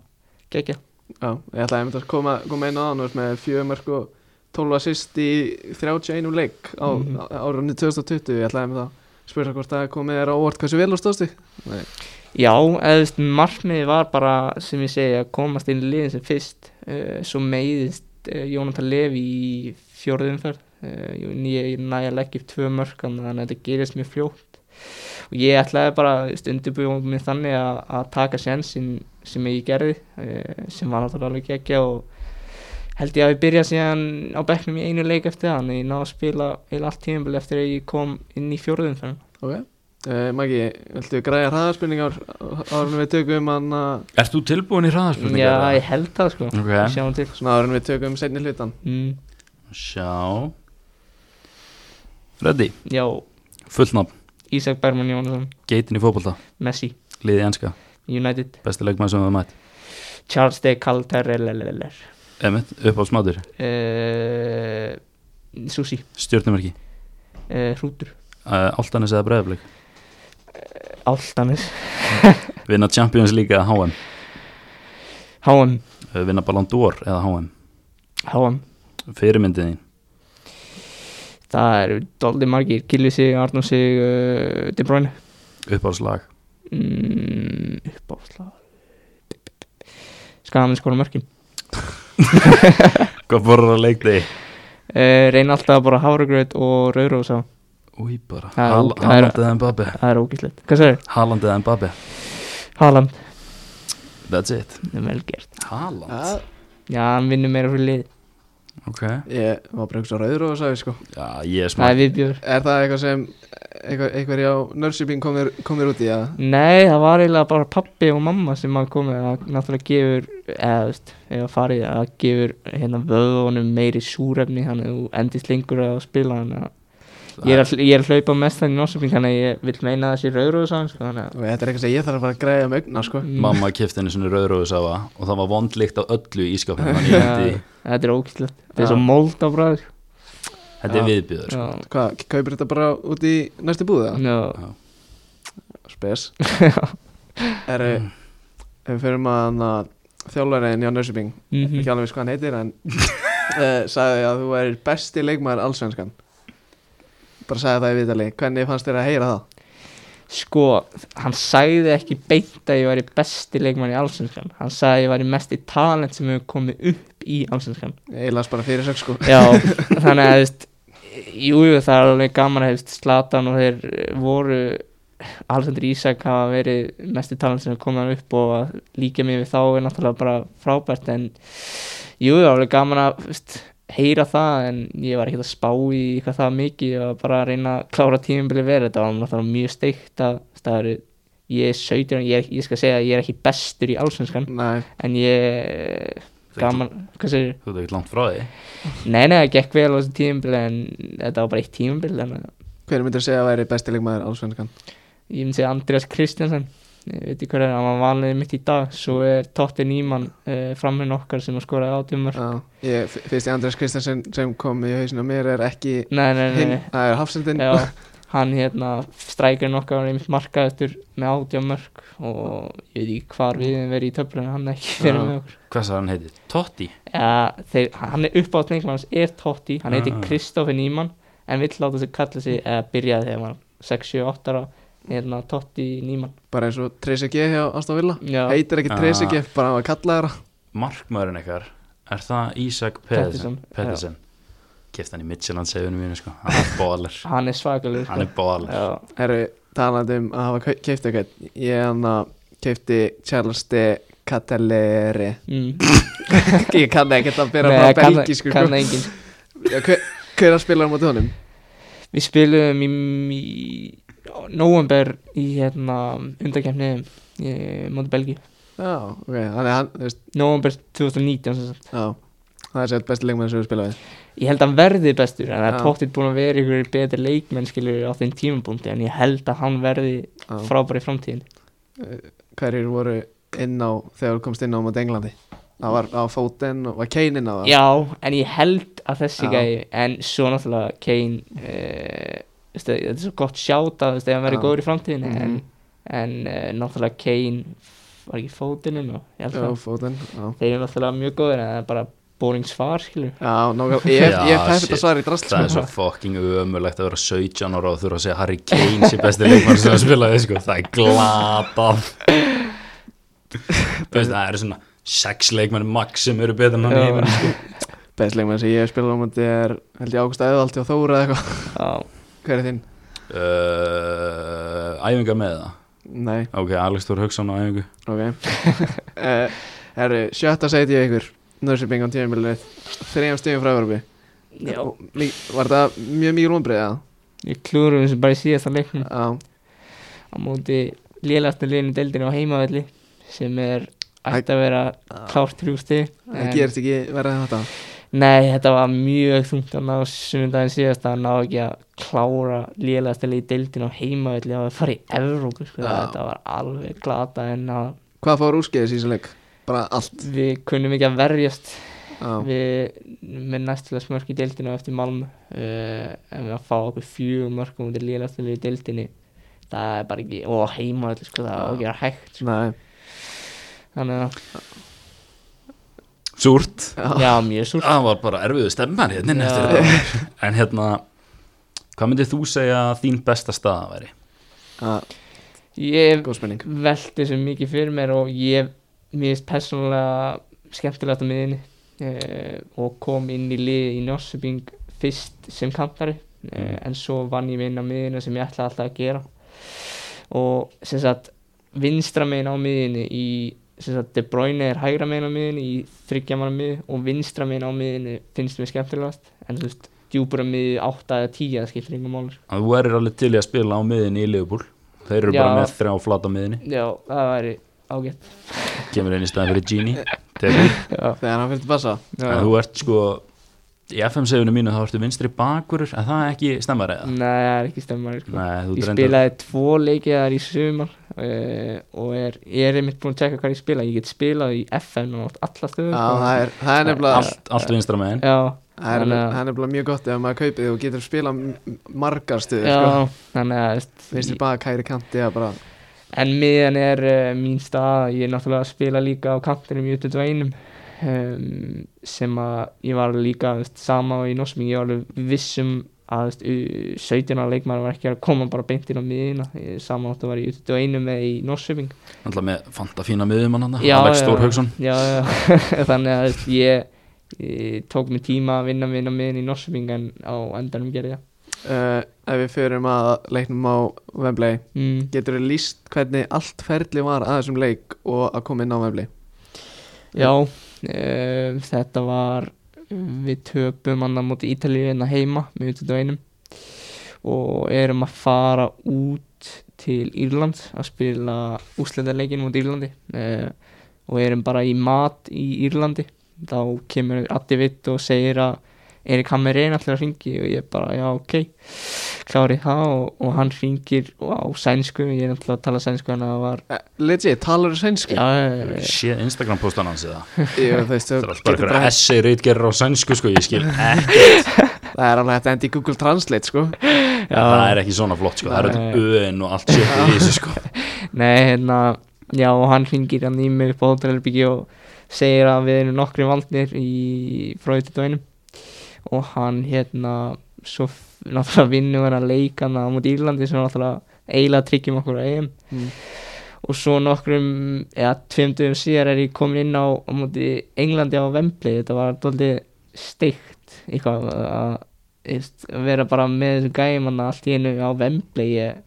Speaker 3: geggja
Speaker 1: Já, ég ætlaði einmitt að koma, koma inn á hann veist, með fjögumörk og 12 assist í 31 leik á, mm.
Speaker 3: Mhm.
Speaker 1: á árunni 2020 ég ætlaði einmitt að spyrja hvort það komið þér á óvart hversu vel og stóðstu
Speaker 3: Já, eða þú veist, markmiðið var bara sem ég segi að komast inn í liðin sem fyrst uh, svo meiðist uh, Jónatan Levi Eh, í fjórðumferð uh, ég næja legg upp tvö mörk þannig að þetta gerist mjög fljótt og ég ætlaði bara undirbúið mér þannig að, að taka sensin sem ég gerði eh, sem var náttúrulega alveg geggja og held ég að ég byrja síðan á bekknum í einu leik eftir það þannig ég náði að spila eða allt tíðanbili eftir að ég kom inn í fjórðum fyrir
Speaker 1: Ok uh, Maggi, viltu græja hraðarspurningar árun við tökum um hann að
Speaker 2: Ert þú tilbúin í hraðarspurningar?
Speaker 3: Já, ég held það sko
Speaker 2: Ok.
Speaker 3: Við Sjáum til
Speaker 1: svona árun við tökum seinni hlutan
Speaker 3: mm,
Speaker 2: Sjá Reddi,
Speaker 3: Já,
Speaker 2: fullnafn,
Speaker 3: Ísak Bergman Jónsson
Speaker 2: geitin í fótbolta
Speaker 3: Messi,
Speaker 2: Liði enska,
Speaker 3: United
Speaker 2: besti leikmaður sem við mætt
Speaker 3: Charles de Caldereleleler
Speaker 2: Emmett, uppáhaldsmatur,
Speaker 3: uh, Susi
Speaker 2: stjórnumerki
Speaker 3: uh, Hrútur
Speaker 2: uh, Altanis eða breiðaflik
Speaker 3: Áltanis
Speaker 2: Vinna Champions League eða HM
Speaker 3: HM
Speaker 2: uh, Vinna Ballon d'Or eða HM
Speaker 3: HM
Speaker 2: Fyrirmyndin þín,
Speaker 3: Það eru doldið margir Gilvi sig, Arnó sig, uh, De Bruyne
Speaker 2: uppáhaldslag
Speaker 3: mm, Uppáslag Skamenn skóla mörkin
Speaker 2: Hvað borður að leikti?
Speaker 3: uh, Reyna alltaf bara hárugröð og rauðrósa
Speaker 2: Úi bara,
Speaker 3: Það er-
Speaker 2: Hal
Speaker 3: það er-
Speaker 2: Haaland eða Mbappe
Speaker 3: Það er ógíslegt Hvað sagði?
Speaker 2: Haaland eða Mbappe
Speaker 3: Haaland
Speaker 2: That's it
Speaker 3: Það er vel gert
Speaker 2: Haaland
Speaker 1: Já,
Speaker 3: Já, hann vinnur meira fyrir lið
Speaker 2: Ok
Speaker 1: Ég var bara eitthvað rauður og sagði sko
Speaker 2: Já, ég er smá
Speaker 3: Það er viðbjör
Speaker 1: Er það eitthvað sem eitthvað, eitthvað á nörsiping komir, komir út í að
Speaker 3: Nei, það var eiginlega bara pappi og mamma sem að komið að náttúrulega gefur eða þú veist, eða farið að gefur hérna vöðunum meiri súrefni þannig að þú endist lengur að spila þannig að ég er að, hl- ég er að hlaupa mest þannig í náttúrulega þannig að ég vil meina þessi rauður og sann sko, þannig að
Speaker 1: og þetta er eitthvað sem ég þarf að fara að græja um augna sko
Speaker 3: Mm.
Speaker 2: Mamma kefti henni svona rauðróðusáfa og það var vondlikt á öllu í ískapinu þannig ég hendi
Speaker 3: Ja, þetta er ógæslegt þetta er
Speaker 1: Já.
Speaker 3: svo mold á sko. bræður
Speaker 2: Þetta er
Speaker 1: Já.
Speaker 2: viðbjöður sko.
Speaker 1: Hvað, kaupir þetta bara út í næstu búða?
Speaker 3: Já,
Speaker 1: Spes Er,
Speaker 3: Mm.
Speaker 1: ef við fyrir maður að þjálfæriðin hjá nörsiping
Speaker 3: Mhm.
Speaker 1: ekki alveg viss hvað hann heitir en uh, sagði að þú værir besti leikmaður allsvenskan bara sagði það í vitali hvernig fannst þér að heyra það?
Speaker 3: sko, hann sagði ekki beint að ég væri besti leikmann í allsvenskan hann sagði að ég væri mesti talent sem hefur komið upp í allsvenskan
Speaker 1: Ég las bara fyrir sök sko
Speaker 3: Já, þannig að þú veist, jú, jú, það er alveg gaman að þú veist, Slatan og þeir voru Alexander Ísak hafa verið mestu talan sem komaðan upp og að líka mig við þá er náttúrulega bara frábært en jú, það er alveg gaman að þú veist, heyra það en ég var ekkert að spá í hvað það mikið ég var bara að reyna að klára tímabili verið þetta var náttúrulega mjög steikt að það eru ég er 17, ég, er- ég skal segja að ég er ekki bestur í allsvenskan
Speaker 1: Nei,
Speaker 3: en ég gaman, hvað segir
Speaker 2: Þú ert ekki langt frá því
Speaker 3: Nei, nei, það gekk vel á þessu tímabili en þetta var bara eitt tímabili en
Speaker 1: hver myndir segja að væri besti leikmaður allsvenskan?
Speaker 3: ég myndi segja Andreas Kristjansson ég veit ekki hvað er, hann var vanlega mitt í dag svo er Totti Nýmann uh, framhinn okkar sem að skoraði átjumar
Speaker 1: Já, ég, fyrst ég Andrés Kristensen sem kom í hausinu á mér er ekki
Speaker 3: Nei, nei, nei,
Speaker 1: hinn,
Speaker 3: nei.
Speaker 1: það er Hafsendin
Speaker 3: Já, hann hérna strækirinn okkar var einmitt markaðastur með átjumörk og ég veit ekki hvar við hefum verið í töflunum, hann er ekki verið
Speaker 1: Já.
Speaker 3: með okkur
Speaker 2: Hvað sagði hann heitir? Totti?
Speaker 3: Já, þeir, hann er uppátt lengur, hans er Totti hann heitir
Speaker 2: Ah.
Speaker 3: Kristoffer Nýmann en vill láta sig kalla sig, eða byrjaði þegar hann var 6-7-8 ára, hérna Totti Nýmann
Speaker 1: bara eins og 3CG hjá Aston Villa
Speaker 3: Já.
Speaker 1: heitir ekki 3CG, bara hann var kallaðara
Speaker 2: Markmaðurinn ykkar Er það Ísak Pedersen?
Speaker 3: Pedersen,
Speaker 2: Pedersen Kefti hann í Midtjylland segjunum mínu sko Hann er bólar
Speaker 3: hann er svakalur
Speaker 2: Hann er bólar
Speaker 3: Já,
Speaker 1: Herru, talandi um að hafa keift eitthvað ég hann að keifti Charles de Catelleri
Speaker 3: mm.
Speaker 1: ég kann ekkert að byrja
Speaker 3: Nei,
Speaker 1: frá
Speaker 3: kann-
Speaker 1: belgísku sko.
Speaker 3: kann það enginn
Speaker 1: Já, hver, hver að spila á móti honum?
Speaker 3: Við spilum í, í november í hérna undakefni eh, móti Belgi
Speaker 1: Já, ok, hann er hann, þú veist,
Speaker 3: november 2019 sem sagt.
Speaker 1: já Það er sér besti leikmann sem við spila við
Speaker 3: Ég held að hann verði bestur en það er
Speaker 1: Já.
Speaker 3: tóttið búin að vera ykkur betri leikmenn skilur á þeim tímapunkti en ég held að hann verði
Speaker 1: Já.
Speaker 3: frábær í framtíðin
Speaker 1: Hverjir voru inn á, þegar þú komst inn á móti Englandi? Það var á fótinn og var Kane inn á það
Speaker 3: Já, en ég held að þessi
Speaker 1: Já.
Speaker 3: gæði en svo náttúrulega Kane uh, veistu, þetta er svo gott sjáta ef hann verður
Speaker 1: Já.
Speaker 3: góður í framtíðinu
Speaker 1: Mhm.
Speaker 3: en, en uh, náttúrulega Kane var ekki fótinum og ég held
Speaker 1: Já, á
Speaker 3: að
Speaker 1: fótinn, já
Speaker 3: þeir eru náttúrulega mjög góður en það er bara boring svar skilur
Speaker 1: Já, nákvæm, ég,
Speaker 2: Já,
Speaker 1: ég pæði þetta
Speaker 2: shit.
Speaker 1: svar í sko. drast
Speaker 2: Það er svo fucking ömulegt að vera 17 ára og þurfa að segja Harry Kane sé besti leikmann sem að spila við sko Það er glatað Þú veist, Það eru svona sex leikmenn max sem eru betur en hann í
Speaker 3: Já.
Speaker 2: heiminum sko.
Speaker 1: Besti leikmann sem ég hef spilað á móti er held ég Ágúst Æðvaldi og Þóra eða eitthvað
Speaker 3: Já,
Speaker 1: Hver er þinn?
Speaker 2: uh, Æfingar með það
Speaker 1: Nei,
Speaker 2: Ok, Alex Þór Hauksson á um æfingu
Speaker 1: ok Eh, Herru, sjötta seti ég ykkur Nörsiping á tíðanbílunni Þrejum stíðum frá Evropi
Speaker 3: Já,
Speaker 1: Og mi- Var það mjög mikið lónbreiða?
Speaker 3: ég klúrum þessu bara í síðasta leiknum
Speaker 1: Já,
Speaker 3: á móti lélættu liðinu deildinu á heimavelli sem er ætti að vera klárt þrjústi
Speaker 1: það gerist ekki verið þetta
Speaker 3: Nei, þetta var mjög þungt að ná sunnundaginn síðast að ná ekki að klára lélættu liði deildinu á heimavelli að fara í Evrópu sko.
Speaker 1: Já.
Speaker 3: þetta var alveg glata en að
Speaker 1: Hvað fór úrskeiðis í þessu leik? Bara allt
Speaker 3: við kunnum ekki að verjast
Speaker 1: Já,
Speaker 3: við með næstulega smörk í deildinu á eftir Malm uh, en við að fá okkur fjögur mörkum út í lélættu liði deildinu það er bara ekki, og heimavelli sko, það
Speaker 1: Já.
Speaker 3: er ekki að vera hægt sko.
Speaker 1: nei
Speaker 3: þannig að
Speaker 2: Súrt
Speaker 3: Já, mjög súrt
Speaker 2: Það var bara erfiðu stemman hérna inn
Speaker 3: Já.
Speaker 2: eftir þetta En hérna Hvað myndir þú segja að þín besta staða væri?
Speaker 1: Já,
Speaker 3: Ég
Speaker 1: Góð spenning
Speaker 3: veldi þessu mikið fyrir mér og ég mér finnst persónulega skemmtilegt á miðinni eh, og kom inn í liði í Norsubing fyrst sem kantari eh, en svo vann ég mig inn á miðinu sem ég ætlaði alltaf að gera og sem sagt vinstra megin á miðinu í sem sagt De Bruyne er hægra megin á miðinu í þryggjamanna miði og vinstra megin á miðinu finnst mér skemmtilegast en þú veist djúpur á miði 8 eða 10 það skiptir yngum málur
Speaker 2: Að þú erir alveg til í að spila á miðinni í Liverpool Þeir eru bara
Speaker 3: Já.
Speaker 2: með þrjá flata á miðinni
Speaker 3: Já, það væri ágætt
Speaker 2: Kemur einn í staðan fyrir Gini Tekur
Speaker 3: Já,
Speaker 1: Þegar hann fyrir til bassa
Speaker 2: En þú ert sko Í FM-seifinu mínu þá ertu vinstri bakurur En það er ekki stemmar eða?
Speaker 3: Nei, það er ekki stemmari sko.
Speaker 2: Nei, þú
Speaker 3: Ég
Speaker 2: ert reyndar-
Speaker 3: spilaði tvo leikið þar í sumar uh, og er, ég er einmitt búin að tjekka hvað ég spila Ég get spilað í FM og alla stöðum
Speaker 1: Já,
Speaker 3: sko.
Speaker 1: það er, það er nefnilega
Speaker 2: allt, allt vinstra megin
Speaker 3: Já,
Speaker 1: Það er, alveg,
Speaker 3: Þannig að-
Speaker 1: það er nefnilega mjög gott ef maður kaupið og getur spila m- margar stuður
Speaker 3: já,
Speaker 1: sko.
Speaker 3: þannig að veist,
Speaker 1: Vinstri
Speaker 3: ég-
Speaker 1: baka, hægri kanti eða bara
Speaker 3: En miðan er uh, mín stað Ég er náttúrulega að spila líka á kantinum í 21 um, sem að ég var líka veist, sama og í Norsming Ég var alveg vissum að veist, u- 17 ára leikmaður var ekki að koma bara beint inn á miðina Ég- Sama áttu var í 21 með í Norsming
Speaker 2: Alltaf með fanta fína miðum hann
Speaker 3: Já,
Speaker 2: Alex
Speaker 3: já.
Speaker 2: Stór Hauksson
Speaker 3: Já, já, þannig að þú veist, ég, ég tók mér tíma að vinna minna miðin í Norsefing en á endanum gerði ég það.
Speaker 1: uh, Ef við förum að leiknum á Wembley
Speaker 3: Mm.
Speaker 1: Getur við líst hvernig allt ferli var að þessum leik og að koma inn á Wembley
Speaker 3: Já, um, þetta var, við töpum hann á móti Ítalíu hérna heima með utvölduðinum og erum að fara út til Írland að spila úslendarleikin móti Írlandi uh, og erum bara í mat í Írlandi þá kemur Addi Vitt og segir að Erik Hammerén allir að ringi og ég bara, já, ok klári það og, og hann ringir á sænsku, ég er náttúrulega að tala sænsku en það var,
Speaker 1: uh, Legit, talar þú sænsku?
Speaker 3: já, já, já,
Speaker 2: Sé Instagram postan hans eða
Speaker 1: Ég, veist, þú
Speaker 2: Það er alltaf bara
Speaker 1: getur
Speaker 2: eitthvað
Speaker 1: bara,
Speaker 2: essay reitgerir á sænsku sko Ég skil ekki
Speaker 1: það er alveg hægt að enda í Google Translate sko.
Speaker 2: Það er ekki svona flott sko Það er
Speaker 3: Nei.
Speaker 2: öll öðin og allt sjöfn í þessu sko
Speaker 3: Nei, hérna, já, og hann ringir hann í mig upp á hótelherbyggi og segir að við erum nokkri valdnir í fröðutöðunum og hann, hérna, svo f- náttúrulega vinnum hann að leika hann á móti Írlandi sem náttúrulega eiginlega tryggjum okkur á EM
Speaker 1: Mm.
Speaker 3: og svo nokkrum, eða tveim dögum síðar er ég komin inn á, á móti Englandi á Vembley, þetta var doldið steikt, eitthvað að veist, að vera bara með þessu gæjum hann allt í einu á Vembley ég,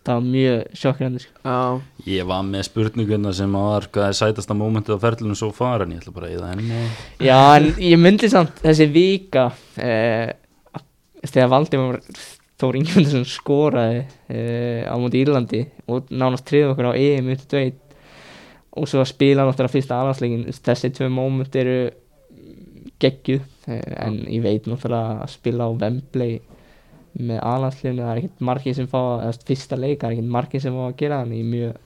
Speaker 3: það var mjög sjokkjandi sko.
Speaker 1: Já,
Speaker 2: Ég var með spurninguna sem að var Hvað er sætasta mómentið á ferlunum svo far En ég ætla bara að eða henni
Speaker 3: Já, en ég myndi samt þessi vika eh, þegar Valdimar Þór Ingjöndarsson skoraði eh, á móti Írlandi og nánast triði okkur á EM út dveit og svo að spila náttúrulega fyrsta alhansleikin þessi tvö móment eru geggjuð eh, en ég veit náttúrulega að spila á Wembley með alhansleinu það er ekkert margir sem fá að, eða fyrsta leik, það er ekkert margir sem fá að gera þannig ég er mjög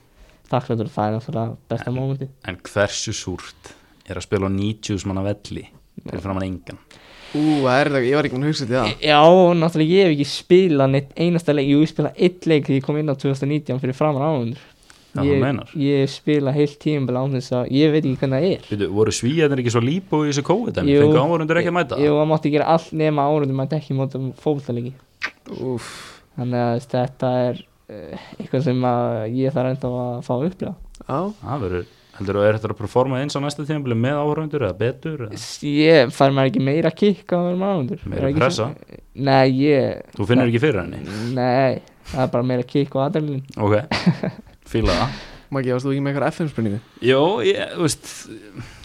Speaker 3: þakkláttur það er náttúrulega besta mómenti
Speaker 2: En hversu súrt er að spila á 90 manna velli Fyrir framan engan
Speaker 1: ú, það er það, ég var ekki mann að hugsa til það
Speaker 3: Já, náttúrulega ég hef ekki spilað neitt einasta leik, jú, ég spilað eitt leik þegar ég kom inn á 2019 fyrir framar ánundur
Speaker 2: Já, þú meinar.
Speaker 3: Ég, ég spilað heilt tímabil án þess að ég veit ekki hvernig það er
Speaker 2: Veitu, voru svíjarnir ekki svo lípo í þessu COVID En
Speaker 3: Jú.
Speaker 2: fengu áhverjundur ekki að mæta
Speaker 3: Jú, það mátti gera allt nema árundur, maður ekki móta fókvöldalegi
Speaker 1: Úf,
Speaker 3: Þannig að þetta er eh, eitthvað sem að ég þarf ennþá að fá að upplega
Speaker 1: já,
Speaker 2: Það verður heldur þú er þetta að performa eins á næsta tímabili með áhörundur eða betur eða?
Speaker 3: Ég fær maður ekki meira kikk á þeim ánundur
Speaker 2: Meira pressa?
Speaker 3: Nei, ég
Speaker 2: þú finnur ekki fyrir henni
Speaker 3: Nei, það er bara meira kikk á aðalinn
Speaker 2: ok, fíla það
Speaker 1: Maggi, varst þú ekki með eitthvað FM spurningu?
Speaker 2: Jó, ég, þú veist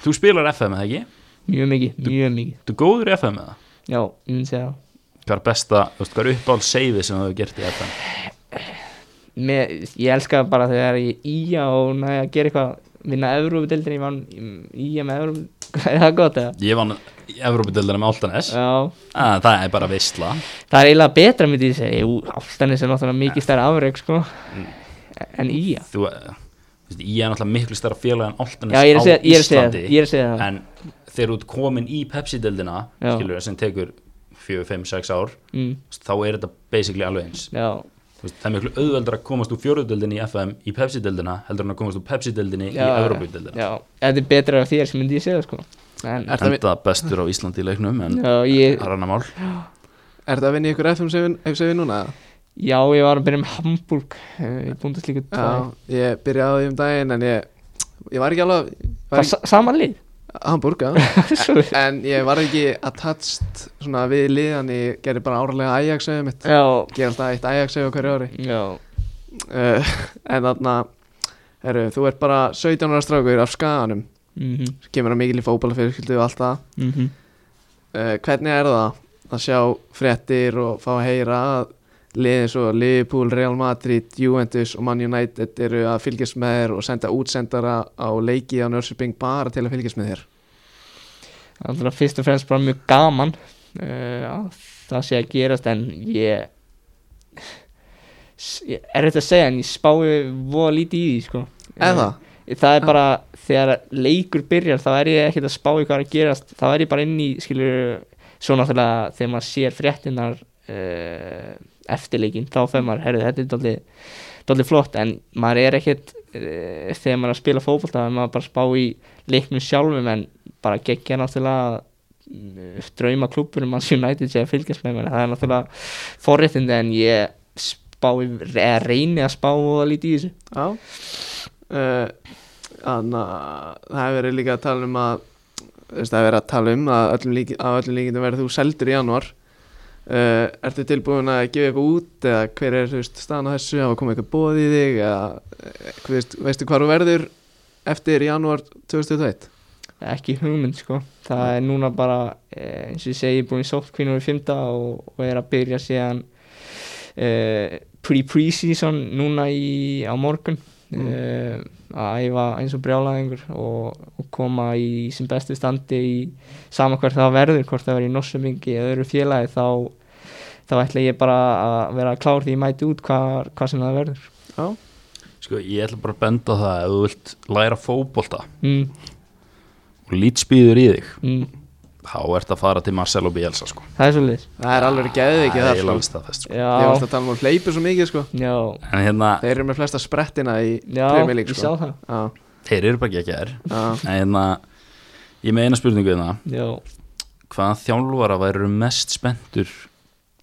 Speaker 2: þú spilar FM eða ekki?
Speaker 3: Mjög mikið, mjög mikið
Speaker 2: Þú góður í FM eða?
Speaker 3: Já, ég myndi segja það
Speaker 2: Hvað er besta, þú veist, hvað er uppáld seiði sem þú hefur gert í FM?
Speaker 3: Mér, Ég elska bara þegar ég er í að og næja að gera eitthvað vinna Evrópudildin, ég vann í að með Evróp Er það gott eða?
Speaker 2: Ég vann Evrópudeldina með Altanes
Speaker 3: Já,
Speaker 2: ah, Það er bara veistla
Speaker 3: það er eiginlega betra myndi ég segja, jú, Áltanis er náttúrulega mikið stærra afreg sko
Speaker 2: Mm.
Speaker 3: en í að
Speaker 2: Þú eh, þú veist, ég er náttúrulega miklu stærra félag en Altanes
Speaker 3: Já, ég er
Speaker 2: á
Speaker 3: að segja- ég er að segja
Speaker 2: Íslandi
Speaker 3: það, ég er að segja það.
Speaker 2: En þegar þú ert komin í Pepsi-deldina
Speaker 3: Já.
Speaker 2: skilur sem tekur 4, 5, 6 ár
Speaker 3: mm,
Speaker 2: þú veist, þá er þetta basically alveg eins
Speaker 3: Já,
Speaker 2: Þú veist, Það er miklu auðveldar að komast úr fjóruðdeldin í FM í Pepsi-deldina heldur en að komast úr Pepsi-deldinni í
Speaker 3: já,
Speaker 2: Evrópudeldina
Speaker 3: Já, þetta er betra af þér sem myndi ég segja sko en,
Speaker 1: Er það
Speaker 2: Enda bestur á Íslandi í leiknum en
Speaker 3: Já, ég,
Speaker 2: það er annar mál
Speaker 1: Er þetta að vinna í ykkur FM-sefi núna? eða?
Speaker 3: já, ég var að byrja með Hamburg eh, í búndaslíku
Speaker 1: Já, ég byrjaði á því um daginn en ég, ég var ekki alveg var
Speaker 3: Hvað,
Speaker 1: ekki,
Speaker 3: sa- sama lið?
Speaker 1: Hamburg, já
Speaker 3: Svo-
Speaker 1: En ég var ekki attached svona við liðan Ég gerði bara árlega Ajax-sefi mitt
Speaker 3: já,
Speaker 1: Gerði alltaf eitt Ajax-sefi á hverju ári
Speaker 3: já,
Speaker 1: uh, En þarna, heru, þú ert bara 17 ára strákur af skaganum
Speaker 3: mhm,
Speaker 1: Kemur að mikil í fótballa og allt það
Speaker 3: mhm
Speaker 1: uh, Hvernig er það að sjá fréttir og fá að heyra að liðin svo Liverpool, Real Madrid, Juventus og Man United eru að fylgjast með þér og senda útsendara á leiki á Nörsuping bara til að fylgjast með þér
Speaker 3: allra fyrst og fremst bara mjög gaman uh, að það sé að gerast en ég S- ég- er þetta að segja en ég spái voða lítið í því sko.
Speaker 1: Eða?
Speaker 3: Eh, það er bara þegar leikur byrjar þá er ég ekkert að spá í hvað er að gerast þá er ég bara inn í skilur svo náttúrulega þegar maður sér fréttinar uh, eftirleikin þá fer maður, herrið, þetta er dálítið dálítið flott en maður er ekkert uh, þegar maður er að spila fótbolta þá er maður bara að spá í leiknum sjálfum en bara geggja náttúrulega mm, drauma klúburum að United sé að fylgjast með mér það er náttúrulega forréttindi en ég spá í, eða reyni að spá og að líti í þessu
Speaker 1: Já uh, Þannig að það hefur verið líka að tala um að þú veist, það hefur verið að tala um að öllum, líki, að öllum líkindum verður þú seldur í janúar Uh, ertu tilbúin að gefa eitthvað út eða hver er þú veist, staðan á þessu hafa komið eitthvað bóð í þig eða eh, hvað veist, veistu hvað þú verður eftir janúar 2021
Speaker 3: ekki hugmynd sko það er núna bara eh, eins og ég segi ég er búin í sótkvínu í fymta og, og er að byrja síðan eh, pre-pre-season núna í, á morgun
Speaker 1: Mm.
Speaker 3: eh, að æfa eins og brjálæðingur og, og koma í sem bestu standi í sama hvert það verður hvort það verður í Norsömingi eða öðru félagi þá þá ætla ég bara að vera klár því ég mæti út hvað, hvað sem það verður
Speaker 1: Já,
Speaker 2: Sko, ég ætla bara að benda á það að ef þú vilt læra fótbolta
Speaker 3: mm,
Speaker 2: og lítspýður í þig
Speaker 3: mm,
Speaker 2: þá ert að fara til Marcelo Bielsa sko.
Speaker 3: það er svolítið
Speaker 1: það er alveg geðvikið
Speaker 2: Það
Speaker 1: þar
Speaker 2: er
Speaker 1: sko.
Speaker 2: alveg staðfest sko.
Speaker 1: Ég varst
Speaker 3: já,
Speaker 1: að tala um að hleypu svo mikið sko
Speaker 3: já,
Speaker 2: En hérna,
Speaker 1: Þeir eru með flesta sprettina í
Speaker 3: já
Speaker 1: Premier League
Speaker 3: ég sá
Speaker 1: sko
Speaker 3: það
Speaker 1: Já,
Speaker 2: þeir eru bara ekki ekki þær
Speaker 1: já,
Speaker 2: En hérna, ég með eina spurningu hérna
Speaker 3: já
Speaker 2: Hvaða þjálfara væru mest spenntur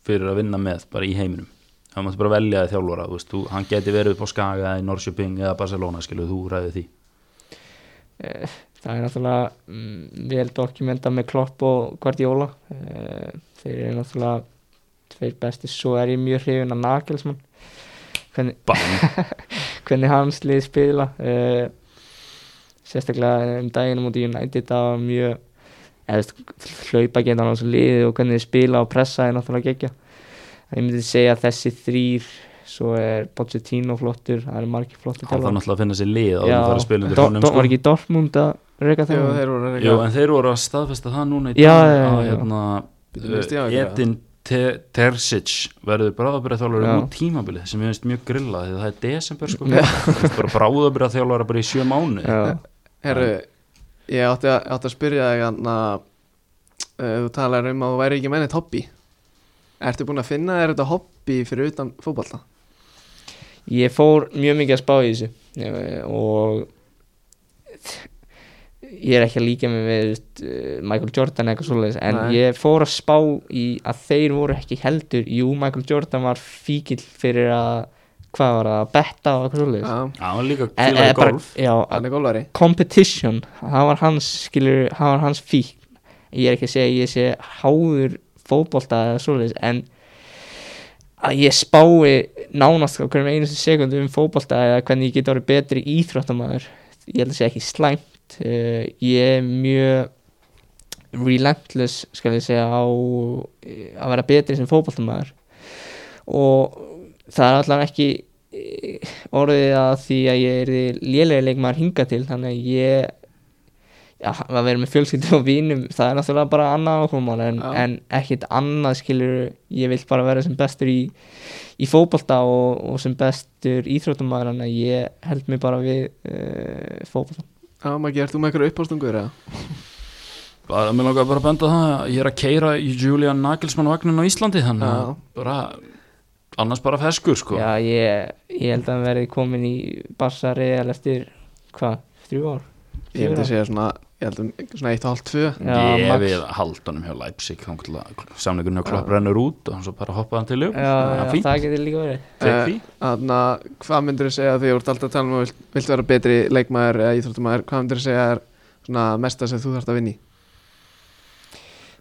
Speaker 2: fyrir að vinna með bara í heiminum? Það máttu bara velja þér þjálfara, þú veist, þú, hann geti verið upp á Skaga eða í Norrköping eða Barcelona, skilu, þú ræði því
Speaker 3: Eh, það er náttúrulega mm, vel dokumenta með Klopp og Guardiola Eh, þeir eru náttúrulega tveir besti, svo er ég mjög hrifin af Nagelsmann hvernig,
Speaker 2: Bang,
Speaker 3: hvernig hans lið spila Eh, sérstaklega um daginn múti United það var mjög eða hlaupa geta hans lið og hvernig þið spila og pressa er náttúrulega gegja ég myndi segja að þessi þrýr svo er Pochettino flottur það eru margir flottur
Speaker 2: hann þarf náttúrulega að finna sér lið á því að fara að spila undir honum sko.
Speaker 3: var ekki Dortmund að reyka
Speaker 1: Jú,
Speaker 3: það
Speaker 1: þeir voru að
Speaker 2: Jú,
Speaker 1: reyka
Speaker 2: en þeir voru að staðfesta það núna í
Speaker 3: Já,
Speaker 2: dag
Speaker 3: já, já,
Speaker 2: að
Speaker 3: já.
Speaker 2: hérna,
Speaker 1: Bíddu, minnst ég á
Speaker 2: uh,
Speaker 1: einhverja?
Speaker 2: Edin Te- Terzic verður bráðabrið þjálfari
Speaker 3: Já.
Speaker 2: út tímabilið sem ég finnst mjög grilla því að það er desember sko Þú veist, bara bráðabrið þjálfari bara í sjö mánu
Speaker 3: Já,
Speaker 1: Herru, ég átti að, átti að spyrja þig hann að uh, þú talar um að þú væri ekki mennit hobby Ertu búin að finna þér þetta hobby fyrir utan fótballta?
Speaker 3: ég fór mjög mikið að spá í þessu eh, og ég er ekki að líka mig við veist, eh, Michael Jordan eitthvað svoleiðis en
Speaker 1: Nei.
Speaker 3: ég fór að spá í að þeir voru ekki heldur jú Michael Jordan var fíkil fyrir að hvað var það, að betta og eitthvað svolítið
Speaker 1: Já,
Speaker 2: hann var líka
Speaker 3: eh,
Speaker 2: fílaði golf
Speaker 3: já,
Speaker 1: hann er gólvari
Speaker 3: competition, það var hans skilur, það var hans fík ég er ekki að segja, að ég sé háður fótbolta eða svoleiðis en að ég spái nánast á hverjum einu sekundu um fótbolta eða hvernig ég get orðið betri íþróttamæður ég held að segja ekki slæmt uh, ég er mjög relentless skal ég segja á eh, að vera betri sem fótboltamæður og það er allavega ekki eh, orðið að því að ég er lélega leikmaður hinga til þannig að ég já, að vera með fjölskyldu og vínum það er náttúrulega bara annað áhugamál en,
Speaker 1: Já.
Speaker 3: en ekkit annað skilur ég vil bara vera sem bestur í, í fótbolta og, og sem bestur íþróttumæður þannig að ég held mig bara við uh, fótbolta
Speaker 1: Já, Maggi, ert þú með eitthvað uppástungur eða?
Speaker 2: bara, mér langaði bara að benda á það að ég er að keira Julian Nagelsmann vagnin á Íslandi þannig að
Speaker 1: Já.
Speaker 2: bara annars bara feskur sko
Speaker 3: já ég, ég held að hann verði komin í Barca Real eftir hvað, þrjú ár?
Speaker 1: Ég myndi
Speaker 3: Fjögur ár?
Speaker 1: segja svona, ég held um svona 1,5-2
Speaker 3: Já,
Speaker 2: ég
Speaker 3: max.
Speaker 2: við haldunum hjá Leipzig þá til að samleikurinn hjá Klopp rennur út og hann svo bara hoppaði hann til
Speaker 3: Já,
Speaker 2: lög
Speaker 3: já,
Speaker 2: fínt,
Speaker 3: það getur líka verið
Speaker 2: tek
Speaker 1: Eh,
Speaker 2: því
Speaker 1: Þannig að hvað myndir þú segja því þú ert alltaf að tala um að vilt, vilt vera betri leikmaður eða íþróttumæður, hvað myndir þú segja er svona mesta sem þú þarft að vinni?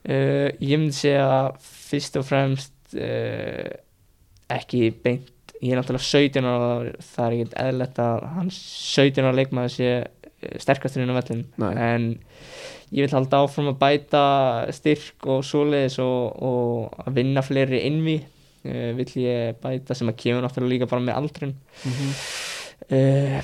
Speaker 3: Uh, ég myndi segja fyrst og fremst uh, ekki beint ég er náttúrulega 17 ára og það er ekkert eðlilegt að hans 17 ára leikmaður sé eh, sterkastur inn á vellin
Speaker 1: Nei.
Speaker 3: en ég vil halda áfram að bæta styrk og svoleiðis og, og að vinna fleiri innví uh, vill ég bæta sem að kemur náttúrulega líka bara með aldrin uh,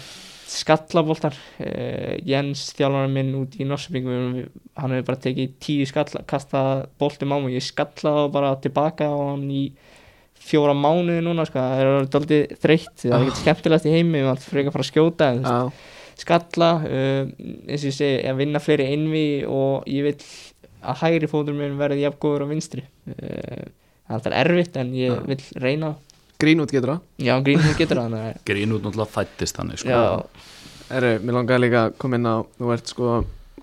Speaker 3: skallaboltar uh, Jens þjálfarinn minn út í Norsabing hann hefur bara tekið tíu skalla kasta boltum á mig, ég skallaði þá bara tilbaka á hann í fjóra mánuði núna, sko, það er doldið þreytt, það er ekkert skemmtilegast í heimi maður frekar að fara að skjóta, en þú veist,
Speaker 1: Já,
Speaker 3: skalla uh, eins og ég segi, að vinna fleiri innví og ég vil að hægri fótur minn verði jafngóður á vinstri uh, það er alltaf erfitt en ég
Speaker 1: Já.
Speaker 3: vil reyna, það.
Speaker 1: grín út getur það
Speaker 3: já, grínum getur það þannig að-
Speaker 2: Grín út náttúrulega fættist þannig sko.
Speaker 3: já,
Speaker 1: Herru, mér langaði líka að koma inn á, þú ert sko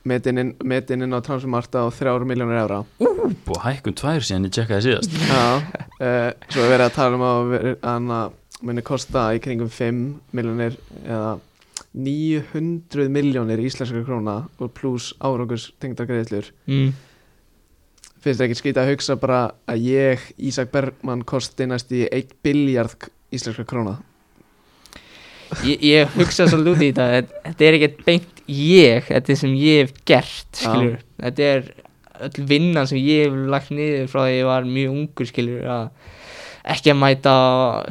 Speaker 1: metin inn, metin inn á transfermarta á 3 miljónur evra
Speaker 2: og hækkun tvær síðan ég tjekkaði síðast
Speaker 1: Já, uh, svo er verið að tala um að veri- hann að muni kosta í kringum 5 miljónir eða 900 miljónir íslenskar króna og pluss árangurs tengdargreðslur
Speaker 3: mm,
Speaker 1: finnst ekki skýta að hugsa bara að ég, Ísak Bergman, kosti næst í 1 biljard íslenska króna
Speaker 3: ég, ég hugsa svolítið út í þetta þetta- þetta er ekkert beint ég þetta er sem ég hef gert skilur þetta er öll vinnan sem ég hef lagt niður frá því ég var mjög ungur skilur að ekki að mæta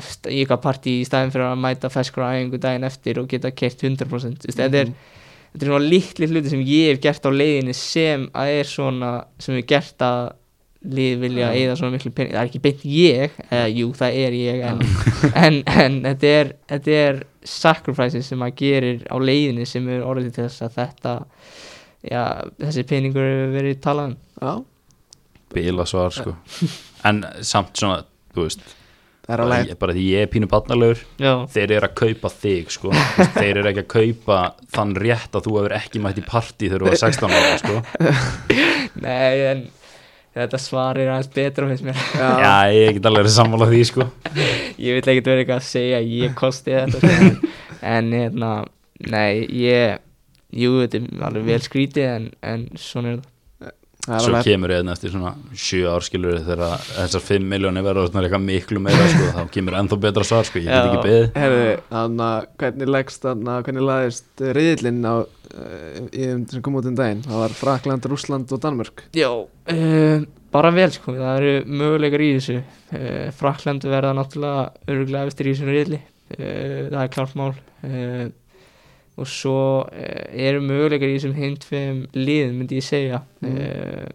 Speaker 3: st- í eitthvað partí í staðin fyrir að mæta feskur á æfingu daginn eftir og geta kert 100% mm þetta er þetta er svona litli hluti sem ég hef gert á leiðinni sem að er svona sem hef gert að lið vilja eða svona miklu pening, það er ekki beint ég eða jú það er ég en, en, en þetta, er, þetta er sacrifices sem maður gerir á leiðinni sem er orðið til þess að þetta já, þessi peningur hefur verið talað um
Speaker 1: Já,
Speaker 2: bila svar sko. en samt svona þú veist,
Speaker 1: það er
Speaker 2: bara,
Speaker 1: alveg
Speaker 2: ég- bara því ég er pínu barnalegur
Speaker 3: já,
Speaker 2: þeir eru að kaupa þig sko. Þú veist, þeir eru ekki að kaupa þann rétt að þú hefur ekki mætt í partí þegar þú var 16 ára sko.
Speaker 3: nei en þetta svar er aðeins betra finnst mér
Speaker 1: Já,
Speaker 2: já, ég get alveg að sammála því sko.
Speaker 3: ég vil ekkert vera eitthvað að segja að ég kosti þetta sko. en hérna, nei ég, jú þetta er alveg vel skrítið en, en svona er þetta
Speaker 1: það er
Speaker 2: svo
Speaker 1: alveg
Speaker 2: kemur einn eftir svona 7 árskilur þegar þessar 5 miljónir verður svona eitthvað miklu meira sko. þá kemur ennþá betra svar sko. ég get
Speaker 3: Já.
Speaker 2: ekki beðið
Speaker 1: Herðu, þannig að hvernig leggst þannig að hvernig laðist riðillinn á uh, sem kom út um daginn það var Frakland, Rússland og Danmörk
Speaker 3: Já, uh, bara vel sko, það eru möguleikar í þessu uh, Frakland verða náttúrulega öruglega eftir í þessum reyðli uh, það er klart mál uh, og svo uh, eru möguleikar í þessum hinn tveim liðum myndi ég segja
Speaker 1: Mm.
Speaker 3: uh,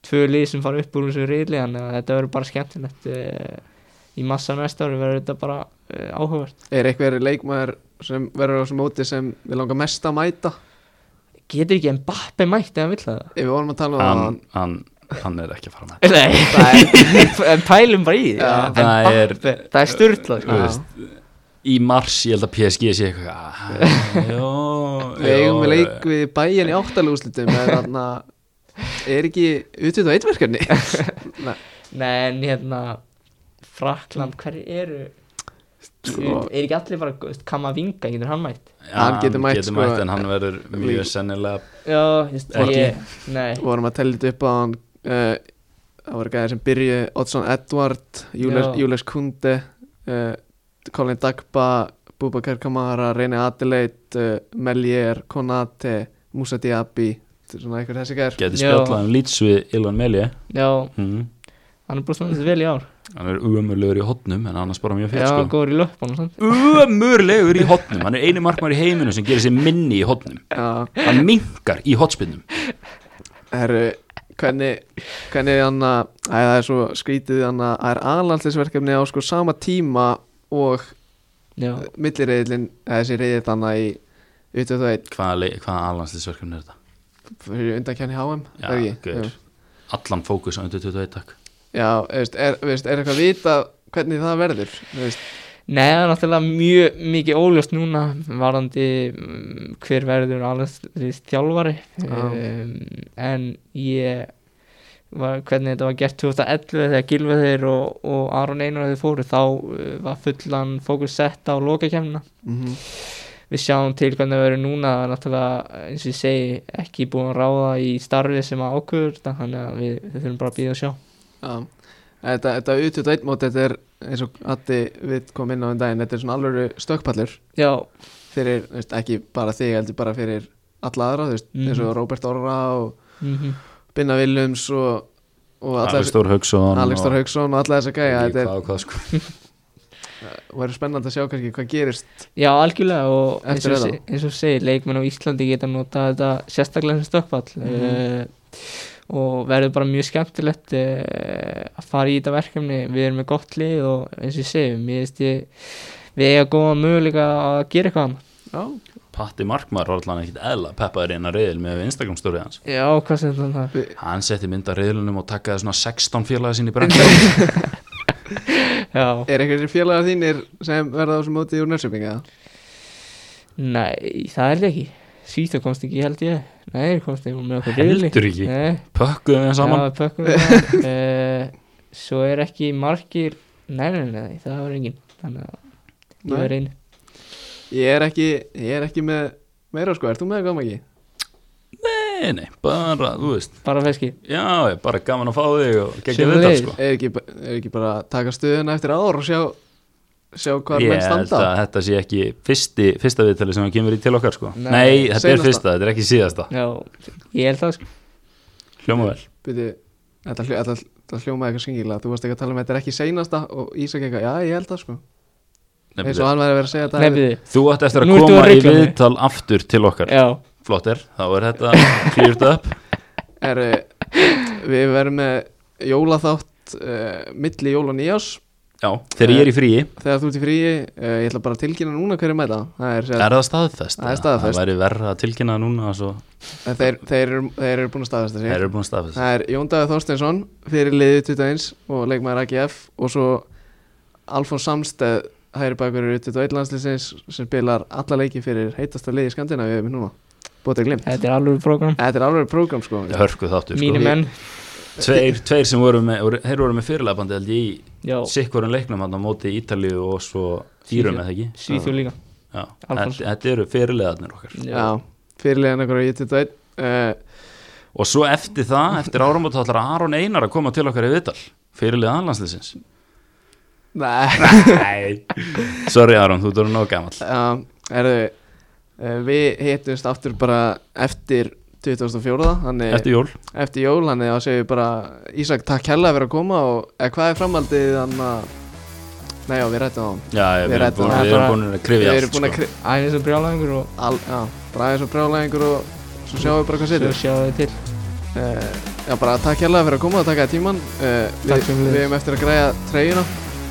Speaker 3: tvö lið sem fara upp úr þessum reyðli þannig að þetta verður bara skemmtilegt uh, í massa næsta ári verður þetta bara uh, áhugavert
Speaker 1: Er eitthvað leikmaður sem verður á þessum móti sem við langar mest að mæta
Speaker 3: Getur ekki en Bappe mætt eða vill það?
Speaker 1: ef við vorum að tala um
Speaker 2: hann,
Speaker 1: það
Speaker 2: hann, hann er ekki að fara með
Speaker 3: Nei, en pælum bara í því
Speaker 1: Já,
Speaker 3: En
Speaker 2: það er-
Speaker 3: Mbappe, það er sko. styrla
Speaker 2: Þú veist, í mars ég held að PSG sé eitthvað ah, jó,
Speaker 1: Við eigum við leik við bæjan í áttalúslitum er þannig að er ekki utvitt á eitverkefni
Speaker 3: Mm. Nei, en hérna Frakland, hver eru
Speaker 1: Sko-
Speaker 3: er ekki allir bara, veist, kam að vinga, getur hann mætt
Speaker 2: Já,
Speaker 1: Hann getur mætt,
Speaker 2: getur
Speaker 1: sko,
Speaker 2: mætt en hann verður mjög sennilega
Speaker 3: já, þú veist,
Speaker 2: Ekki.
Speaker 3: ég, nei
Speaker 1: vorum að tella þetta upp á hann uh, það voru gæðir sem byrju Oddsson Edward, Jules,
Speaker 3: Já.
Speaker 1: Jules Kunde uh, Colin Dagba Bubakar Kamara, Reyni Adelaide uh, Melier, Konate Musa Diaby, þetta er svona eitthvað þessi gæðir
Speaker 2: getur
Speaker 3: Já.
Speaker 2: spjallað um lýts við Ilvan Melje
Speaker 3: já,
Speaker 2: mm.
Speaker 3: hann er bara svona þessi vel í ár
Speaker 2: hann er umurlegur í hotnum en annars bara mjög
Speaker 3: já,
Speaker 2: fyrir sko
Speaker 3: góður í löpunum, sant
Speaker 2: umurlegur í hotnum, hann er einu markmar í heiminu sem gerir sér minni í hotnum
Speaker 1: Já,
Speaker 2: hann minkar í hotspinnum
Speaker 1: herru, hvernig hvernig hann að, æ, það er svo skrítið hann að, það er aðlandslisverkefni á sko sama tíma og
Speaker 3: já,
Speaker 1: millireiðilin, þessi reiðið þannig í 21
Speaker 2: hvaða, le- hvaða alvanslisverkefni er þetta?
Speaker 1: fyrir undankjæni HM
Speaker 2: Já,
Speaker 1: er ekki?
Speaker 2: gaur.
Speaker 1: Jú.
Speaker 2: allan fókus á undir 21 takk
Speaker 1: Já, veist, er, veist, er eitthvað vita hvernig það verður veist,
Speaker 3: Nei, það er náttúrulega mjög mikið óljóst núna varandi mm, hver verður alveg þjálfari
Speaker 1: Já.
Speaker 3: um, en ég var, hvernig þetta var gert 2011 þegar Gilveðir og, og Aron Einar þeir fóru þá uh, var fullan fókus sett á lokakemna
Speaker 1: mm -hmm.
Speaker 3: við sjáum til hvernig það verður núna það er náttúrulega eins og ég segi ekki búin að ráða í starfi sem að ákvöður þetta, þannig að við, við þurfum bara að býða og sjá
Speaker 1: Þetta, þetta U21 mót þetta er eins og Addi við kom inn á um daginn þetta er svona alvöru stökkpallur
Speaker 3: Já,
Speaker 1: fyrir, veist, ekki bara þig heldur bara fyrir alla aðra, þú veist,
Speaker 3: Mhm.
Speaker 1: eins og Róbert Orra og
Speaker 3: mm -hmm.
Speaker 1: Binna Williams og, og alla þessi-
Speaker 2: Alistór Hauksson
Speaker 1: Alex Þór Hauksson og alla þessa gæja þetta er,
Speaker 2: hvað, og hvað, sko.
Speaker 1: verður spennandi að sjá kannski hvað gerist
Speaker 3: Já, algjörlega og eins
Speaker 1: Eftir
Speaker 3: og,
Speaker 1: þetta?
Speaker 3: se- eins og segir, leikmenn á Íslandi geta nota þetta sérstaklega sem stökkvall mm og verður bara mjög skemmtilegt uh, að fara í þetta verkefni við erum með gott lið og eins og ég segi mér veist ég, við eiga góða möguleika að gera eitthvað annað
Speaker 1: Já,
Speaker 2: Patti Markmar var allan ekkit eðla peppaður inn að reyðil með Instagram stórið hans
Speaker 3: Já, hvað sem þannig það
Speaker 2: hann setti mynd að reyðilunum og takkaði svona 16 félaga sín í brennslu
Speaker 3: er Já,
Speaker 1: er einhverjir félagar þínir sem verða á þessum móti úr nörsöpinga?
Speaker 3: nei, það er það ekki Svíþjóð komst ekki, held ég Nei, komst ekki með okkur riðli.
Speaker 2: heldur ekki,
Speaker 3: Nei,
Speaker 2: pökkuðu þeim saman
Speaker 3: Já, við pökkum það uh, Svo er ekki margir Nei, nei, nei, nei, það var engin Þannig að ég
Speaker 1: Nei.
Speaker 3: var einu
Speaker 1: Ég er ekki, ég er ekki með meira sko, ert þú með að koma ekki?
Speaker 2: nei, nei, bara, þú veist
Speaker 3: Bara feski
Speaker 2: já, ég er bara gaman að fá þig og gegja
Speaker 3: Sömuleiðis.
Speaker 2: þetta sko
Speaker 1: er ekki, er ekki bara að taka stöðuna eftir ár og sjá, sjá hvað menn
Speaker 2: ég held
Speaker 1: standa
Speaker 2: að þetta sé ekki fyrsti, fyrsta viðtali sem hann kemur í til okkar sko
Speaker 3: Nei,
Speaker 2: nei, þetta
Speaker 1: seinasta.
Speaker 2: er fyrsta, þetta er ekki síðasta
Speaker 3: Já, ég held það sko
Speaker 2: hljóma vel,
Speaker 1: Byrju, þetta, hljó, þetta, þetta hljómaði eitthvað skengilega þú varst ekki að tala um þetta er ekki seinasta og Ísak eitthvað, já ég held það sko
Speaker 2: Nei,
Speaker 1: eins og hann væri að vera að segja
Speaker 3: Nei,
Speaker 1: þetta
Speaker 3: byrði
Speaker 2: þú ætti eftir að
Speaker 3: Nú ertu
Speaker 2: koma
Speaker 3: að
Speaker 2: í
Speaker 3: rugla mig.
Speaker 2: viðtal aftur til okkar
Speaker 3: Já,
Speaker 2: flott er, þá er þetta cleared up
Speaker 1: er, eh, við verðum með jólaþátt uh, milli jól og nýjás
Speaker 2: já, þegar ég er í fríi
Speaker 1: þegar þú ert í fríi, uh, ég ætla bara að tilkynna núna hverju mæta það er,
Speaker 2: Er það staðfest?
Speaker 1: Það er staðfest.
Speaker 2: Það væri verra að tilkynna núna svo
Speaker 1: þeir, þeir, þeir, eru, þeir eru búin að staðast
Speaker 2: þeir eru búin að staðfest
Speaker 1: Það er Jón Davíð Þorsteinsson fyrir liðið 21 og leikmaður AGF og svo Alfons Samsteð hægri bakur í 21 landslýsins sem spilar alla leiki fyrir heitasta liði í Skandinavíu við núna, bótið glimt
Speaker 3: þetta er alveg program
Speaker 1: Þetta er alveg program sko
Speaker 2: Ég hörku þáttu
Speaker 3: Mínu
Speaker 2: sko.
Speaker 3: menn
Speaker 2: tveir, tveir sem voru með voru, Þeir voru með fyrirlefandi held ég í
Speaker 3: Já,
Speaker 2: Sikkurinn leiknum hann á móti Ítalíu og svo Írum eða ekki
Speaker 3: Svíþjóð líka
Speaker 2: Já.
Speaker 3: Alfons.
Speaker 2: Þetta þetta eru fyrirlegarnir okkar
Speaker 1: Já, fyrir liðan okkur í 21 uh,
Speaker 2: Og svo eftir það, eftir áramót þá ætlar Aron Einar að koma til okkar í viðtal Fyrirlega anlandslisins
Speaker 1: Nei,
Speaker 2: Nei Sorry Aron, þú ert nóg gamall
Speaker 1: já, erðu uh, Við hittumst aftur bara eftir 2004 þannig
Speaker 2: Eftir jól
Speaker 1: eftir jól þannig að segja bara Ísak takk hella fyrir að koma og eða hvað er framhaldið þannig að Nei já, við rættum á hann
Speaker 2: Já, ég-
Speaker 1: Við
Speaker 2: við
Speaker 1: ræddum
Speaker 2: erum búin-
Speaker 3: það
Speaker 2: við erum
Speaker 3: bara-
Speaker 2: búin að krifja
Speaker 1: Við
Speaker 2: allt
Speaker 1: erum búin að
Speaker 2: sko.
Speaker 1: kri...
Speaker 3: Æfins og brjálæðingur og
Speaker 1: al, já, bara aðeins og brjálæðingur og svo sjáum við bara hvað
Speaker 3: Svo
Speaker 1: setur
Speaker 3: sjáðu þið til
Speaker 1: uh, Já, bara takk hérlega fyrir að koma og taka þér tíman uh,
Speaker 3: Takk
Speaker 1: við,
Speaker 3: sömuleiðis.
Speaker 1: við erum eftir að græja Eh, treyjuna